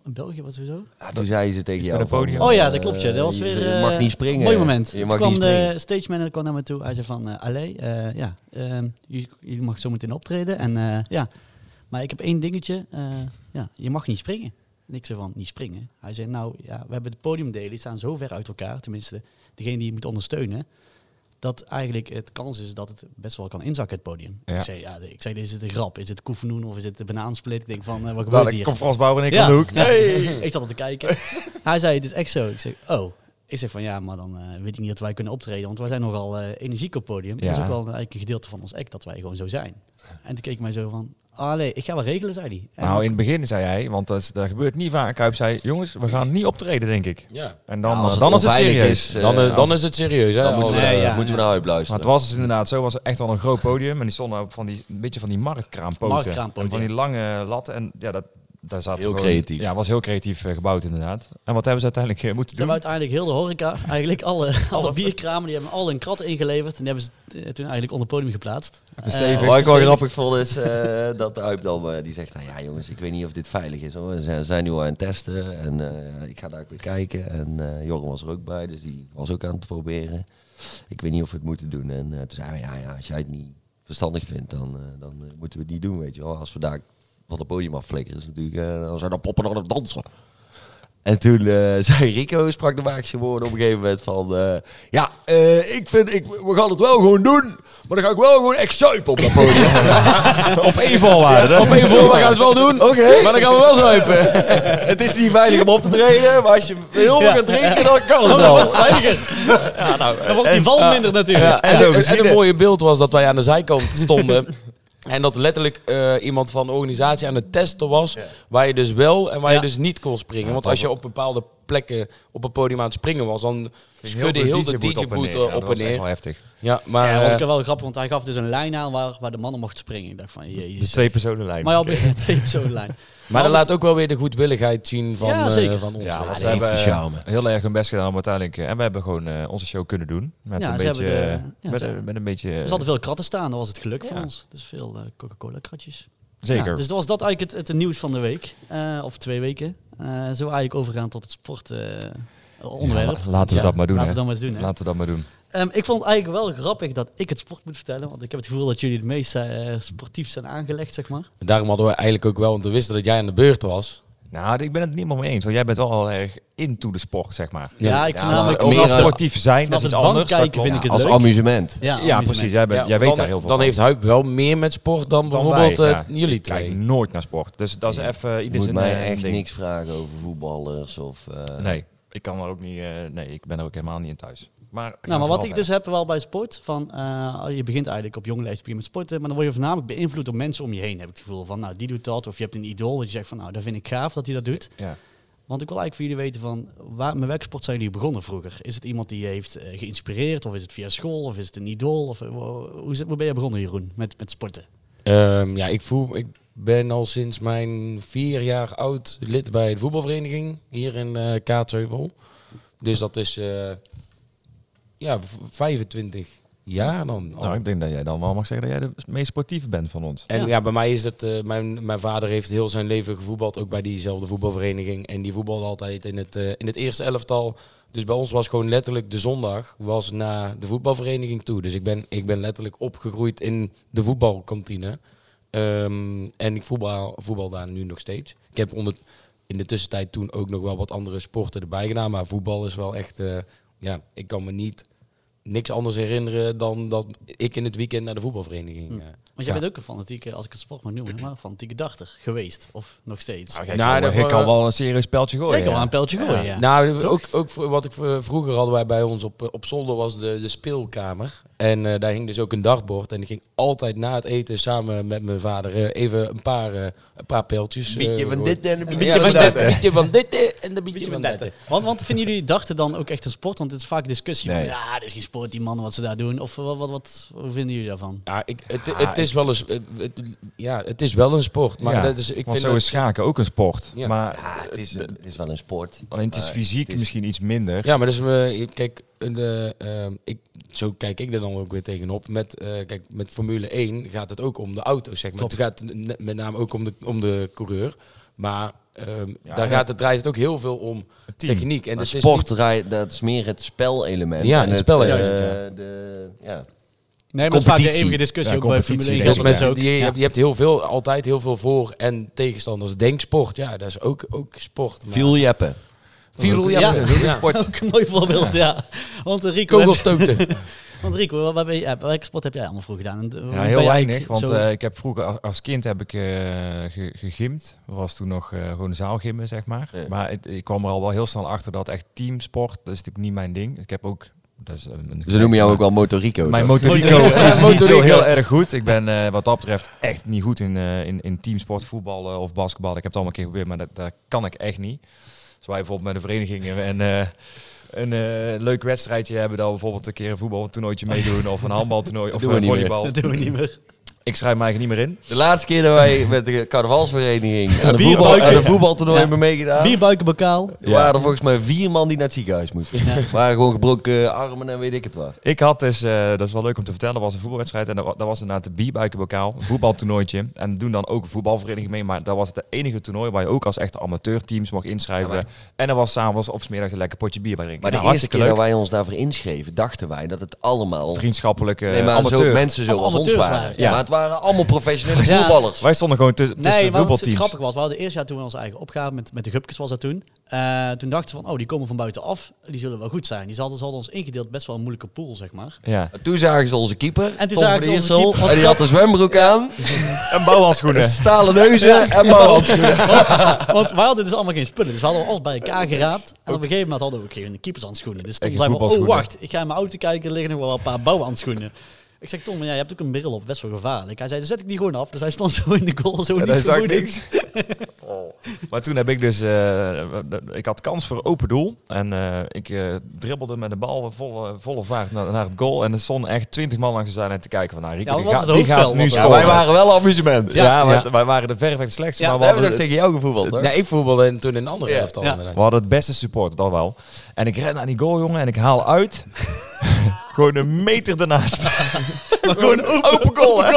[SPEAKER 3] In België was het zo.
[SPEAKER 2] Ja, toen zei ze tegen jou
[SPEAKER 6] met een
[SPEAKER 2] van,
[SPEAKER 6] podium.
[SPEAKER 2] eh,
[SPEAKER 3] Oh ja, dat klopt. Ja. Dat was
[SPEAKER 2] je-
[SPEAKER 3] weer
[SPEAKER 2] Je
[SPEAKER 3] eh,
[SPEAKER 2] mag niet springen.
[SPEAKER 3] Een mooi moment.
[SPEAKER 2] Je
[SPEAKER 3] Toen
[SPEAKER 2] mag
[SPEAKER 3] kwam
[SPEAKER 2] niet springen.
[SPEAKER 3] de stage manager kwam naar me toe. Hij zei van, eh Allee, eh, ja, ehm, jullie, jullie mag zo meteen optreden. En eh, ja, maar ik heb één dingetje. eh, ja, je mag niet springen. En ik zei van, niet springen? Hij zei, nou ja, we hebben de podiumdelen. Die staan zo ver uit elkaar. Tenminste, degene die je moet ondersteunen. Dat eigenlijk het kans is dat het best wel kan inzakken, het podium.
[SPEAKER 6] Ja.
[SPEAKER 3] Ik, zei, ja, ik zei, is het een grap? Is het koefenoen of is het de banaansplit? Ik denk van,
[SPEAKER 2] Nou,
[SPEAKER 3] eh, wat gebeurt
[SPEAKER 6] Dadelijk
[SPEAKER 3] hier?
[SPEAKER 6] komt Frans Bauer en ik
[SPEAKER 3] Ja.
[SPEAKER 6] aan de hoek.
[SPEAKER 3] ik zat al te kijken. Hij zei, het is echt zo. Ik zeg, oh. Ik zeg van, ja, maar dan eh, weet ik niet dat wij kunnen optreden. Want wij zijn nogal eh, energiek op het podium. Dat is
[SPEAKER 6] Ja.
[SPEAKER 3] ook wel een, eigenlijk een gedeelte van ons act, dat wij gewoon zo zijn. En toen keek hij mij zo van, ah nee, ik ga wel regelen, zei hij. En
[SPEAKER 6] Nou, in het begin zei hij, want dat, is- dat gebeurt niet vaak. Huip zei, jongens, we gaan niet optreden, denk ik.
[SPEAKER 4] ja.
[SPEAKER 6] En dan,
[SPEAKER 2] Ja, als
[SPEAKER 6] eh,
[SPEAKER 2] het
[SPEAKER 6] dan is het
[SPEAKER 2] onveilig
[SPEAKER 6] serieus.
[SPEAKER 2] is, eh,
[SPEAKER 4] Dan, eh,
[SPEAKER 2] als-
[SPEAKER 4] dan is het serieus. Hè?
[SPEAKER 2] Dan moeten we,
[SPEAKER 4] Als-
[SPEAKER 2] naar-
[SPEAKER 3] Nee, ja.
[SPEAKER 2] moeten we naar Huip
[SPEAKER 6] Maar het
[SPEAKER 2] luisteren.
[SPEAKER 6] was dus inderdaad zo, was het echt wel een groot podium. En die stonden op van die, een beetje van die marktkraampoten.
[SPEAKER 3] Marktkraampoten,
[SPEAKER 6] En van die
[SPEAKER 3] ja.
[SPEAKER 6] lange latten. En ja, dat, daar zaten
[SPEAKER 2] Heel
[SPEAKER 6] gewoon-
[SPEAKER 2] creatief.
[SPEAKER 6] Ja, was heel creatief eh, gebouwd inderdaad. En wat hebben ze uiteindelijk eh, moeten
[SPEAKER 3] Ze hebben
[SPEAKER 6] doen?
[SPEAKER 3] uiteindelijk heel de horeca, eigenlijk alle, alle bierkramen, die hebben al een krat ingeleverd. En die hebben ze eh, toen eigenlijk onder het podium geplaatst.
[SPEAKER 6] Verstevigd.
[SPEAKER 3] Eh,
[SPEAKER 2] Wat ik wel
[SPEAKER 3] verstevigd.
[SPEAKER 2] grappig vond is eh, dat de Huip dan eh, die zegt, nou ja jongens, ik weet niet of dit veilig is hoor. Ze zijn- zijn nu al aan het testen en eh, ik ga daar ook weer kijken. En eh, Joren was er ook bij, dus die was ook aan het proberen. Ik weet niet of we het moeten doen. En eh, toen zei hij, ja, ja, als jij het niet verstandig vindt, dan, eh, dan eh, moeten we het niet doen, weet je wel. Als we daar van het podium afflikkeren, is het natuurlijk, eh, dan zijn er poppen aan het dansen. En toen eh, zei Rico, sprak de magische woorden op een gegeven moment van... eh, ja, eh, ik vind, ik, we gaan het wel gewoon doen. Maar dan ga ik wel gewoon echt zuipen op dat podium.
[SPEAKER 6] Op één voorwaarde.
[SPEAKER 4] Op één voor, we gaan het wel doen. Oké. Maar dan gaan we wel zuipen.
[SPEAKER 2] het is niet veilig om op te treden, maar als je heel veel gaat drinken, dan kan het
[SPEAKER 3] Oh, dat
[SPEAKER 2] wel.
[SPEAKER 3] wordt veiliger. Dan wordt die val minder natuurlijk.
[SPEAKER 4] nou, Ja, en,
[SPEAKER 6] zo
[SPEAKER 4] en- en
[SPEAKER 6] geschieden.
[SPEAKER 4] het mooie beeld was dat wij aan de zijkant stonden. En dat letterlijk eh, iemand van de organisatie aan het testen was. Waar je dus wel en waar
[SPEAKER 3] Ja.
[SPEAKER 4] je dus niet kon springen. Want als je op bepaalde plekken op een podium aan het springen was, dan schudde heel de DJ-boot
[SPEAKER 6] Ja, dat
[SPEAKER 4] op en
[SPEAKER 6] was echt wel
[SPEAKER 4] neer.
[SPEAKER 6] heftig.
[SPEAKER 4] Ja, maar
[SPEAKER 3] Ja, dat
[SPEAKER 4] eh,
[SPEAKER 3] was wel grappig, want hij gaf dus een lijn aan waar, waar de mannen mochten springen. Ik dacht van, jezus.
[SPEAKER 7] Twee personen lijn.
[SPEAKER 3] Maar al binnen twee personen lijn.
[SPEAKER 4] Maar dat laat ook wel weer de goedwilligheid zien van,
[SPEAKER 3] Ja,
[SPEAKER 4] eh,
[SPEAKER 3] zeker.
[SPEAKER 4] van ons.
[SPEAKER 6] Ja, want
[SPEAKER 4] Ja,
[SPEAKER 6] ze hebben
[SPEAKER 2] de
[SPEAKER 6] eh,
[SPEAKER 2] charme.
[SPEAKER 6] heel erg hun best gedaan om uiteindelijk... eh, En we hebben gewoon eh, onze show kunnen doen. Met
[SPEAKER 3] Ja,
[SPEAKER 6] een
[SPEAKER 3] ze
[SPEAKER 6] beetje...
[SPEAKER 3] hebben de-
[SPEAKER 6] eh,
[SPEAKER 3] ja,
[SPEAKER 6] met,
[SPEAKER 3] ze-
[SPEAKER 6] een- met een beetje...
[SPEAKER 3] Er
[SPEAKER 6] eh,
[SPEAKER 3] zaten veel kratten staan, dat was het geluk voor
[SPEAKER 6] Ja.
[SPEAKER 3] ons. Dus veel eh, Coca-Cola kratjes. Ja,
[SPEAKER 6] Zeker.
[SPEAKER 3] dus dat was dat eigenlijk het, het nieuws van de week. eh, of twee weken. Eh, zo eigenlijk overgaan tot het sport eh, onderwerp.
[SPEAKER 6] Ja, la- laten we dat maar doen,
[SPEAKER 3] Laten
[SPEAKER 6] hè.
[SPEAKER 3] we dat maar eens doen. hè.
[SPEAKER 6] Laten we dat maar doen.
[SPEAKER 3] Ehm, ik vond het eigenlijk wel grappig dat ik het sport moet vertellen. Want ik heb het gevoel dat jullie het meest eh, sportief zijn aangelegd, zeg maar.
[SPEAKER 4] En Daarom hadden we eigenlijk ook wel, want we wisten dat jij aan de beurt was.
[SPEAKER 6] Nou, ik ben het niet helemaal mee eens. Want jij bent wel heel erg into de sport, zeg maar.
[SPEAKER 3] Ja,
[SPEAKER 4] Ja.
[SPEAKER 3] ik vond
[SPEAKER 6] Ja,
[SPEAKER 3] namelijk
[SPEAKER 6] overal
[SPEAKER 2] meer, eh,
[SPEAKER 6] sportief zijn, dat
[SPEAKER 3] vanaf
[SPEAKER 6] is iets
[SPEAKER 3] het bank
[SPEAKER 6] anders. dat
[SPEAKER 3] kijken
[SPEAKER 6] klopt.
[SPEAKER 3] vind ik het
[SPEAKER 2] Als
[SPEAKER 3] leuk.
[SPEAKER 2] amusement.
[SPEAKER 6] Ja,
[SPEAKER 3] amusement.
[SPEAKER 6] precies. Jij, bent,
[SPEAKER 4] Ja,
[SPEAKER 6] jij weet
[SPEAKER 4] dan-
[SPEAKER 6] daar heel veel
[SPEAKER 4] Dan
[SPEAKER 6] van.
[SPEAKER 4] heeft Huip wel meer met sport dan,
[SPEAKER 6] Dan
[SPEAKER 4] bijvoorbeeld
[SPEAKER 6] wij,
[SPEAKER 4] eh,
[SPEAKER 6] ja.
[SPEAKER 4] jullie
[SPEAKER 6] Ik kijk
[SPEAKER 4] twee.
[SPEAKER 6] nooit naar sport. Dus dat is even
[SPEAKER 2] Je
[SPEAKER 6] ieder
[SPEAKER 2] moet
[SPEAKER 6] zijn
[SPEAKER 2] mij
[SPEAKER 6] eh,
[SPEAKER 2] echt
[SPEAKER 6] ding.
[SPEAKER 2] niks vragen over voetballers of... eh,
[SPEAKER 6] Nee, ik kan er ook niet. eh, nee, ik ben er ook helemaal niet in thuis. Maar,
[SPEAKER 3] Nou, maar wat ik dus heb wel bij sport, van, eh, je begint eigenlijk op jonge leeftijd begin je met sporten, maar dan word je voornamelijk beïnvloed door mensen om je heen, heb ik het gevoel van, nou, die doet dat, of je hebt een idool dat je zegt van, nou, dat vind ik gaaf dat hij dat doet.
[SPEAKER 6] Ja.
[SPEAKER 3] Want ik wil eigenlijk voor jullie weten van, waar, met welke sport zijn jullie begonnen vroeger? Is het iemand die je heeft eh, geïnspireerd, of is het via school, of is het een idool, of eh, wo- hoe, is het- hoe ben je begonnen, Jeroen, met, met sporten?
[SPEAKER 4] Ehm, ja, ik, voel, ik ben al sinds mijn vier jaar oud lid bij de voetbalvereniging hier in eh Kaatsheuvel. Dus dat is eh, ja, v- 25 jaar dan. al.
[SPEAKER 6] Nou, ik denk dat jij dan wel mag zeggen dat jij de meest sportieve bent van ons.
[SPEAKER 4] En
[SPEAKER 3] Ja.
[SPEAKER 4] ja, bij mij is het, eh, mijn, mijn vader heeft heel zijn leven gevoetbald, ook bij diezelfde voetbalvereniging. En die voetbalde altijd in het, eh, in het eerste elftal. Dus bij ons was gewoon letterlijk de zondag was naar de voetbalvereniging toe. Dus ik ben, ik ben letterlijk opgegroeid in de voetbalkantine. Ehm, en ik voetbal, voetbal daar nu nog steeds. Ik heb onder, in de tussentijd toen ook nog wel wat andere sporten erbij gedaan. Maar voetbal is wel echt, eh, ja, ik kan me niet niks anders herinneren dan dat ik in het weekend naar de voetbalvereniging eh,
[SPEAKER 3] Want jij bent ook een fanatieke, als ik het sport mag noemen, maar een fanatieke dachter geweest, of nog steeds.
[SPEAKER 6] Nou,
[SPEAKER 3] Ja,
[SPEAKER 6] jij
[SPEAKER 4] Nou,
[SPEAKER 6] kan, wel-
[SPEAKER 4] dat-
[SPEAKER 6] jij kan wel een serieus speltje
[SPEAKER 3] ik
[SPEAKER 6] gooien.
[SPEAKER 3] kan wel
[SPEAKER 6] ja.
[SPEAKER 3] een pijltje gooien, ja.
[SPEAKER 4] Nou, ook, ook vro- wat ik v- vroeger hadden wij bij ons op, eh, op zolder was de, de speelkamer. En eh, daar hing dus ook een dagbord. En ik ging altijd na het eten samen met mijn vader eh, even een paar, eh, een paar pijltjes.
[SPEAKER 2] Een beetje
[SPEAKER 4] eh,
[SPEAKER 2] van
[SPEAKER 4] gooien.
[SPEAKER 2] dit en een
[SPEAKER 4] Ja,
[SPEAKER 2] beetje
[SPEAKER 4] een
[SPEAKER 2] van
[SPEAKER 4] beetje-
[SPEAKER 2] dat.
[SPEAKER 4] een beetje van dit eh, en een beetje
[SPEAKER 3] Beetje
[SPEAKER 4] van
[SPEAKER 3] met
[SPEAKER 4] dat. eh.
[SPEAKER 3] netten. Want, want vinden jullie dachten dan ook echt een sport? Want het is vaak discussie.
[SPEAKER 2] Nee.
[SPEAKER 3] van, Ja, dat is geen sport, die mannen wat ze daar doen. Of eh, wat, wat, wat hoe vinden jullie daarvan?
[SPEAKER 4] Ja, Nou, ik, het, het, is wel een, s- eh, het, ja, het is wel een sport. Maar
[SPEAKER 6] Ja,
[SPEAKER 4] dat is, ik
[SPEAKER 6] Want
[SPEAKER 4] vind
[SPEAKER 6] zo
[SPEAKER 4] dat-
[SPEAKER 6] is schaken ook een sport.
[SPEAKER 4] Ja.
[SPEAKER 6] Maar
[SPEAKER 2] Ja, het is, eh, het is wel een sport.
[SPEAKER 6] alleen Oh, Eh, het is
[SPEAKER 2] maar
[SPEAKER 6] fysiek
[SPEAKER 2] het is-
[SPEAKER 6] misschien iets minder.
[SPEAKER 4] Ja, maar dus, eh, kijk, eh, de, ehm, ik, zo kijk ik er dan ook weer tegenop. Met, eh, kijk, met Formule 1 gaat het ook om de auto's, zeg maar. Het gaat n- met name ook om de, om de coureur. Maar ehm,
[SPEAKER 6] Ja,
[SPEAKER 4] daar
[SPEAKER 6] ja.
[SPEAKER 4] gaat het, draait het ook heel veel om techniek. En
[SPEAKER 2] Maar
[SPEAKER 4] dus het is
[SPEAKER 2] sport, draai- dat is meer het spelelement.
[SPEAKER 4] Ja,
[SPEAKER 2] En
[SPEAKER 4] het spelelement,
[SPEAKER 2] eh, de, ja.
[SPEAKER 3] Nee,
[SPEAKER 2] maar het is vaak de Competitie.
[SPEAKER 3] eeuwige
[SPEAKER 2] eeuwige
[SPEAKER 3] discussie.
[SPEAKER 6] Ja,
[SPEAKER 3] ook bij
[SPEAKER 6] competitie,
[SPEAKER 3] Formule 1
[SPEAKER 6] denk
[SPEAKER 4] niet-
[SPEAKER 6] ik.
[SPEAKER 3] geldt dat
[SPEAKER 4] dus
[SPEAKER 3] ook.
[SPEAKER 4] met- je,
[SPEAKER 3] Ja.
[SPEAKER 4] je hebt heel veel, altijd heel veel voor- en tegenstanders. Denk sport, ja, dat is ook, ook sport. maar-
[SPEAKER 2] Viel jeppen.
[SPEAKER 4] Vierel, ja.
[SPEAKER 3] Ja.
[SPEAKER 4] ja.
[SPEAKER 3] Ook een mooi voorbeeld, ja. Want eh, Rico,
[SPEAKER 4] Kogelstoten.
[SPEAKER 3] want Rico wat, ben je- ja, welke sport heb jij allemaal vroeger gedaan? En, eh, hoe
[SPEAKER 6] Ja,
[SPEAKER 3] ben
[SPEAKER 6] heel
[SPEAKER 3] je
[SPEAKER 6] weinig.
[SPEAKER 3] eigenlijk
[SPEAKER 6] Want
[SPEAKER 3] zo-
[SPEAKER 6] eh, ik heb vroeger a- als kind heb ik eh ge- gegymd. Dat was toen nog eh, gewoon zaalgimmen, zeg maar.
[SPEAKER 2] Ja.
[SPEAKER 6] Maar het- ik kwam er al wel heel snel achter dat echt teamsport, dat is natuurlijk niet mijn ding. Ik heb ook... Dat is een, een-
[SPEAKER 2] Ze noemen jou ook wel Motorico.
[SPEAKER 6] Mijn
[SPEAKER 2] toch?
[SPEAKER 6] motorico
[SPEAKER 4] Motorico.
[SPEAKER 6] is niet
[SPEAKER 4] Motorico.
[SPEAKER 6] zo heel erg goed. Ik ben eh, wat dat betreft echt niet goed in, eh, in, in teamsport, voetballen of basketbal. Ik heb het allemaal een keer geprobeerd, maar dat, dat kan ik echt niet. Als wij bijvoorbeeld met een vereniging en, eh, een eh, leuk wedstrijdje hebben, dan bijvoorbeeld een keer een voetbaltoernooitje meedoen of een handbaltoernooi of
[SPEAKER 2] Doen we
[SPEAKER 6] een
[SPEAKER 2] niet meer.
[SPEAKER 6] volleybal.
[SPEAKER 3] dat doen we niet meer.
[SPEAKER 6] Ik schrijf me eigenlijk niet meer in.
[SPEAKER 2] De laatste keer dat wij met de carnavalsvereniging aan de,
[SPEAKER 3] Bierbuiken.
[SPEAKER 2] voetbal, aan de voetbaltoernooi
[SPEAKER 3] Ja.
[SPEAKER 2] hebben meegedaan.
[SPEAKER 3] Bierbuikenbokaal.
[SPEAKER 2] Er waren er volgens mij vier man die naar het ziekenhuis moesten. Er waren gewoon gebroken eh, armen en weet ik het waar.
[SPEAKER 6] Ik had dus, eh, dat is wel leuk om te vertellen, dat was een voetbalwedstrijd. En dat, wa- dat was inderdaad de bierbuikenbokaal, een voetbaltoernooitje. En doen dan ook een voetbalvereniging mee. Maar dat was het enige toernooi waar je ook als echte amateurteams mocht inschrijven. En er was s'avonds of 's middags een lekker potje bier bij drinken.
[SPEAKER 2] Maar de
[SPEAKER 6] Nou,
[SPEAKER 2] eerste
[SPEAKER 6] hartstikke
[SPEAKER 2] keer dat
[SPEAKER 6] leuk.
[SPEAKER 2] wij ons daarvoor inschreven, dachten wij dat het allemaal
[SPEAKER 6] Vriendschappelijke
[SPEAKER 2] nee, maar zo,
[SPEAKER 6] amateur.
[SPEAKER 2] mensen zoals ons
[SPEAKER 3] Amateurs
[SPEAKER 2] waren.
[SPEAKER 3] waren.
[SPEAKER 2] Ja. Maar het waren allemaal professionele
[SPEAKER 3] Ja.
[SPEAKER 2] voetballers.
[SPEAKER 6] Wij stonden gewoon tussen tussen
[SPEAKER 3] Nee, want het
[SPEAKER 6] voetbalteams.
[SPEAKER 3] grappig was, we hadden eerst jaar toen we onze eigen opgave met, met de Gupkes was dat toen. Eh, toen dachten we van, oh, die komen van buitenaf, die zullen wel goed zijn. Die hadden, ze hadden ons ingedeeld best wel een moeilijke pool, zeg maar.
[SPEAKER 6] Ja.
[SPEAKER 2] En Toen zagen ze onze keeper,
[SPEAKER 3] En toen
[SPEAKER 2] Tom
[SPEAKER 3] zagen
[SPEAKER 2] van
[SPEAKER 3] ze onze
[SPEAKER 2] Iersel,
[SPEAKER 3] keeper.
[SPEAKER 2] En die had een zwembroek aan,
[SPEAKER 6] En bouwhandschoenen.
[SPEAKER 2] stalen neuzen en mouwhandschoenen.
[SPEAKER 3] Want wij hadden dus allemaal geen spullen, dus we hadden alles bij
[SPEAKER 6] Eh,
[SPEAKER 3] elkaar geraapt. En op een gegeven moment hadden we ook geen keepershandschoenen. Dus toen
[SPEAKER 6] geen
[SPEAKER 3] zei we, oh
[SPEAKER 6] voetbalschoenen.
[SPEAKER 3] wacht, ik ga in mijn auto kijken, er liggen nog wel een paar bouwhandschoenen. Ik zeg, Tom, maar ja, je hebt ook een bril op, best wel gevaarlijk. Hij zei, dan zet ik die gewoon af. Dus hij stond zo in de goal, zo
[SPEAKER 6] En
[SPEAKER 3] niet
[SPEAKER 6] hij zag
[SPEAKER 3] vermoedend.
[SPEAKER 6] niks. Oh. Maar toen heb ik dus... eh, ik had kans voor open doel. En eh, ik eh, dribbelde met de bal volle, volle vaart naar, naar het goal. En er stonden echt twintig man langs de zijlijn te kijken. Van, nou, Rico,
[SPEAKER 3] Ja,
[SPEAKER 6] die
[SPEAKER 3] wat was
[SPEAKER 6] gaat-
[SPEAKER 3] het
[SPEAKER 6] die gaat
[SPEAKER 3] hoofdveld?
[SPEAKER 6] nu
[SPEAKER 3] Want
[SPEAKER 2] Ja,
[SPEAKER 6] scoren.
[SPEAKER 2] wij waren wel amusement.
[SPEAKER 6] Ja,
[SPEAKER 4] Ja.
[SPEAKER 6] wij-
[SPEAKER 4] Ja.
[SPEAKER 6] wij waren de verreweg de slechtste.
[SPEAKER 3] Ja,
[SPEAKER 6] maar we
[SPEAKER 2] We hebben
[SPEAKER 6] hadden,
[SPEAKER 2] toch tegen jou gevoetbald, hoor?
[SPEAKER 4] Nee, ik voetbalde en toen in een andere
[SPEAKER 2] Ja.
[SPEAKER 4] helft al
[SPEAKER 3] Ja.
[SPEAKER 6] we hadden het beste support, dat wel. En ik ren naar die goal, jongen, en ik haal uit. Gewoon een meter daarnaast.
[SPEAKER 3] Gewoon open,
[SPEAKER 6] goal, hè?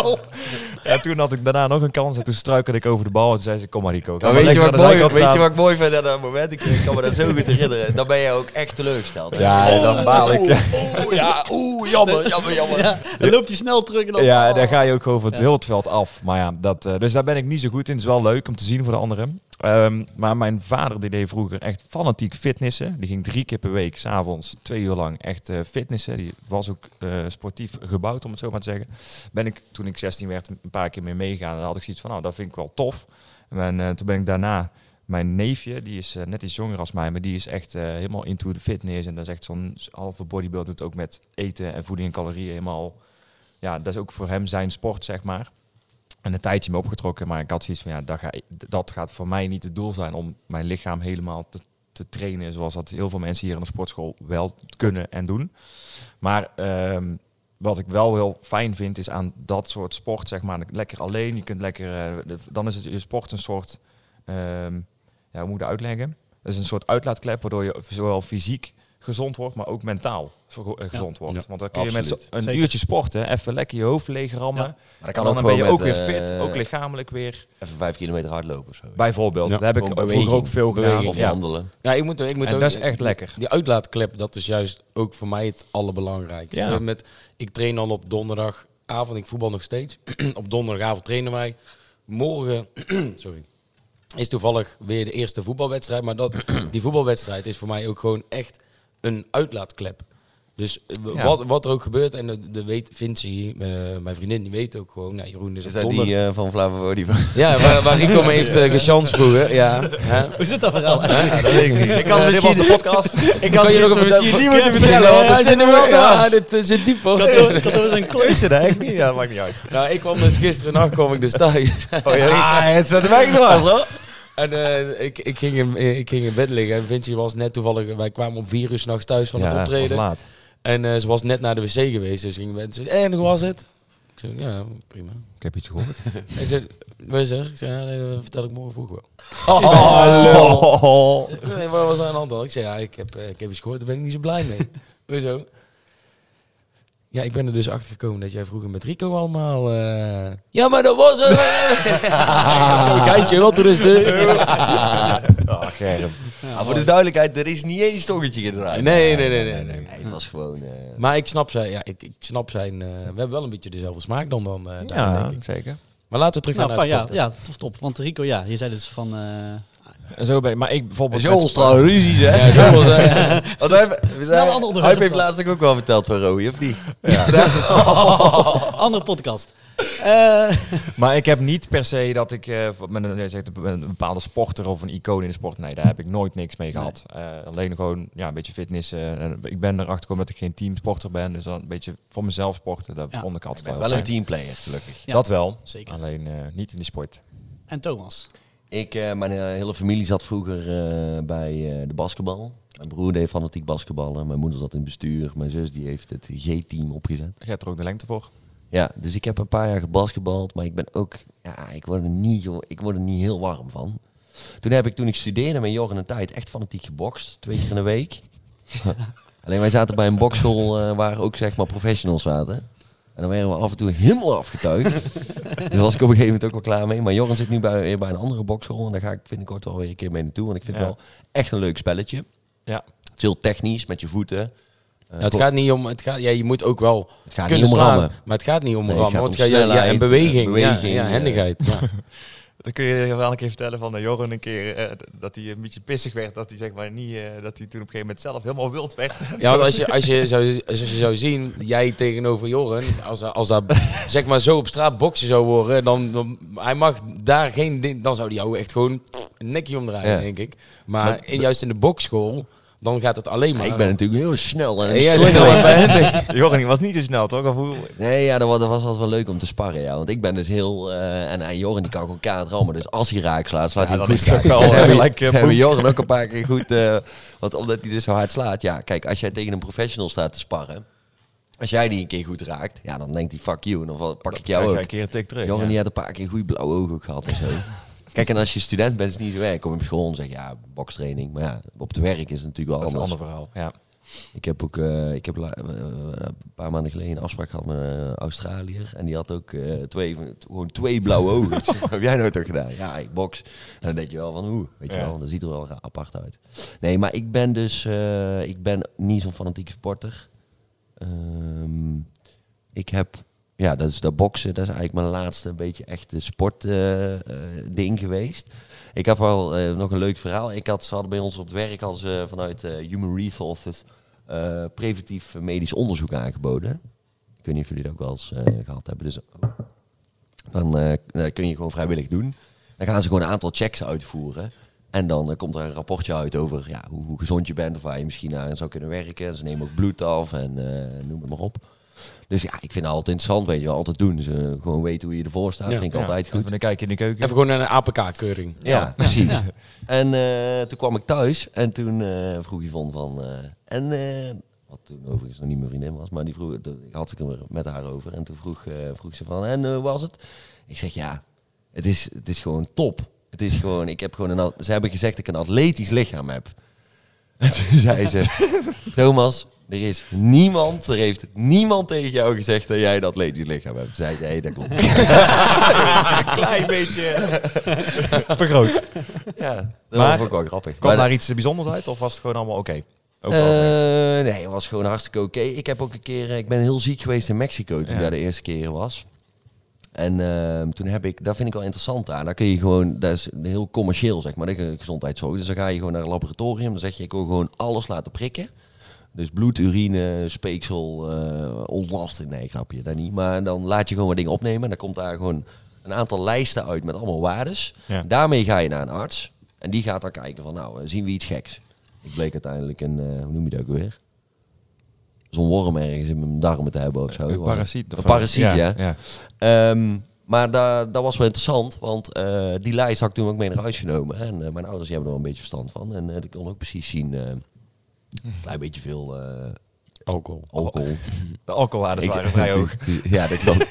[SPEAKER 6] Ja, toen had ik daarna nog een kans en toen struikelde ik over de bal. En toen zei ze, kom maar Rico. ga
[SPEAKER 2] Ja,
[SPEAKER 6] maar
[SPEAKER 2] weet, je
[SPEAKER 6] lekker
[SPEAKER 2] wat
[SPEAKER 6] aan
[SPEAKER 2] mooi,
[SPEAKER 6] de zijkant
[SPEAKER 2] weet je
[SPEAKER 6] staan.
[SPEAKER 2] wat ik mooi vind aan dat moment? Ik kan me dat zo goed herinneren. Dan ben je ook echt teleurgesteld.
[SPEAKER 6] Ja, dan baal ik.
[SPEAKER 3] Oh,
[SPEAKER 2] Oeh, ja, oeh, jammer, jammer, jammer.
[SPEAKER 3] Dan loopt hij snel terug en dan...
[SPEAKER 6] Ja, en
[SPEAKER 3] oh.
[SPEAKER 6] dan ga je ook gewoon van het heel het veld af. Maar ja, dat, eh, dus daar ben ik niet zo goed in. Het is wel leuk om te zien voor de anderen. Ehm, maar mijn vader die deed vroeger echt fanatiek fitnessen. Die ging drie keer per week, s'avonds, twee uur lang echt eh, fitnessen. Die was ook eh, sportief gebouwd, om het zo maar te zeggen. Ben ik, toen ik 16 werd, een paar keer mee meegegaan. Dan had ik zoiets van, nou, dat vind ik wel tof. En eh, toen ben ik daarna... Mijn neefje, die is eh, net iets jonger als mij, maar die is echt eh, helemaal into de fitness. En dat is echt zo'n halve bodybuilder, doet ook met eten en voeding en calorieën helemaal ja, dat is ook voor hem zijn sport, zeg maar. En een tijdje me opgetrokken, maar ik had zoiets van, ja, dat, ga, dat gaat voor mij niet het doel zijn om mijn lichaam helemaal te, te trainen, zoals dat heel veel mensen hier aan de sportschool wel kunnen en doen. Maar ehm, wat ik wel heel fijn vind, is aan dat soort sport, zeg maar, lekker alleen, je kunt lekker, eh, de- dan is het je sport een soort, ehm, ja, hoe moet ik dat uitleggen? Dat is een soort uitlaatklep, waardoor je zowel fysiek gezond wordt, maar ook mentaal zo- eh, gezond wordt.
[SPEAKER 4] Ja,
[SPEAKER 6] Want dan kun je met
[SPEAKER 2] absoluut.
[SPEAKER 6] z'n- een
[SPEAKER 3] Zeker.
[SPEAKER 6] uurtje sporten, even lekker je hoofd leeg rammen.
[SPEAKER 3] Ja.
[SPEAKER 2] Maar dat
[SPEAKER 6] En
[SPEAKER 2] kan ook
[SPEAKER 6] dan ben je
[SPEAKER 2] gewoon
[SPEAKER 6] ook
[SPEAKER 2] met,
[SPEAKER 6] weer fit,
[SPEAKER 2] eh,
[SPEAKER 6] ook lichamelijk weer.
[SPEAKER 2] Even vijf kilometer hardlopen of zo.
[SPEAKER 6] Bijvoorbeeld,
[SPEAKER 4] Ja.
[SPEAKER 6] daar heb ik
[SPEAKER 2] Gewoon
[SPEAKER 6] vroeger
[SPEAKER 2] beweging.
[SPEAKER 6] ook veel gedaan.
[SPEAKER 2] Of
[SPEAKER 6] Ja.
[SPEAKER 2] wandelen.
[SPEAKER 4] Ja, ik moet, ik moet
[SPEAKER 6] En
[SPEAKER 4] ook-
[SPEAKER 6] dat is echt lekker.
[SPEAKER 4] Die uitlaatklep, dat is juist ook voor mij het allerbelangrijkste.
[SPEAKER 6] Ja.
[SPEAKER 4] Met, ik train al op donderdagavond, ik voetbal nog steeds. op donderdagavond trainen wij. Morgen, sorry, is toevallig weer de eerste voetbalwedstrijd. Maar dat, die voetbalwedstrijd is voor mij ook gewoon echt een uitlaatklep. Dus eh, w-
[SPEAKER 6] Ja.
[SPEAKER 4] wat, wat er ook gebeurt, en de, de weet, Vinci, eh, mijn vriendin, die weet ook gewoon, nou, Jeroen is,
[SPEAKER 2] Is
[SPEAKER 4] op
[SPEAKER 2] dat
[SPEAKER 4] donder.
[SPEAKER 2] die eh, van Flavo Oliva?
[SPEAKER 4] Ja, waar, waar Rico mee heeft uh, vroeger. Ja, hè?
[SPEAKER 3] Hoe zit dat verhaal eigenlijk?
[SPEAKER 2] Ik had
[SPEAKER 6] eh, dit was de
[SPEAKER 2] podcast. Ik had
[SPEAKER 4] Kan je nog
[SPEAKER 2] gisteren
[SPEAKER 4] een
[SPEAKER 2] dat-
[SPEAKER 4] misschien
[SPEAKER 2] van-
[SPEAKER 4] niet
[SPEAKER 2] Kevin,
[SPEAKER 4] moeten vertellen, want
[SPEAKER 2] ja,
[SPEAKER 4] het
[SPEAKER 2] zit
[SPEAKER 4] zit
[SPEAKER 2] er
[SPEAKER 4] er
[SPEAKER 2] wel
[SPEAKER 4] wel
[SPEAKER 2] dwars.
[SPEAKER 4] Ja, dit eh, zit diep hoor.
[SPEAKER 3] Dat dat was een klus.
[SPEAKER 6] Is het eigenlijk niet? Ja, dat maakt niet uit.
[SPEAKER 4] Nou, ik kwam dus gisteren nacht kwam ik dus thuis.
[SPEAKER 2] Ah, het zat er weg was, hoor.
[SPEAKER 4] en eh, ik, ik, ging in, ik ging in bed liggen en Vinci was net toevallig... Wij kwamen om vier uur s'nachts thuis van het
[SPEAKER 6] Ja, was
[SPEAKER 4] optreden.
[SPEAKER 6] laat.
[SPEAKER 4] En eh, ze was net naar de wc geweest, dus ging mensen. En hoe was het? Ik zei, ja, prima.
[SPEAKER 6] Ik heb iets gehoord.
[SPEAKER 4] Ik zei, wat is er? Ik zei, ja, nee, dat vertel ik morgen vroeg wel.
[SPEAKER 6] Oh,
[SPEAKER 4] Nee, wat was er aan de hand dan? Ik zei, ja, ik heb, eh, ik heb iets gehoord, daar ben ik niet zo blij mee. Hoezo? Ja, ik ben er dus achter gekomen dat jij vroeger met Rico allemaal... eh, Ja, maar dat was... eh, Zo'n geintje, wat rustig.
[SPEAKER 6] Oh, Germ.
[SPEAKER 2] Maar voor de duidelijkheid, er is niet één stongetje gedraaid.
[SPEAKER 4] Nee, nee, nee, nee, nee.
[SPEAKER 2] Het was gewoon... eh,
[SPEAKER 4] Maar ik snap zijn, ja, ik, ik snap zijn eh, we hebben wel een beetje dezelfde smaak dan, dan eh, daarin,
[SPEAKER 6] Ja,
[SPEAKER 4] denk ik.
[SPEAKER 6] zeker.
[SPEAKER 4] Maar laten we terug
[SPEAKER 3] Nou,
[SPEAKER 4] gaan
[SPEAKER 3] van,
[SPEAKER 4] naar het
[SPEAKER 3] ja,
[SPEAKER 4] sporten.
[SPEAKER 3] ja, tof, top. Want Rico, ja, je zei dus van... eh,
[SPEAKER 6] En zo ben ik. Maar ik bijvoorbeeld...
[SPEAKER 2] Zo
[SPEAKER 6] met-
[SPEAKER 2] ontstaan ruzies, hè?
[SPEAKER 4] Ja, dat was, eh,
[SPEAKER 2] Want hij, we
[SPEAKER 3] Snel een
[SPEAKER 2] zijn,
[SPEAKER 3] ander onderwerp
[SPEAKER 2] Huip heeft
[SPEAKER 3] dan.
[SPEAKER 2] laatst ook wel verteld van Roy, of niet?
[SPEAKER 6] Oh.
[SPEAKER 3] Andere podcast. Eh,
[SPEAKER 6] Maar ik heb niet per se dat ik eh, met een, je zegt een bepaalde sporter of een icoon in de sport. Nee, daar heb ik nooit niks mee gehad. Eh, alleen gewoon ja, een beetje fitness. eh, en ik ben erachter gekomen dat ik geen teamsporter ben. Dus dan een beetje voor mezelf sporten. Dat
[SPEAKER 3] Ja.
[SPEAKER 6] vond ik altijd
[SPEAKER 2] Hij
[SPEAKER 6] wel
[SPEAKER 2] wel een
[SPEAKER 6] fijn.
[SPEAKER 2] teamplayer, gelukkig.
[SPEAKER 3] Ja.
[SPEAKER 6] Dat wel.
[SPEAKER 3] Zeker.
[SPEAKER 6] Alleen eh, niet in die sport.
[SPEAKER 3] en Thomas.
[SPEAKER 2] Ik, eh, mijn eh, hele familie zat vroeger eh, bij eh, de basketbal. Mijn broer deed fanatiek basketballen. Mijn moeder zat in het bestuur. Mijn zus die heeft het G-team opgezet.
[SPEAKER 6] Je hebt er ook de lengte voor.
[SPEAKER 2] Ja, dus ik heb een paar jaar gebasketbald. Maar ik ben ook... Ja, ik word er niet, joh, ik word er niet heel warm van. Toen heb ik, toen ik studeerde met Jorgen een tijd, echt fanatiek gebokst. Twee keer in de week. Alleen wij zaten bij een bokschool eh, waar ook zeg maar professionals zaten. En dan werden we af en toe helemaal afgetuigd. Daar was ik op een gegeven moment ook wel klaar mee. Maar Jorgen zit nu bij, bij een andere bokschool. En daar ga ik binnenkort wel weer een keer mee naartoe. Want ik vind
[SPEAKER 6] Ja.
[SPEAKER 2] het wel echt een leuk spelletje.
[SPEAKER 6] Ja.
[SPEAKER 2] Het is heel technisch, met je voeten. Eh,
[SPEAKER 4] Ja, Nou, het gaat niet om, het gaat, ja, je moet ook wel
[SPEAKER 2] het gaat
[SPEAKER 4] kunnen
[SPEAKER 2] niet om
[SPEAKER 4] slaan,
[SPEAKER 2] rammen.
[SPEAKER 4] maar het gaat niet om
[SPEAKER 2] Nee, het
[SPEAKER 4] rammen.
[SPEAKER 2] gaat
[SPEAKER 4] want
[SPEAKER 2] om
[SPEAKER 4] het gaat- ja, ja, en
[SPEAKER 2] snelheid,
[SPEAKER 4] beweging,
[SPEAKER 2] eh, beweging,
[SPEAKER 4] ja, ja,
[SPEAKER 2] eh.
[SPEAKER 4] handigheid. Ja.
[SPEAKER 7] Dan kun je wel een keer vertellen van eh, Joran een keer eh, d- dat hij een beetje pissig werd. Dat hij zeg maar niet, eh, dat hij toen op een gegeven moment zelf helemaal wild werd.
[SPEAKER 4] Ja, want als je, als, je zou, als je zou zien, jij tegenover Joren, als, als dat zeg maar zo op straat boksen zou worden, dan, dan hij mag daar geen ding, dan zou die jou echt gewoon een nekje omdraaien,
[SPEAKER 2] Ja.
[SPEAKER 4] denk ik. Maar, in, juist in de bokschool, dan gaat het alleen maar.
[SPEAKER 2] ik ben natuurlijk heel snel en
[SPEAKER 4] Ja, jij is
[SPEAKER 2] slim.
[SPEAKER 4] snel en behendig.
[SPEAKER 7] Joran die was niet zo snel toch? Of hoe?
[SPEAKER 2] Nee, ja, dat was, dat was altijd wel leuk om te sparren, ja. Want ik ben dus heel... eh, en, en Joren die kan gewoon kaart rammen. Dus als hij raak slaat, slaat
[SPEAKER 7] Ja,
[SPEAKER 2] hij
[SPEAKER 7] dan
[SPEAKER 2] goed
[SPEAKER 7] is het
[SPEAKER 2] kaart.
[SPEAKER 7] ook wel,
[SPEAKER 2] Dus
[SPEAKER 7] eh,
[SPEAKER 2] hebben-
[SPEAKER 7] gelijk, eh,
[SPEAKER 2] hebben
[SPEAKER 7] boek.
[SPEAKER 2] Joren ook een paar keer goed... eh, want omdat hij dus zo hard slaat. Ja, kijk, als jij tegen een professional staat te sparren... Als jij die een keer goed raakt, ja, dan denkt hij fuck you. En dan val- pak ik jou
[SPEAKER 7] Krijg
[SPEAKER 2] ook.
[SPEAKER 7] jij een keer een tik terug.
[SPEAKER 2] Joren
[SPEAKER 7] ja.
[SPEAKER 2] die had een paar keer goede blauwe ogen ook gehad en zo. Kijk, en als je student bent, is het niet zo werk. Kom je op school en zeg je, ja, bokstraining. Maar ja, op het werk is het natuurlijk wel
[SPEAKER 6] Dat is een
[SPEAKER 2] anders.
[SPEAKER 6] ander verhaal. Ja.
[SPEAKER 2] Ik heb ook eh, ik heb la- eh, een paar maanden geleden een afspraak gehad met een Australiër. En die had ook eh, twee, van- t- gewoon twee blauwe ogen. Ik zeg, Wat heb jij nou toch gedaan? Ja, ik box. En dan denk je wel van hoe, weet je
[SPEAKER 6] Ja.
[SPEAKER 2] wel. Dat ziet er wel ra- apart uit. Nee, maar ik ben dus eh, ik ben niet zo'n fanatieke sporter. Ehm, ik heb, ja, dat is dat boksen. Dat is eigenlijk mijn laatste een beetje echte sportding ding geweest. Ik heb wel eh, nog een leuk verhaal. Ik had, ze hadden bij ons op het werk hadden ze vanuit eh, Human Resources eh, preventief medisch onderzoek aangeboden. Ik weet niet of jullie dat ook wel eens eh, gehad hebben. Dus dan eh, dat kun je gewoon vrijwillig doen. Dan gaan ze gewoon een aantal checks uitvoeren. En dan eh, komt er een rapportje uit over ja, hoe, hoe gezond je bent of waar je misschien aan zou kunnen werken. En ze nemen ook bloed af en eh, noem het maar op. Dus ja, ik vind het altijd interessant, weet je wel, altijd doen. Dus, eh, gewoon weten hoe je ervoor staat,
[SPEAKER 4] Ja.
[SPEAKER 2] vind ik
[SPEAKER 6] Ja.
[SPEAKER 2] altijd goed.
[SPEAKER 6] Even een kijkje in de keuken.
[SPEAKER 4] Even gewoon een APK-keuring.
[SPEAKER 2] Ja, precies. En eh, toen kwam ik thuis en toen eh, vroeg Yvonne van... eh, en, eh, wat toen overigens nog niet mijn vriendin was, maar die vroeg, toen had ik het er met haar over. En toen vroeg, eh, vroeg ze van, en eh, hoe was het? Ik zeg, ja, het is, het is gewoon top. Het is gewoon, ik heb gewoon een, at- ze hebben gezegd dat ik een atletisch lichaam heb. En toen zei ze, Thomas, er is niemand, er heeft niemand tegen jou gezegd dat jij een atletisch lichaam hebt. Toen zei ze, hé, dat klopt.
[SPEAKER 7] Een klein beetje. eh,
[SPEAKER 6] vergroot.
[SPEAKER 2] Ja, dat
[SPEAKER 6] Maar-
[SPEAKER 2] was ook wel grappig.
[SPEAKER 6] Kwam
[SPEAKER 2] Maar
[SPEAKER 6] daar iets bijzonders uit of was het gewoon allemaal oké? Ook wel oké.
[SPEAKER 2] Eh, nee, het was gewoon hartstikke oké. Ik heb ook een keer, eh, ik ben heel ziek geweest in Mexico toen
[SPEAKER 6] Ja.
[SPEAKER 2] ik daar de eerste keer was. En ehm, toen heb ik, dat vind ik wel interessant aan. Dan kun je gewoon, dat is heel commercieel zeg maar, de ge- gezondheidszorg. Dus dan ga je gewoon naar een laboratorium. Dan zeg je, ik wil gewoon alles laten prikken. Dus bloed, urine, speeksel, eh ontlasting. Nee, grapje, dat niet. Maar dan laat je gewoon wat dingen opnemen. En dan komt daar gewoon een aantal lijsten uit met allemaal waardes.
[SPEAKER 6] Ja.
[SPEAKER 2] Daarmee ga je naar een arts. En die gaat dan kijken van, nou, eh, zien we iets geks? Ik bleek uiteindelijk een, eh, hoe noem je dat ook weer? Zo'n worm ergens in mijn darmen te hebben of zo.
[SPEAKER 6] Een
[SPEAKER 2] Was het?
[SPEAKER 6] parasiet. of
[SPEAKER 2] Een
[SPEAKER 6] zo.
[SPEAKER 2] parasiet, ja.
[SPEAKER 6] ja.
[SPEAKER 2] Ehm, maar da, dat was wel interessant, want eh, die lijst had ik toen ook mee naar huis genomen. En eh, mijn ouders die hebben er wel een beetje verstand van. En eh ik kon ook precies zien, eh, een klein beetje veel eh,
[SPEAKER 4] Alcohol.
[SPEAKER 2] alcohol.
[SPEAKER 7] De alcoholwaardes
[SPEAKER 2] Ik-
[SPEAKER 7] waren vrij hoog.
[SPEAKER 2] die- die- Ja, dat klopt.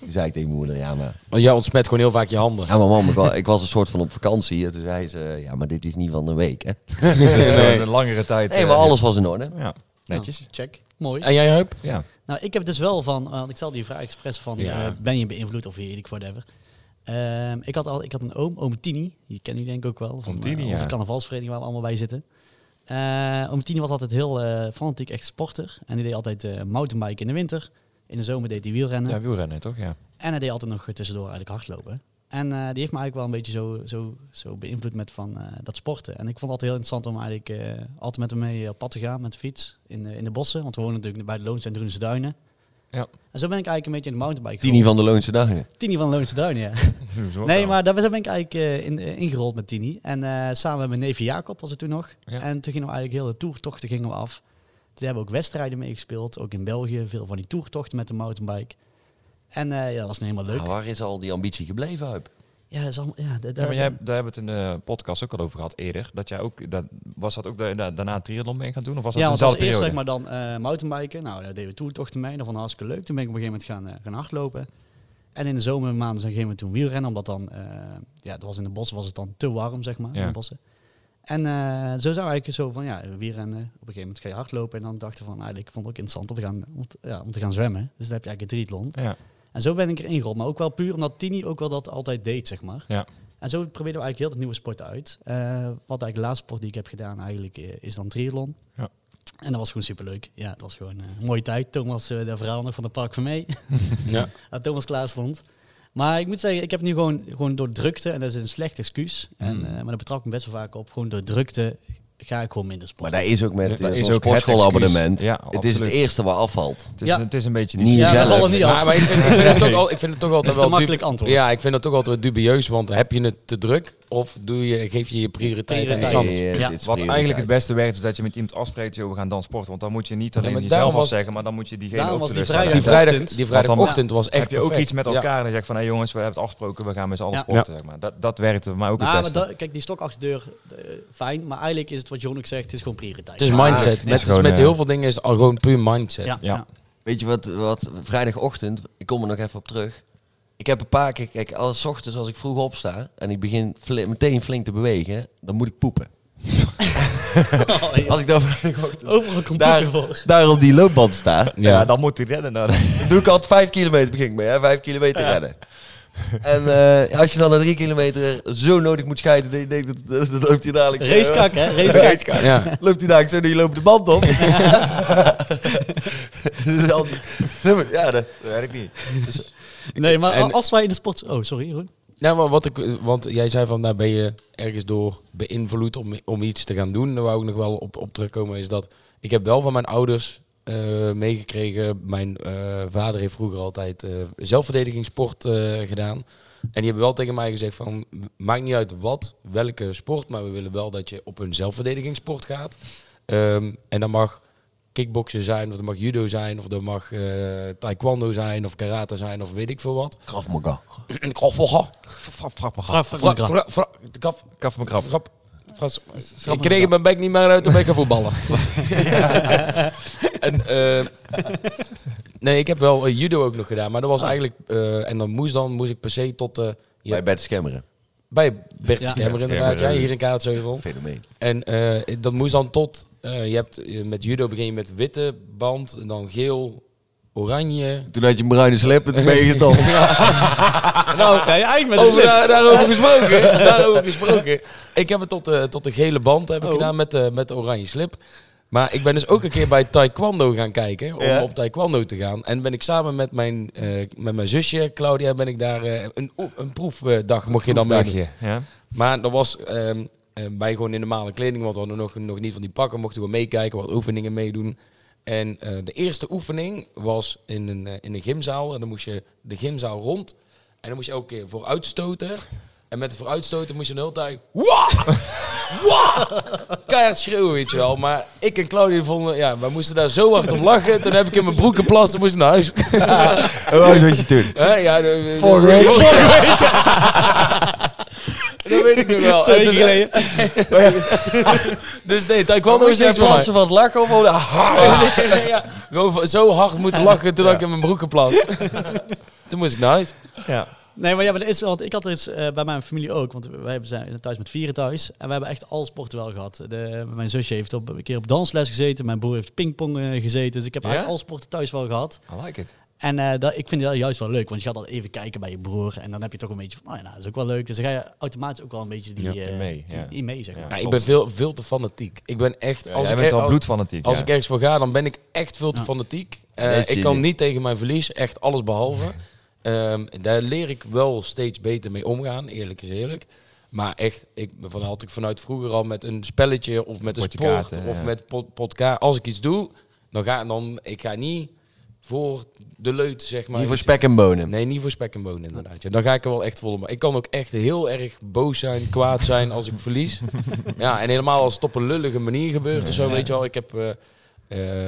[SPEAKER 2] Toen zei ik tegen mijn moeder, ja maar...
[SPEAKER 4] Want jij ontsmet gewoon heel vaak je handen.
[SPEAKER 2] Ja maar mam, ik was, ik was een soort van op vakantie. En toen zei ze, ja maar dit is niet van een week hè.
[SPEAKER 7] Dus, eh,
[SPEAKER 4] Nee.
[SPEAKER 7] Een langere tijd.
[SPEAKER 2] Nee,
[SPEAKER 7] eh,
[SPEAKER 2] maar alles was in orde.
[SPEAKER 6] Ja. Netjes. Eh.
[SPEAKER 3] Check. Nou, Mooi.
[SPEAKER 4] En jij, Huip?
[SPEAKER 6] Ja.
[SPEAKER 3] Nou, ik heb dus wel van, eh, want ik stel die vraag expres van,
[SPEAKER 4] Ja.
[SPEAKER 3] eh, ben je beïnvloed of weet ik whatever. Ehm, ik, had al, ik had een oom, oom Tini, die ken je denk ik ook wel. Van
[SPEAKER 6] Oom Tini,
[SPEAKER 3] eh, onze
[SPEAKER 6] ja.
[SPEAKER 3] carnavalsvereniging waar we allemaal bij zitten. Eh oom Tini was altijd heel eh, fanatiek echt sporter. En die deed altijd eh mountainbiken in de winter. In de zomer deed hij wielrennen.
[SPEAKER 6] Ja, wielrennen toch? Ja.
[SPEAKER 3] En hij deed altijd nog tussendoor eigenlijk hardlopen. En eh, die heeft me eigenlijk wel een beetje zo, zo, zo beïnvloed met van eh, dat sporten. En ik vond het altijd heel interessant om eigenlijk eh, altijd met hem mee op pad te gaan met de fiets in, de- in de bossen. Want we wonen natuurlijk bij de Loonse en Droense Duinen.
[SPEAKER 6] Ja.
[SPEAKER 3] En zo ben ik eigenlijk een beetje in de mountainbike
[SPEAKER 2] Tini
[SPEAKER 3] gerold.
[SPEAKER 2] van de Loonse Dagen.
[SPEAKER 3] Tini van de Loonse Duinen, ja. Nee, maar daar ben ik eigenlijk eh, in, eh, ingerold met Tini. En eh, samen met mijn neef Jacob was het toen nog.
[SPEAKER 6] Ja.
[SPEAKER 3] En toen gingen we eigenlijk hele toertochten gingen we af. Toen hebben we ook wedstrijden meegespeeld. Ook in België, veel van die toertochten met de mountainbike. En eh, ja, dat was helemaal leuk.
[SPEAKER 2] Nou, waar is al die ambitie gebleven, Huip?
[SPEAKER 3] Ja, dat is allemaal... Ja, dat-
[SPEAKER 6] Ja, maar
[SPEAKER 3] daar-
[SPEAKER 6] jij, daar hebben we het in de podcast ook al over gehad eerder. Dat jij ook, dat, was dat ook da- da- daarna een triathlon mee gaan doen? Of was dat
[SPEAKER 3] ja,
[SPEAKER 6] in
[SPEAKER 3] want als
[SPEAKER 6] dezelfde
[SPEAKER 3] eerst
[SPEAKER 6] periode?
[SPEAKER 3] zeg maar dan eh, mountainbiken. Nou, daar deden we toertochten mee. Dat vond ik hartstikke leuk. Toen ben ik op een gegeven moment gaan, eh, gaan hardlopen. En in de zomermaanden zijn op een gegeven moment toen wielrennen. Omdat dan, eh, ja, dat was in de bossen was het dan te warm, zeg maar,
[SPEAKER 6] Ja.
[SPEAKER 3] in de bossen. En eh, zo zou eigenlijk zo van, ja, wielrennen. Op een gegeven moment ga je hardlopen. En dan dachten we van, eigenlijk ik vond het ook interessant om te gaan, om te, ja, om te gaan zwemmen. Dus dan heb je eigenlijk een triathlon.
[SPEAKER 6] Ja.
[SPEAKER 3] En zo ben ik erin gerold. Maar ook wel puur omdat Tini ook wel dat altijd deed, zeg maar.
[SPEAKER 6] Ja.
[SPEAKER 3] En zo proberen we eigenlijk heel de nieuwe sporten uit. Eh, wat eigenlijk de laatste sport die ik heb gedaan eigenlijk eh, is dan triathlon.
[SPEAKER 6] Ja.
[SPEAKER 3] En dat was gewoon superleuk. Ja, het was gewoon eh, een mooie tijd. Thomas, eh daar verhaal nog van het park van mee.
[SPEAKER 4] Ja.
[SPEAKER 3] dat Thomas klaar stond. Maar ik moet zeggen, ik heb nu gewoon, gewoon door drukte, en dat is een slecht excuus, en, eh, maar dat betrap ik me best wel vaak op, gewoon door drukte ga ik gewoon minder
[SPEAKER 2] Maar
[SPEAKER 3] sporten.
[SPEAKER 2] daar is ook met
[SPEAKER 6] Ja,
[SPEAKER 2] ja,
[SPEAKER 6] dat
[SPEAKER 2] zo'n
[SPEAKER 6] is ook het
[SPEAKER 2] sportschoolabonnement.
[SPEAKER 6] excuus. Ja,
[SPEAKER 2] het is het
[SPEAKER 6] absoluut.
[SPEAKER 2] eerste waar afvalt.
[SPEAKER 6] Het is,
[SPEAKER 3] Ja.
[SPEAKER 6] een, het is een beetje
[SPEAKER 2] Niet
[SPEAKER 6] niet
[SPEAKER 2] jezelf.
[SPEAKER 3] ja, dat valt niet af.
[SPEAKER 4] Maar, maar ik, vind, ik, vind het toch al, ik vind het toch
[SPEAKER 3] Dat
[SPEAKER 4] altijd
[SPEAKER 3] is een
[SPEAKER 4] wel...
[SPEAKER 3] makkelijk
[SPEAKER 4] dub-
[SPEAKER 3] antwoord.
[SPEAKER 4] Ja, ik vind het toch altijd wel dubieus, want heb je het te druk of doe je, geef je je prioriteit aan iets
[SPEAKER 3] Prioriteit.
[SPEAKER 4] anders?
[SPEAKER 3] Ja.
[SPEAKER 2] is
[SPEAKER 6] Wat eigenlijk het
[SPEAKER 2] prioriteit.
[SPEAKER 6] beste werkt is dat je met iemand afspreekt, joh, we gaan dan sporten. Want dan moet je niet alleen
[SPEAKER 4] maar
[SPEAKER 6] jezelf
[SPEAKER 4] daarom was-
[SPEAKER 6] afzeggen, maar dan moet je diegene
[SPEAKER 3] Daarom
[SPEAKER 6] ook
[SPEAKER 3] was die
[SPEAKER 6] teleurstellen.
[SPEAKER 4] Die,
[SPEAKER 3] vrijdag-
[SPEAKER 4] vrijdag,
[SPEAKER 3] Ochtend.
[SPEAKER 4] die vrijdagochtend was echt
[SPEAKER 6] heb je ook
[SPEAKER 4] perfect.
[SPEAKER 6] iets met
[SPEAKER 4] Ja.
[SPEAKER 6] elkaar en je zegt van, hé jongens, we hebben het afgesproken, we gaan met z'n allen
[SPEAKER 3] Ja.
[SPEAKER 6] sporten. Zeg maar. dat, dat werkt voor mij ook
[SPEAKER 3] Nou,
[SPEAKER 6] het
[SPEAKER 3] maar
[SPEAKER 6] beste.
[SPEAKER 3] dat- kijk, die stok achter de deur, eh, fijn, maar eigenlijk is het wat John ook zegt, het is gewoon prioriteit.
[SPEAKER 4] Het is
[SPEAKER 3] Ja.
[SPEAKER 4] mindset. Met,
[SPEAKER 6] is gewoon,
[SPEAKER 4] met
[SPEAKER 6] eh,
[SPEAKER 4] heel veel dingen is het al gewoon puur mindset.
[SPEAKER 3] Ja,
[SPEAKER 6] Ja.
[SPEAKER 3] ja.
[SPEAKER 2] Weet je wat, wat vrijdagochtend, ik kom er nog even op terug. Ik heb een paar keer, kijk, als 's ochtends als ik vroeg opsta en ik begin fli- meteen flink te bewegen, dan moet ik poepen.
[SPEAKER 3] Oh,
[SPEAKER 2] Als ik dan vrijdagochtend
[SPEAKER 3] Overal
[SPEAKER 2] daar,
[SPEAKER 3] computer voor.
[SPEAKER 2] daar op die loopband sta,
[SPEAKER 6] Ja, dan moet hij rennen. Dan.
[SPEAKER 2] dan doe ik altijd vijf kilometer, begin ik mee, hè, vijf kilometer rennen. En eh, als je dan na drie kilometer zo nodig moet scheiden, dat je denkt, dat, dat, dat loopt hij dadelijk... eh,
[SPEAKER 3] Racekak, hè? Racekak.
[SPEAKER 4] Ja.
[SPEAKER 2] Loopt hij daar zo nu loopt de band op? Dan- ja, dat werkt niet.
[SPEAKER 3] Nee, maar
[SPEAKER 4] En-
[SPEAKER 3] als wij in de sport... Oh, sorry, Jeroen.
[SPEAKER 4] Nou, maar wat ik, want jij zei van, daar ben je ergens door beïnvloed om, om iets te gaan doen. Daar wou ik nog wel op, op terugkomen, is dat ik heb wel van mijn ouders eh, meegekregen. Mijn eh, vader heeft vroeger altijd eh, zelfverdedigingssport eh, gedaan. En die hebben wel tegen mij gezegd van, maakt niet uit wat, welke sport, maar we willen wel dat je op een zelfverdedigingssport gaat. Ehm, en dat mag kickboksen zijn, of dat mag judo zijn, of dat mag eh, taekwondo zijn, of karate zijn, of weet ik veel wat.
[SPEAKER 2] Graf Maga.
[SPEAKER 3] Graf,
[SPEAKER 4] Fra- fra- fra- kaf-
[SPEAKER 6] Kaf me krap.
[SPEAKER 4] grap- fras- Ik kreeg mijn bek niet meer uit om ik gaan voetballen. en, eh, nee, ik heb wel eh, judo ook nog gedaan, maar dat was eigenlijk... eh, en dan moest, dan moest ik per se tot... eh, je-
[SPEAKER 2] Bij Bert Skemmeren.
[SPEAKER 4] bij Bert
[SPEAKER 3] Ja.
[SPEAKER 4] Schermer inderdaad, ja, hier in Kaatsheuvel.
[SPEAKER 2] Fenomeen.
[SPEAKER 4] En eh, dat moest dan tot... eh, je hebt, eh, met judo begin je met witte band, en dan geel, oranje...
[SPEAKER 2] Toen had je een bruine slip en toen ben je gestopt.
[SPEAKER 3] Nou, ga je eind met een
[SPEAKER 4] Over,
[SPEAKER 3] slip.
[SPEAKER 4] daar- daarover gesproken. daarover gesproken. Ik heb het tot de, tot de gele band heb ik
[SPEAKER 3] Oh.
[SPEAKER 4] gedaan met de, met de oranje slip. Maar ik ben dus ook een keer bij taekwondo gaan kijken. Om op taekwondo te gaan. En ben ik samen met mijn, eh, met mijn zusje Claudia ben ik daar eh, een, oe- een proefdag mocht je dan meedoen.
[SPEAKER 6] Ja.
[SPEAKER 4] Maar dat was ehm eh, wij gewoon in normale kleding, want we hadden nog, nog niet van die pakken, mochten we meekijken, wat oefeningen meedoen. En eh, de eerste oefening was in een, eh, in een gymzaal. En dan moest je de gymzaal rond. En dan moest je elke keer vooruitstoten. En met de vooruitstoten moest je de hele tijd... Wah! Wah! Keihard schreeuwen, weet je wel. Maar ik en Claudia vonden... Ja, wij moesten daar zo hard om lachen. Toen heb ik in mijn broek geplast en moest ik naar huis.
[SPEAKER 2] Hoe oud was Oh, je toen?
[SPEAKER 4] Hè? Ja, de-
[SPEAKER 2] Vorige week.
[SPEAKER 4] Vorige week, ja. Dat weet ik nog wel.
[SPEAKER 3] Twee
[SPEAKER 4] En
[SPEAKER 3] weken
[SPEAKER 4] toen-
[SPEAKER 3] geleden.
[SPEAKER 4] Dus nee, taekwondo is
[SPEAKER 2] Moest jij
[SPEAKER 4] niks voor mij.
[SPEAKER 2] plassen van het lachen of Ah.
[SPEAKER 4] Nee, nee, ja. Gewoon van- zo hard moeten lachen toen ik in mijn broek geplast. toen moest ik naar huis.
[SPEAKER 3] Nee, maar ja, maar dat is wel. want Ik had er iets eh, bij mijn familie ook, want wij hebben- zijn thuis met vieren thuis en we hebben echt al sporten wel gehad. De, mijn zusje heeft op, een keer op dansles gezeten, mijn broer heeft pingpong eh, gezeten, dus ik heb
[SPEAKER 4] Ja?
[SPEAKER 3] eigenlijk al sporten thuis wel gehad.
[SPEAKER 6] I like it.
[SPEAKER 3] En eh, dat, ik vind dat juist wel leuk, want je gaat al even kijken bij je broer en dan heb je toch een beetje van, oh ja, nou, dat is ook wel leuk. Dus dan ga je automatisch ook wel een beetje die,
[SPEAKER 6] Ja,
[SPEAKER 3] eh,
[SPEAKER 6] mee,
[SPEAKER 3] die-
[SPEAKER 6] ja.
[SPEAKER 3] die mee, zeg maar.
[SPEAKER 4] Ja, ik ben veel, veel te fanatiek. Ik ben echt...
[SPEAKER 6] Jij
[SPEAKER 4] ik
[SPEAKER 6] bent
[SPEAKER 4] er-
[SPEAKER 6] wel bloedfanatiek.
[SPEAKER 4] als
[SPEAKER 6] ja.
[SPEAKER 4] ik ergens voor ga, dan ben ik echt veel te
[SPEAKER 3] Ja.
[SPEAKER 4] fanatiek. Eh,
[SPEAKER 2] Dat zie
[SPEAKER 4] ik
[SPEAKER 2] je
[SPEAKER 4] kan
[SPEAKER 2] niet.
[SPEAKER 4] niet tegen mijn verlies, echt alles behalve. Ehm, daar leer ik wel steeds beter mee omgaan, eerlijk is eerlijk. Maar echt, ik, van, had ik vanuit vroeger al met een spelletje of met een
[SPEAKER 6] Potje
[SPEAKER 4] sport
[SPEAKER 6] kaarten,
[SPEAKER 4] of
[SPEAKER 6] ja.
[SPEAKER 4] met pod, podcast. Als ik iets doe, dan ga dan, ik ga niet voor de leut, zeg maar. Dus
[SPEAKER 2] Niet voor spek en bonen.
[SPEAKER 4] Nee, niet voor spek en bonen inderdaad. Ja, dan ga ik er wel echt vol om. Ik kan ook echt heel erg boos zijn, kwaad zijn als ik verlies. ja, en helemaal als het op een lullige manier gebeurt of zo, weet je wel. Ik heb eh,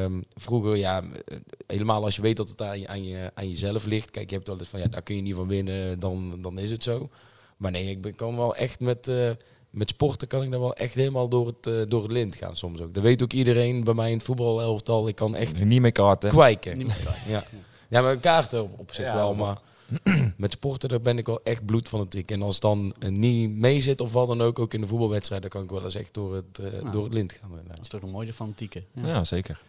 [SPEAKER 4] ehm, vroeger, ja, eh, helemaal als je weet dat het aan, je, aan, je, aan jezelf ligt. Kijk, je hebt wel eens van, ja, daar kun je niet van winnen, dan, dan is het zo. Maar nee, ik ben- kan wel echt met... eh, met sporten kan ik daar wel echt helemaal door het, eh, door het lint gaan soms ook. Dat weet ook iedereen bij mij in het voetbalelftal. Ik e- kan echt
[SPEAKER 6] Niet meer kaarten.
[SPEAKER 4] kwijken.
[SPEAKER 3] Niet meer kwijt.
[SPEAKER 4] Ja, ja maar kaarten op, op zich wel, maar met sporten daar ben ik wel echt bloed van het En als het dan eh, niet mee zit of wat dan ook, ook in de voetbalwedstrijd, dan kan ik wel eens echt door het, eh,
[SPEAKER 3] Ja.
[SPEAKER 4] door het lint gaan. inderdaad.
[SPEAKER 3] Dat is toch een mooie fanatieke. Ja.
[SPEAKER 6] Ja, zeker.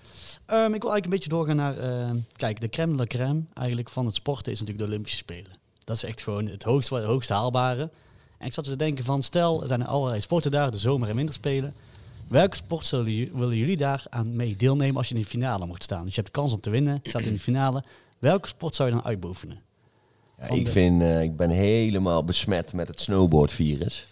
[SPEAKER 3] Ehm, ik wil eigenlijk een beetje doorgaan naar... ehm, kijk, de crème de la crème eigenlijk van het sporten is natuurlijk de Olympische Spelen. Dat is echt gewoon het hoogst, het hoogst haalbare. En ik zat dus te denken van, stel, er zijn allerlei sporten daar, de zomer- en winterspelen. Welke sport zullen ju- willen jullie daar aan mee deelnemen als je in de finale mocht staan? Dus je hebt kans om te winnen, je staat in de finale. Welke sport zou je dan uitbeoefenen?
[SPEAKER 2] Ja,
[SPEAKER 3] Van
[SPEAKER 2] ik,
[SPEAKER 3] de-
[SPEAKER 2] vind, eh, ik ben helemaal besmet met het snowboardvirus.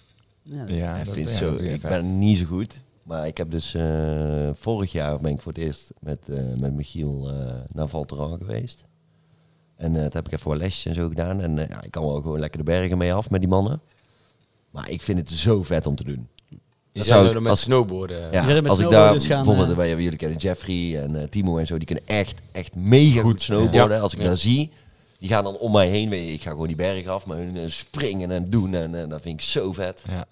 [SPEAKER 3] Ja,
[SPEAKER 6] Ja,
[SPEAKER 2] ik,
[SPEAKER 6] dat-
[SPEAKER 2] vind
[SPEAKER 6] ja,
[SPEAKER 2] zo,
[SPEAKER 6] dat doe je
[SPEAKER 2] ik
[SPEAKER 6] even.
[SPEAKER 2] ben niet zo goed. Maar ik heb dus eh, vorig jaar ben ik voor het eerst met, eh, met Michiel eh, naar Valteran geweest. En eh dat heb ik even wat lesjes en zo gedaan. En eh, ja, ik kan wel gewoon lekker de bergen mee af met die mannen. Maar ik vind het zo vet om te doen.
[SPEAKER 4] Je
[SPEAKER 2] zou
[SPEAKER 4] zou
[SPEAKER 2] ik
[SPEAKER 4] dan met
[SPEAKER 2] als-
[SPEAKER 4] snowboarden.
[SPEAKER 2] Ja,
[SPEAKER 3] zijn er met
[SPEAKER 2] Eh, als ik daar
[SPEAKER 3] snowboarders gaan,
[SPEAKER 2] bijvoorbeeld,
[SPEAKER 3] eh,
[SPEAKER 2] bij jullie kennen Jeffrey en eh, Timo en zo, die kunnen echt, echt mega goed, snowboarden.
[SPEAKER 4] Ja.
[SPEAKER 2] Als ik
[SPEAKER 4] Ja.
[SPEAKER 2] daar zie, die gaan dan om mij heen. weet je, Ik ga gewoon die berg af, maar hun eh, springen en doen. En, eh, dat vind ik zo vet.
[SPEAKER 6] Ja.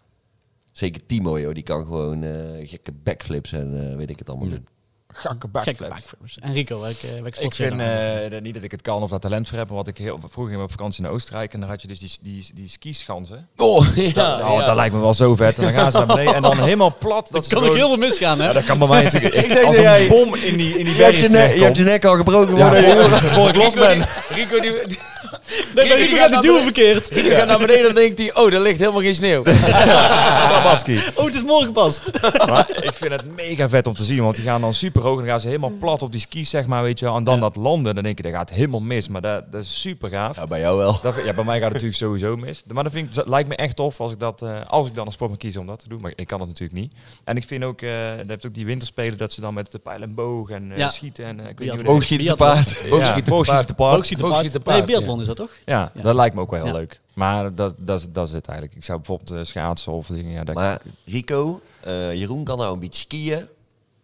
[SPEAKER 2] Zeker Timo, joh, die kan gewoon eh, gekke backflips en eh, weet ik het allemaal doen.
[SPEAKER 6] Gakke
[SPEAKER 3] Gekke backflips. En Rico, welke, welke sport
[SPEAKER 6] Ik
[SPEAKER 3] zou je
[SPEAKER 6] vind
[SPEAKER 3] dan aan-
[SPEAKER 6] eh, dat- niet dat ik het kan of dat talent voor heb, maar wat ik heel, vroeger ging ik op vakantie naar Oostenrijk en daar had je dus die, die, die skischansen.
[SPEAKER 4] Oh, ja.
[SPEAKER 2] Ah,
[SPEAKER 6] oh, dat lijkt me wel zo vet. En dan gaan ze naar beneden en dan helemaal plat. Dat, ze
[SPEAKER 3] kan ook
[SPEAKER 6] gewoon-
[SPEAKER 3] heel veel misgaan, hè?
[SPEAKER 6] Ja, dat kan bij mij natuurlijk echt als een bom in die, in die
[SPEAKER 2] Je hebt, je
[SPEAKER 6] berries
[SPEAKER 2] nek, je
[SPEAKER 6] terechtkomt.
[SPEAKER 2] hebt je nek al gebroken
[SPEAKER 6] Ja,
[SPEAKER 2] worden. joh.
[SPEAKER 6] voor, voor ik los ben.
[SPEAKER 4] Rico, die, die,
[SPEAKER 3] Nee, maar
[SPEAKER 4] Rico, die
[SPEAKER 3] Rico
[SPEAKER 4] gaat
[SPEAKER 3] gaat de duw verkeerd.
[SPEAKER 4] die gaat naar beneden en denkt hij, oh, daar ligt helemaal geen sneeuw.
[SPEAKER 6] Tabatski.
[SPEAKER 3] Oh, het is morgen pas.
[SPEAKER 6] Maar ik vind het mega vet om te zien, want die gaan dan super hoog en dan gaan ze helemaal plat op die skis, zeg maar, weet je wel. En dan dat landen, dan denk je, dat gaat helemaal mis. Maar dat, dat is super gaaf.
[SPEAKER 2] Ja, Nou, bij jou wel.
[SPEAKER 6] Dat vind- ja, bij mij gaat het natuurlijk sowieso mis. Maar dat, vind ik, dat lijkt me echt tof als ik, dat, eh, als ik dan een sport mag kiezen om dat te doen. Maar ik kan dat natuurlijk niet. En ik vind ook, eh je hebt ook die winterspelen dat ze dan met de pijl en boog en eh,
[SPEAKER 3] Ja.
[SPEAKER 6] schieten en eh, ik weet niet hoe
[SPEAKER 3] Biathlon.
[SPEAKER 6] dat-
[SPEAKER 2] Oogschieten te
[SPEAKER 3] Biathlon.
[SPEAKER 2] paard.
[SPEAKER 6] Ja,
[SPEAKER 4] Boogschieten te
[SPEAKER 6] boogschieten
[SPEAKER 4] paard.
[SPEAKER 6] te paard.
[SPEAKER 4] Boogschieten te
[SPEAKER 3] Boogschieten
[SPEAKER 4] paard,
[SPEAKER 3] Nee,
[SPEAKER 4] ja.
[SPEAKER 3] biathlon is dat toch?
[SPEAKER 6] Ja,
[SPEAKER 3] Ja.
[SPEAKER 6] dat lijkt me ook wel heel
[SPEAKER 3] Ja.
[SPEAKER 6] leuk. Maar dat, dat, is- dat is het eigenlijk. Ik zou bijvoorbeeld eh, schaatsen of dingen. Ja, dat-
[SPEAKER 2] Maar Rico, eh, Jeroen kan nou een beetje skiën.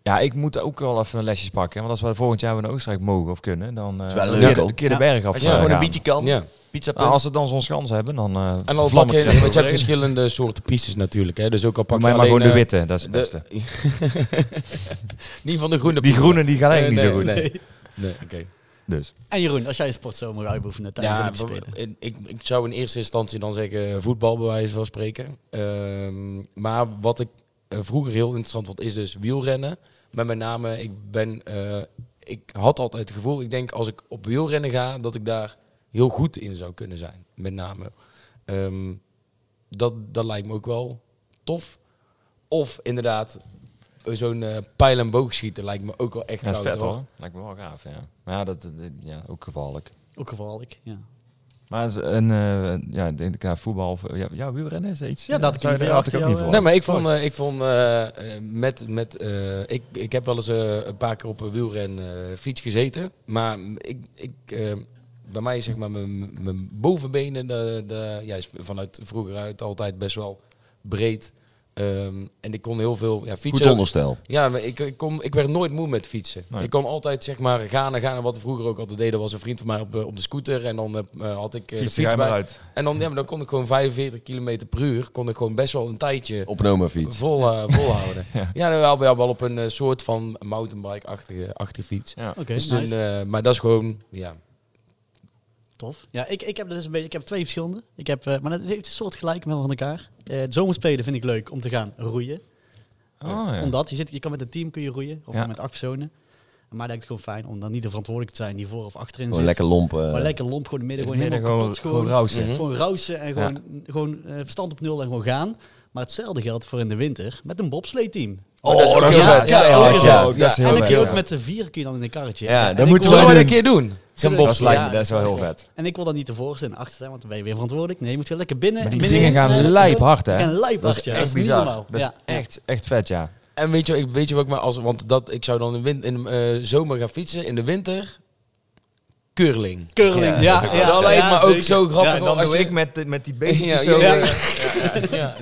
[SPEAKER 6] ja, ik moet ook wel even een lesjes pakken. Want als we volgend jaar weer naar Oostenrijk mogen of kunnen, dan eh
[SPEAKER 2] Is wel
[SPEAKER 6] dan
[SPEAKER 2] leuk,
[SPEAKER 6] een keer-
[SPEAKER 2] hoor.
[SPEAKER 6] een keer de
[SPEAKER 3] Ja.
[SPEAKER 6] berg af.
[SPEAKER 2] Als je
[SPEAKER 6] eh,
[SPEAKER 2] gewoon een
[SPEAKER 6] gaan.
[SPEAKER 2] beetje kan.
[SPEAKER 4] Ja.
[SPEAKER 2] Pizza punt.
[SPEAKER 6] Nou, als ze dan zo'n schans hebben, dan eh
[SPEAKER 4] En al pak
[SPEAKER 6] vlam ik
[SPEAKER 4] je,
[SPEAKER 6] er
[SPEAKER 4] want je hebt
[SPEAKER 6] overheen.
[SPEAKER 4] verschillende soorten pistes natuurlijk. Hè. Dus ook al pak
[SPEAKER 6] Doe
[SPEAKER 4] je
[SPEAKER 6] mij maar
[SPEAKER 4] alleen,
[SPEAKER 6] gewoon de
[SPEAKER 4] eh,
[SPEAKER 6] witte, dat is het
[SPEAKER 4] de-
[SPEAKER 6] beste.
[SPEAKER 4] Niet van de groene
[SPEAKER 6] Die
[SPEAKER 4] ploegen.
[SPEAKER 6] groene die gaan eigenlijk
[SPEAKER 4] Nee,
[SPEAKER 6] niet zo goed.
[SPEAKER 4] nee, Nee, oké.
[SPEAKER 6] Dus.
[SPEAKER 3] En Jeroen, als jij een sport zou mogen uitbeoefenen tijdens
[SPEAKER 4] Ja,
[SPEAKER 3] de Olympische Spelen.
[SPEAKER 4] w- in- ik, ik zou in eerste instantie dan zeggen eh, voetbal, bij wijze van spreken. Ehm, maar wat ik eh, vroeger heel interessant vond, is dus wielrennen. Maar met name, ik ben... eh, ik had altijd het gevoel, ik denk als ik op wielrennen ga, dat ik daar heel goed in zou kunnen zijn. Met name. Ehm, dat, dat lijkt me ook wel tof. Of inderdaad, eh, zo'n eh, pijl- en boogschieten lijkt me ook wel echt
[SPEAKER 6] Ja, dat is
[SPEAKER 4] goud,
[SPEAKER 6] vet hoor. Lijkt me wel gaaf, ja. Maar ja, dat, dat- ja, ook gevaarlijk.
[SPEAKER 3] Ook gevaarlijk, ja.
[SPEAKER 6] Maar is een, eh, ja, ik denk ja, voetbal, of- ja, ja, wielrennen is iets. eh,
[SPEAKER 3] Ja, dat had ik
[SPEAKER 6] zou je-
[SPEAKER 3] niet
[SPEAKER 6] had ik
[SPEAKER 3] verwacht,
[SPEAKER 6] ook niet
[SPEAKER 3] ja,
[SPEAKER 6] voor.
[SPEAKER 4] Nee, maar ik vond, eh, ik vond eh, eh, met, met eh, ik, ik heb wel eens eh, een paar keer op een wielrenfiets fiets gezeten, maar ik, ik eh, bij mij zeg maar mijn mijn bovenbenen, de, de, ja, is vanuit vroeger uit altijd best wel breed. Ehm, en ik kon heel veel ja,
[SPEAKER 2] Goed
[SPEAKER 4] fietsen.
[SPEAKER 2] onderstel.
[SPEAKER 4] Ja, maar ik, ik, kon, ik werd nooit moe met fietsen.
[SPEAKER 6] Nee.
[SPEAKER 4] Ik kon altijd zeg maar gaan en gaan. En wat we vroeger ook altijd deden, was een vriend van mij op, eh, op de scooter. En dan eh, eh, had ik eh,
[SPEAKER 6] Fiets
[SPEAKER 4] de
[SPEAKER 6] er
[SPEAKER 4] fiets
[SPEAKER 6] maar
[SPEAKER 4] bij.
[SPEAKER 6] uit.
[SPEAKER 4] En dan, ja, maar dan kon ik gewoon 45 km per uur. Kon ik gewoon best wel een tijdje
[SPEAKER 2] Op een omafiets.
[SPEAKER 4] vol, eh, volhouden. ja, dan wel, wel, wel op een eh, soort van mountainbike-achtige achtige fiets.
[SPEAKER 6] Ja.
[SPEAKER 3] Oké,
[SPEAKER 4] Dus toen,
[SPEAKER 3] nice.
[SPEAKER 4] eh, maar dat is gewoon, ja.
[SPEAKER 3] Tof. Ja, ik, ik heb dus een beetje, ik heb twee verschillende. Ik heb, eh, maar het heeft een soort gelijk met van elkaar. Eh de zomerspelen vind ik leuk om te gaan roeien.
[SPEAKER 6] Oh, ja.
[SPEAKER 3] Omdat je, zit, je kan met een team kun je roeien, of
[SPEAKER 6] Ja.
[SPEAKER 3] met acht personen. Maar het lijkt het gewoon fijn om dan niet de verantwoordelijk te zijn die voor of achterin zit.
[SPEAKER 2] Gewoon lekker eh. lompen.
[SPEAKER 3] maar lekker lomp, gewoon in het midden, gewoon
[SPEAKER 6] Midden
[SPEAKER 3] helemaal
[SPEAKER 6] gewoon,
[SPEAKER 3] kapot. Gewoon,
[SPEAKER 6] gewoon
[SPEAKER 3] gewoon,
[SPEAKER 6] rausen.
[SPEAKER 3] rausen
[SPEAKER 4] Mhm.
[SPEAKER 3] en gewoon, gewoon eh, verstand op nul en gewoon gaan. Maar hetzelfde geldt voor in de winter met een bobsleeteam.
[SPEAKER 4] Oh, dat is ook heel
[SPEAKER 3] ja,
[SPEAKER 4] vet.
[SPEAKER 3] ja,
[SPEAKER 4] Ja,
[SPEAKER 3] ook
[SPEAKER 4] ja,
[SPEAKER 3] heel
[SPEAKER 4] ja,
[SPEAKER 3] vet.
[SPEAKER 4] ook dat is
[SPEAKER 3] En
[SPEAKER 4] heel
[SPEAKER 3] dan
[SPEAKER 4] vet,
[SPEAKER 3] kun je ook
[SPEAKER 4] ja.
[SPEAKER 3] met de vier kun je dan in een karretje.
[SPEAKER 2] Ja,
[SPEAKER 3] En
[SPEAKER 2] dat
[SPEAKER 3] ik
[SPEAKER 2] moeten
[SPEAKER 3] wil-
[SPEAKER 4] Zullen we
[SPEAKER 2] doen.
[SPEAKER 4] dat een keer doen? Zo'n
[SPEAKER 3] Zullen we-
[SPEAKER 6] Dat, lijkt me-
[SPEAKER 3] Ja,
[SPEAKER 6] dat is wel heel vet.
[SPEAKER 3] En ik wil dan niet de voorste en de achterste zijn, want dan ben je weer verantwoordelijk. Nee, je moet gewoon lekker binnen.
[SPEAKER 6] Maar
[SPEAKER 3] en
[SPEAKER 6] die
[SPEAKER 3] binnen
[SPEAKER 6] dingen
[SPEAKER 3] en,
[SPEAKER 6] gaan
[SPEAKER 3] eh,
[SPEAKER 6] lijphard, hè?
[SPEAKER 3] Gaan
[SPEAKER 6] Dat
[SPEAKER 3] lijphard,
[SPEAKER 6] is
[SPEAKER 3] ja.
[SPEAKER 6] echt
[SPEAKER 3] niet
[SPEAKER 6] bizar.
[SPEAKER 3] normaal.
[SPEAKER 6] Dat is
[SPEAKER 3] Ja.
[SPEAKER 6] echt, echt vet, ja.
[SPEAKER 4] En weet je, ik, weet je wat ik me als, want dat, ik zou dan in, win- in de eh, zomer gaan fietsen, in de winter, curling.
[SPEAKER 3] Curling, ja. ja,
[SPEAKER 4] dat lijkt me ook
[SPEAKER 3] zeker.
[SPEAKER 4] zo grappig.
[SPEAKER 3] Ja,
[SPEAKER 4] hoor, als je-
[SPEAKER 6] met, met die
[SPEAKER 4] Ja,
[SPEAKER 6] zo.
[SPEAKER 4] ja.
[SPEAKER 6] eh,
[SPEAKER 4] Ja.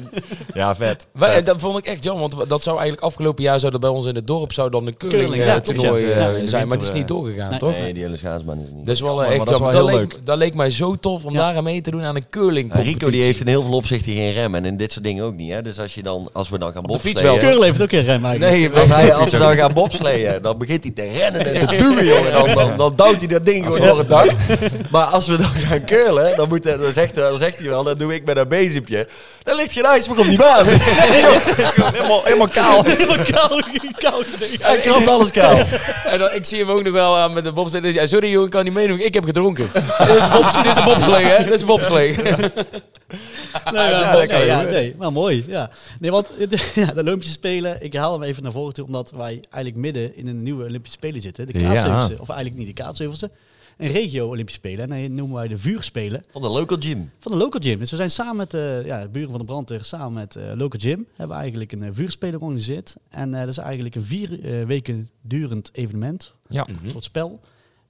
[SPEAKER 6] Ja, vet.
[SPEAKER 4] Wij- dat vond ik echt jammer, want dat zou eigenlijk afgelopen jaar zou dat bij ons in het dorp zou dan een curling,
[SPEAKER 3] Curling,
[SPEAKER 4] eh,
[SPEAKER 3] ja,
[SPEAKER 4] toernooi
[SPEAKER 3] klopt,
[SPEAKER 4] eh,
[SPEAKER 3] ja.
[SPEAKER 6] Ja, in de
[SPEAKER 4] zijn, maar die is
[SPEAKER 6] winter,
[SPEAKER 4] niet
[SPEAKER 6] eh.
[SPEAKER 4] doorgegaan,
[SPEAKER 3] Nee.
[SPEAKER 4] toch?
[SPEAKER 2] Nee, die hele schaatsbaan is niet.
[SPEAKER 4] Dat is wel eh,
[SPEAKER 6] maar
[SPEAKER 4] echt
[SPEAKER 6] dat is
[SPEAKER 4] jammer.
[SPEAKER 6] wel
[SPEAKER 4] Dat,
[SPEAKER 6] heel
[SPEAKER 4] leek, dat leek mij zo tof om
[SPEAKER 3] Ja.
[SPEAKER 4] daar aan mee te doen aan een curling
[SPEAKER 2] Ja, Rico die heeft in heel veel opzichten geen rem en in dit soort dingen ook niet. Hè? Dus als, je dan, als we dan gaan
[SPEAKER 4] de fiets
[SPEAKER 2] bobsleeën...
[SPEAKER 3] Curling heeft ook geen rem eigenlijk.
[SPEAKER 4] Nee,
[SPEAKER 2] Als, hij, als we dan gaan bobsleeën, dan begint hij te rennen en te duwen, jongen. Dan, dan, dan duwt hij dat ding
[SPEAKER 6] Als
[SPEAKER 2] gewoon voor het dak. Maar als we dan gaan curlen, dan, moet, hij- dan, zegt, dan zegt hij wel, dan doe ik met een bezempje. Dan ligt geen ijs meer op die baan. helemaal, helemaal kaal.
[SPEAKER 3] Helemaal koud. koud ding.
[SPEAKER 2] Hij krabt alles kaal.
[SPEAKER 4] En dan, ik zie hem ook nog wel aan met de bobslee. Dus, ja, sorry jongen, ik kan niet meedoen. Ik heb gedronken. dit is een bobs- dit is een bobslee, hè? Dit is een bobslee.
[SPEAKER 3] Nee, ja,
[SPEAKER 4] dat kan
[SPEAKER 3] nee,
[SPEAKER 4] je
[SPEAKER 3] ja,
[SPEAKER 4] doen.
[SPEAKER 3] nee, maar mooi. Ja. Nee, want ja, de Olympische Spelen, ik haal hem even naar voren toe, omdat wij eigenlijk midden in een nieuwe Olympische Spelen zitten. De
[SPEAKER 6] Ja.
[SPEAKER 3] Kaatsheuvelsen, of eigenlijk niet de Kaatsheuvelsen, een regio Olympische Spelen. En dan noemen wij de vuurspelen
[SPEAKER 2] Van de local gym.
[SPEAKER 3] van de Local Gym. Dus we zijn samen met eh, ja, de buren van de brandweer, samen met eh Local Gym, hebben we eigenlijk een eh, vuurspelen georganiseerd. En eh, dat is eigenlijk een vier eh, weken durend evenement,
[SPEAKER 6] Ja.
[SPEAKER 3] een soort spel.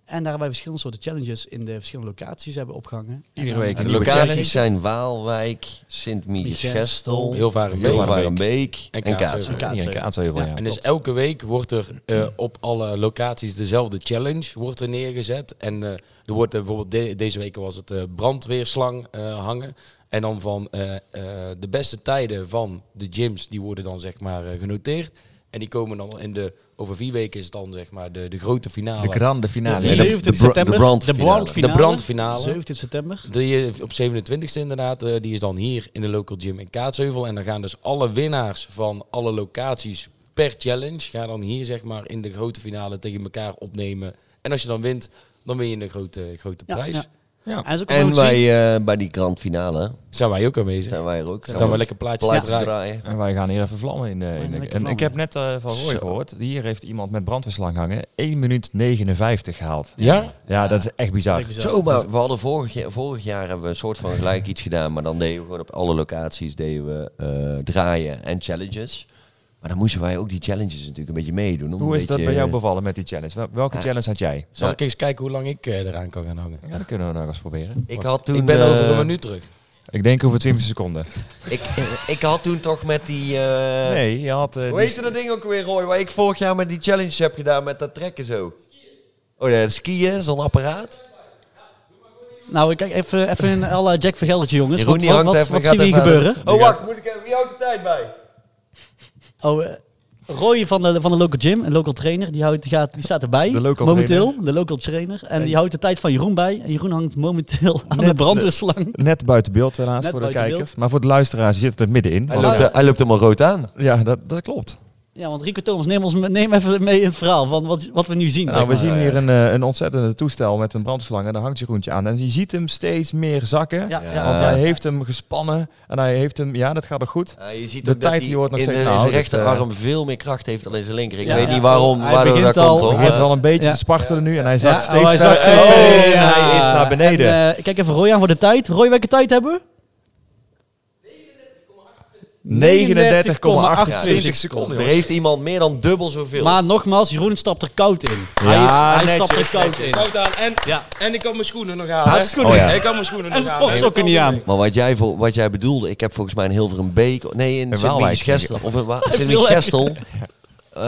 [SPEAKER 3] En daar hebben wij verschillende soorten challenges in de verschillende locaties hebben opgehangen.
[SPEAKER 6] Iedere
[SPEAKER 3] En dan-
[SPEAKER 6] week
[SPEAKER 2] En
[SPEAKER 6] een
[SPEAKER 2] de
[SPEAKER 6] nieuwe
[SPEAKER 2] locaties
[SPEAKER 6] challenge.
[SPEAKER 2] zijn Waalwijk, Sint-Michielsgestel,
[SPEAKER 4] Heel vaak een beetje.
[SPEAKER 2] Hilvarenbeek
[SPEAKER 4] En
[SPEAKER 2] en
[SPEAKER 4] Kaatsheuvel.
[SPEAKER 2] Kaatsheuvel.
[SPEAKER 6] Ja, een kaatsheuvel,
[SPEAKER 4] Ja,
[SPEAKER 6] ja.
[SPEAKER 4] en dus elke week wordt er eh, op alle locaties dezelfde challenge wordt er neergezet. En eh, er wordt eh, bijvoorbeeld de- deze week was het eh, brandweerslang eh, hangen. En dan van eh, eh, de beste tijden van de gyms, die worden dan zeg maar eh, genoteerd. En die komen dan in de, over vier weken is het dan zeg maar de, de grote finale.
[SPEAKER 6] De grande finale.
[SPEAKER 2] Ja, de-
[SPEAKER 3] 17
[SPEAKER 2] de bra- de
[SPEAKER 3] september,
[SPEAKER 2] brandfinale.
[SPEAKER 4] De brandfinale.
[SPEAKER 3] 17 september.
[SPEAKER 4] Die eh, op 27e inderdaad, eh, die is dan hier in de local gym in Kaatsheuvel. En dan gaan dus alle winnaars van alle locaties per challenge... gaan dan hier zeg maar in de grote finale tegen elkaar opnemen. En als je dan wint, dan win je een grote, grote
[SPEAKER 3] Ja,
[SPEAKER 4] prijs.
[SPEAKER 3] ja.
[SPEAKER 4] Ja.
[SPEAKER 3] En, zo kan je
[SPEAKER 2] En
[SPEAKER 3] ook zien-
[SPEAKER 2] wij eh, bij die grand finale
[SPEAKER 4] Zijn wij ook aanwezig.
[SPEAKER 2] zijn wij er ook. Zijn
[SPEAKER 4] Dan wel lekker plaatjes
[SPEAKER 2] plaatjes
[SPEAKER 4] draaien.
[SPEAKER 2] draaien.
[SPEAKER 6] En wij gaan hier even vlammen in. eh, in de-
[SPEAKER 3] lekker
[SPEAKER 6] en
[SPEAKER 3] vlammen.
[SPEAKER 6] ik heb net eh, van Roy
[SPEAKER 2] Zo.
[SPEAKER 6] gehoord. Hier heeft iemand met brandweerslang hangen 1 minuut 59 gehaald.
[SPEAKER 4] Ja?
[SPEAKER 6] Ja, dat is echt bizar.
[SPEAKER 3] Zeg ik zo.
[SPEAKER 2] Zo, maar Dus we hadden vorig jaar, vorig jaar hebben we een soort van gelijk iets gedaan, maar dan deden we gewoon op alle locaties deden we, eh, draaien en challenges. Maar dan moesten wij ook die challenges natuurlijk een beetje meedoen. Om
[SPEAKER 6] Hoe
[SPEAKER 2] een
[SPEAKER 6] is dat
[SPEAKER 2] beetje-
[SPEAKER 6] bij jou bevallen met die challenge? Wel- Welke challenge had jij?
[SPEAKER 4] Zal ik eens kijken hoe lang ik eh, eraan kan gaan hangen?
[SPEAKER 6] Ja, dat kunnen we nog eens proberen.
[SPEAKER 2] Ik had toen,
[SPEAKER 4] ik ben over
[SPEAKER 2] eh,
[SPEAKER 4] een minuut terug.
[SPEAKER 6] Ik denk over 20 seconden.
[SPEAKER 2] Ik, eh, ik had toen toch met die... eh,
[SPEAKER 6] Nee, je had... eh,
[SPEAKER 2] Hoe
[SPEAKER 6] die-
[SPEAKER 2] heette dat ding ook weer, Roy? Waar ik vorig jaar met die challenges heb gedaan met dat trekken zo. Oh, dat skiën, zo'n apparaat.
[SPEAKER 3] Nou, kijk even, even in alle Jack Vergeldertje, jongens.
[SPEAKER 2] Jeroen,
[SPEAKER 3] Dus wat
[SPEAKER 2] die
[SPEAKER 3] wat,
[SPEAKER 2] hangt
[SPEAKER 3] wat,
[SPEAKER 2] even,
[SPEAKER 3] wat
[SPEAKER 2] gaat
[SPEAKER 3] zien we hier
[SPEAKER 2] even-
[SPEAKER 3] gebeuren?
[SPEAKER 2] Oh, wacht, moet ik even... Wie houdt de tijd bij?
[SPEAKER 3] Oh, eh, Roy van de, van de local gym, een local trainer, die, houdt, die, gaat, die staat erbij
[SPEAKER 6] De local
[SPEAKER 3] momenteel. De local trainer. En die houdt de tijd van Jeroen bij. En Jeroen hangt momenteel aan de
[SPEAKER 6] Net-
[SPEAKER 3] brandweerslang.
[SPEAKER 6] Net buiten beeld helaas
[SPEAKER 3] Net
[SPEAKER 6] voor de
[SPEAKER 3] buiten
[SPEAKER 6] kijkers. Maar voor de luisteraars zit het er middenin.
[SPEAKER 2] Hij
[SPEAKER 6] Want-
[SPEAKER 2] loopt, hij loopt helemaal rood aan.
[SPEAKER 6] Ja, dat, dat klopt.
[SPEAKER 3] Ja, want Rico Thomas, neem, ons, me- neem even mee in het verhaal van wat, wat we nu zien. zeg
[SPEAKER 6] Nou, we
[SPEAKER 3] maar.
[SPEAKER 6] zien hier een, eh, een ontzettende toestel met een brandslang en daar hangt Jeroentje aan. En je ziet hem steeds meer zakken,
[SPEAKER 3] Ja, ja,
[SPEAKER 6] want
[SPEAKER 3] ja.
[SPEAKER 6] hij heeft hem gespannen en hij heeft hem... Ja, dat gaat nog goed.
[SPEAKER 2] Ja, je ziet
[SPEAKER 6] De
[SPEAKER 2] ook dat
[SPEAKER 6] tijd
[SPEAKER 2] hij
[SPEAKER 6] die wordt nog
[SPEAKER 2] in
[SPEAKER 6] steeds
[SPEAKER 2] de- zijn
[SPEAKER 6] gehouden,
[SPEAKER 2] rechterarm
[SPEAKER 7] eh,
[SPEAKER 2] veel meer kracht heeft dan in zijn linker. Ik
[SPEAKER 3] Ja,
[SPEAKER 2] weet
[SPEAKER 3] ja.
[SPEAKER 2] niet waarom,
[SPEAKER 3] Hij
[SPEAKER 2] waardoor
[SPEAKER 3] begint
[SPEAKER 2] dat
[SPEAKER 3] al-
[SPEAKER 2] komt, hoor.
[SPEAKER 6] Hij begint
[SPEAKER 2] maar-
[SPEAKER 6] al een beetje
[SPEAKER 3] Ja.
[SPEAKER 6] te spartelen nu en hij zakt
[SPEAKER 3] Ja,
[SPEAKER 6] steeds
[SPEAKER 3] oh, hij
[SPEAKER 6] verder-
[SPEAKER 3] zakt steeds
[SPEAKER 6] Oh,
[SPEAKER 3] verder.
[SPEAKER 6] en hij is naar beneden.
[SPEAKER 3] En, eh, kijk even Roy aan voor de tijd. Roy, welke tijd hebben we?
[SPEAKER 6] 39,28
[SPEAKER 2] 20
[SPEAKER 6] seconden.
[SPEAKER 2] Er heeft iemand meer dan dubbel zoveel.
[SPEAKER 3] Maar nogmaals, Jeroen stapt er koud in. hij is,
[SPEAKER 6] Ja,
[SPEAKER 3] hij
[SPEAKER 6] netjes,
[SPEAKER 3] stapt er koud in.
[SPEAKER 4] Koud aan en,
[SPEAKER 3] Ja.
[SPEAKER 4] en ik kan mijn schoenen nog halen.
[SPEAKER 3] is goed.
[SPEAKER 2] Oh ja.
[SPEAKER 4] Ik kan mijn schoenen
[SPEAKER 3] En
[SPEAKER 4] nog
[SPEAKER 3] zijn
[SPEAKER 4] halen.
[SPEAKER 3] sportsokken niet aan.
[SPEAKER 2] Maar wat jij, voor, wat jij bedoelde, ik heb volgens mij in Hilverenbeek, nee in
[SPEAKER 6] In
[SPEAKER 2] sint
[SPEAKER 6] Waalwijk,
[SPEAKER 2] gestel of in Wa-
[SPEAKER 3] heel
[SPEAKER 2] Sint-Michielsgestel, eh,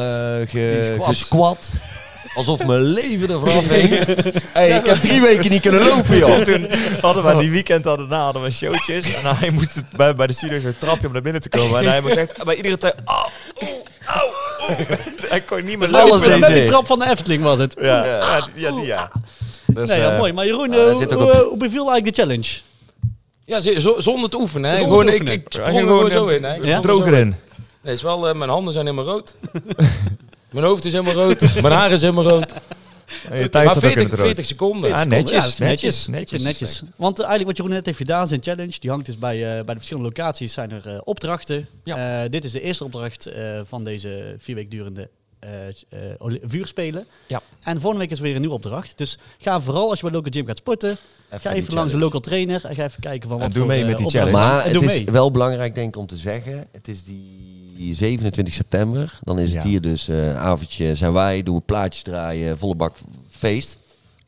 [SPEAKER 2] ge, gesquat. Alsof mijn leven er vanaf ging. Hey, ik heb drie weken niet kunnen lopen, joh.
[SPEAKER 7] Toen hadden we die weekend daarna hadden we showtjes. En hij moest bij, bij de studio zo'n trapje om naar binnen te komen. En hij moest echt bij iedere tijd... Oh, Hij kon niet meer
[SPEAKER 2] lopen.
[SPEAKER 7] lopen.
[SPEAKER 2] Alles
[SPEAKER 3] Met
[SPEAKER 2] deze.
[SPEAKER 3] die trap van de Efteling was het.
[SPEAKER 7] Ja, ja, ja, die, ja. Dus,
[SPEAKER 3] nee, ja,
[SPEAKER 7] eh,
[SPEAKER 3] mooi. Maar Jeroen,
[SPEAKER 2] daar
[SPEAKER 3] hoe,
[SPEAKER 2] zit ook
[SPEAKER 3] hoe, eh,
[SPEAKER 2] een-
[SPEAKER 3] hoe beviel eigenlijk de challenge?
[SPEAKER 4] Ja, z- zo- zonder te oefenen. Hè.
[SPEAKER 3] Zonder te
[SPEAKER 4] gewoon,
[SPEAKER 3] oefenen.
[SPEAKER 4] Ik, ik sprong er gewoon zo in. Hè. Ik
[SPEAKER 3] Ja?
[SPEAKER 4] sprong er zo
[SPEAKER 6] Droger in.
[SPEAKER 4] Nee, is wel, eh, mijn handen zijn helemaal rood. mijn hoofd is helemaal rood. Mijn haar is helemaal rood.
[SPEAKER 6] En je tijd
[SPEAKER 4] maar
[SPEAKER 6] zat ook in
[SPEAKER 4] 40,
[SPEAKER 6] het rood.
[SPEAKER 4] 40 seconden.
[SPEAKER 6] Ah,
[SPEAKER 3] Ja, dat
[SPEAKER 6] netjes,
[SPEAKER 3] is
[SPEAKER 6] netjes,
[SPEAKER 3] Ik vind het netjes. Want eh, eigenlijk wat Jeroen net heeft gedaan, zijn challenge, die hangt dus bij, eh, bij de verschillende locaties, zijn er eh, opdrachten.
[SPEAKER 4] Ja.
[SPEAKER 3] Eh, dit is de eerste opdracht eh, van deze vier week durende eh, eh, oli- vuurspelen.
[SPEAKER 4] Ja.
[SPEAKER 3] En volgende week is weer een nieuwe opdracht. Dus ga vooral als je bij Local Gym gaat sporten, ga even
[SPEAKER 2] die
[SPEAKER 3] langs de
[SPEAKER 2] challenge.
[SPEAKER 3] local trainer en ga even kijken van
[SPEAKER 6] En
[SPEAKER 3] wat
[SPEAKER 6] doe
[SPEAKER 3] voor,
[SPEAKER 6] mee
[SPEAKER 3] eh,
[SPEAKER 6] met die
[SPEAKER 3] opdrachten-
[SPEAKER 6] challenge.
[SPEAKER 2] Maar
[SPEAKER 3] en doe
[SPEAKER 2] het is
[SPEAKER 3] mee.
[SPEAKER 2] wel belangrijk, denk ik, om te zeggen. Het is die 27 september. Dan is het
[SPEAKER 6] Ja.
[SPEAKER 2] hier dus eh, een avondje. Zijn wij, doen we plaatjes draaien, volle bak feest.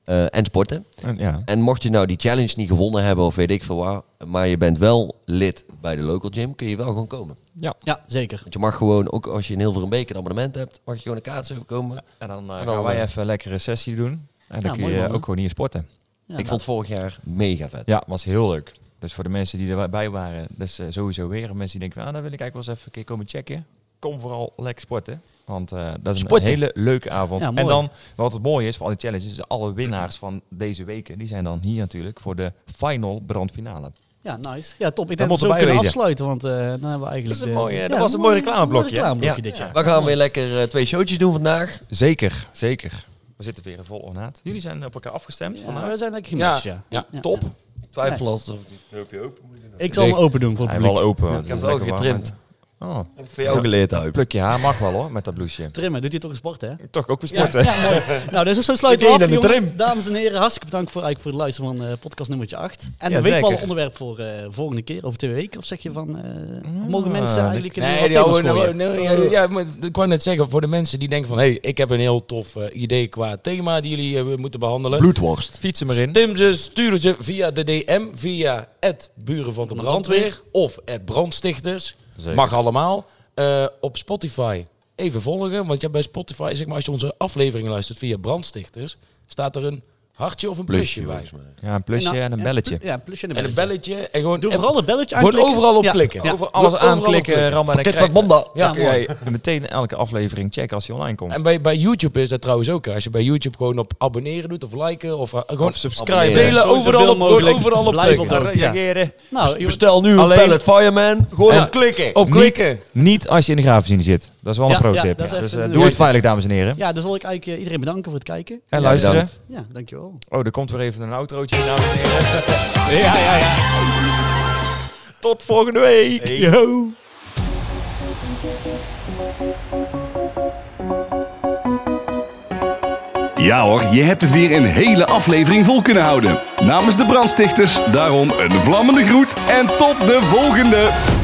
[SPEAKER 2] eh, en sporten.
[SPEAKER 6] En, ja.
[SPEAKER 2] En mocht je nou die challenge niet gewonnen hebben of weet ik veel waar, maar je bent wel lid bij de local gym, kun je wel gewoon komen.
[SPEAKER 3] Ja, zeker.
[SPEAKER 2] Want je mag gewoon, ook als je in Hilverenbeek een abonnement hebt, mag je gewoon een kaart overkomen.
[SPEAKER 6] En dan
[SPEAKER 2] En
[SPEAKER 6] eh,
[SPEAKER 2] dan,
[SPEAKER 6] gaan wij
[SPEAKER 2] eh,
[SPEAKER 6] even lekker een sessie doen. En dan
[SPEAKER 3] Ja,
[SPEAKER 6] kun
[SPEAKER 3] mooi
[SPEAKER 6] je
[SPEAKER 3] man, hè?
[SPEAKER 6] ook gewoon hier sporten.
[SPEAKER 3] Ja,
[SPEAKER 2] ik vond vorig jaar mega vet.
[SPEAKER 6] Ja, was heel leuk. Dus voor de mensen die erbij "Nou, waren, dat is eh, sowieso weer. Mensen die denken, van, ah, dan wil ik eigenlijk wel eens even een keer komen checken. Kom vooral lekker sporten. Want eh, dat is
[SPEAKER 4] Sporten.
[SPEAKER 6] een hele leuke avond.
[SPEAKER 3] Ja, mooi.
[SPEAKER 6] en dan, wat het mooie is van al die challenges, is alle winnaars van deze weken, die zijn dan hier natuurlijk voor de final brandfinale.
[SPEAKER 3] Ja, nice. Ja, top. Ik denk dat
[SPEAKER 6] Dat
[SPEAKER 3] we
[SPEAKER 6] moeten
[SPEAKER 3] zo
[SPEAKER 6] wij
[SPEAKER 3] kunnen
[SPEAKER 6] wezen.
[SPEAKER 3] afsluiten, want eh, dan hebben we eigenlijk...
[SPEAKER 7] Dat is een
[SPEAKER 3] eh,
[SPEAKER 7] mooie-
[SPEAKER 3] ja,
[SPEAKER 7] dat was een mooi reclameblokje, hè?
[SPEAKER 3] reclameblokje
[SPEAKER 2] Ja.
[SPEAKER 3] dit jaar.
[SPEAKER 2] We gaan weer lekker eh, twee showtjes doen vandaag.
[SPEAKER 6] Zeker, zeker. We zitten weer in vol ornaat. Jullie zijn op elkaar afgestemd
[SPEAKER 3] Ja,
[SPEAKER 6] vandaag.
[SPEAKER 3] we zijn lekker gemixt, ja.
[SPEAKER 4] Ja.
[SPEAKER 3] Ja.
[SPEAKER 6] Top.
[SPEAKER 2] Ik twijfel altijd of ik het knoopje open moet doen.
[SPEAKER 3] Ik zal hem
[SPEAKER 4] Dicht.
[SPEAKER 3] open doen voor het
[SPEAKER 6] Hij wel
[SPEAKER 3] publiek.
[SPEAKER 6] open.
[SPEAKER 2] Ik heb wel getrimd.
[SPEAKER 6] Oh,
[SPEAKER 2] Heb ik voor jou geleerd, Huip.
[SPEAKER 6] pluk je haar mag wel hoor, met dat blouseje.
[SPEAKER 3] Trimmen, doet hij toch een sport, hè?
[SPEAKER 6] Toch ook weer sporten.
[SPEAKER 3] Ja, mooi. Nou, dus zo sluiten we af,
[SPEAKER 2] Meteen aan de
[SPEAKER 3] jongens.
[SPEAKER 2] trim.
[SPEAKER 3] Dames en heren, hartstikke bedankt voor, eigenlijk voor het luisteren van eh, podcast nummertje 8. En
[SPEAKER 6] Ja,
[SPEAKER 3] weet je wel een
[SPEAKER 6] zeker.
[SPEAKER 3] onderwerp voor eh, volgende keer, over twee weken? Of zeg je van, eh,
[SPEAKER 6] Mm,
[SPEAKER 3] mogen mensen eigenlijk in
[SPEAKER 4] Nee, die
[SPEAKER 3] thema's
[SPEAKER 4] oude,
[SPEAKER 3] gooien?
[SPEAKER 4] nou, nou, ja, ja, maar ik wou net zeggen, voor de mensen die denken van... hé, hey, ik heb een heel tof eh, idee qua thema die jullie eh, moeten behandelen.
[SPEAKER 2] Bloedworst.
[SPEAKER 6] Fietsen maar in.
[SPEAKER 4] Stem ze, sturen ze via de DM, via het Buren van de
[SPEAKER 3] Van de
[SPEAKER 4] Brandweer of het Brandstichters.
[SPEAKER 6] Zeker.
[SPEAKER 4] Mag allemaal. Eh, op Spotify even volgen, want ja, bij Spotify, zeg maar, als je onze aflevering luistert via Brandstichters, staat er een hartje of een plusje,
[SPEAKER 2] Plusje, volgens
[SPEAKER 4] bij.
[SPEAKER 2] mij.
[SPEAKER 6] Ja, een
[SPEAKER 3] En
[SPEAKER 6] plusje
[SPEAKER 3] nou-
[SPEAKER 6] en een belletje.
[SPEAKER 3] Ja, een plusje en een
[SPEAKER 4] En een
[SPEAKER 3] belletje.
[SPEAKER 4] belletje. En gewoon
[SPEAKER 3] Doe
[SPEAKER 4] even-
[SPEAKER 3] vooral het belletje aan.
[SPEAKER 4] Gewoon overal op
[SPEAKER 3] Ja.
[SPEAKER 4] klikken.
[SPEAKER 3] Ja.
[SPEAKER 6] Over alles
[SPEAKER 4] Overal op
[SPEAKER 6] aanklikken,
[SPEAKER 4] klikken.
[SPEAKER 6] rammen en dan
[SPEAKER 2] Verkit
[SPEAKER 6] krijg
[SPEAKER 2] wat manda.
[SPEAKER 4] Ja,
[SPEAKER 6] dan kun jij meteen elke aflevering checken als die online komt.
[SPEAKER 4] En bij, bij YouTube is dat trouwens ook. hè. Als je bij YouTube gewoon op abonneren doet of liken of eh, gewoon
[SPEAKER 6] of subscribe.
[SPEAKER 2] abonneren.
[SPEAKER 4] delen,
[SPEAKER 3] Gewoon
[SPEAKER 4] overal
[SPEAKER 3] zoveel
[SPEAKER 4] op, gewoon
[SPEAKER 3] mogelijk
[SPEAKER 4] overal op
[SPEAKER 3] blijven
[SPEAKER 4] klikken.
[SPEAKER 3] op
[SPEAKER 6] Ja. Reageren.
[SPEAKER 3] Nou, jongens,
[SPEAKER 2] Bestel nu een
[SPEAKER 6] Alleen-
[SPEAKER 2] pallet fireman. Gewoon
[SPEAKER 4] Ja.
[SPEAKER 2] op klikken.
[SPEAKER 4] Op klikken.
[SPEAKER 6] Niet als je in de graafmachine zit. Dat is wel een
[SPEAKER 3] Ja, ja,
[SPEAKER 6] pro-tip.
[SPEAKER 3] dat is even
[SPEAKER 6] dus eh,
[SPEAKER 3] een-
[SPEAKER 6] doe het veilig, dames en heren.
[SPEAKER 3] ja, dus wil ik eigenlijk eh, iedereen bedanken voor het kijken.
[SPEAKER 6] En
[SPEAKER 2] Ja,
[SPEAKER 6] luisteren.
[SPEAKER 2] bedankt.
[SPEAKER 3] Ja, dankjewel.
[SPEAKER 6] Oh, er komt weer even een outrootje, dames en heren.
[SPEAKER 7] Ja, ja, ja. Tot volgende week.
[SPEAKER 3] Yo!
[SPEAKER 1] Ja hoor, je hebt het weer een hele aflevering vol kunnen houden. Namens de brandstichters, daarom een vlammende groet en tot de volgende!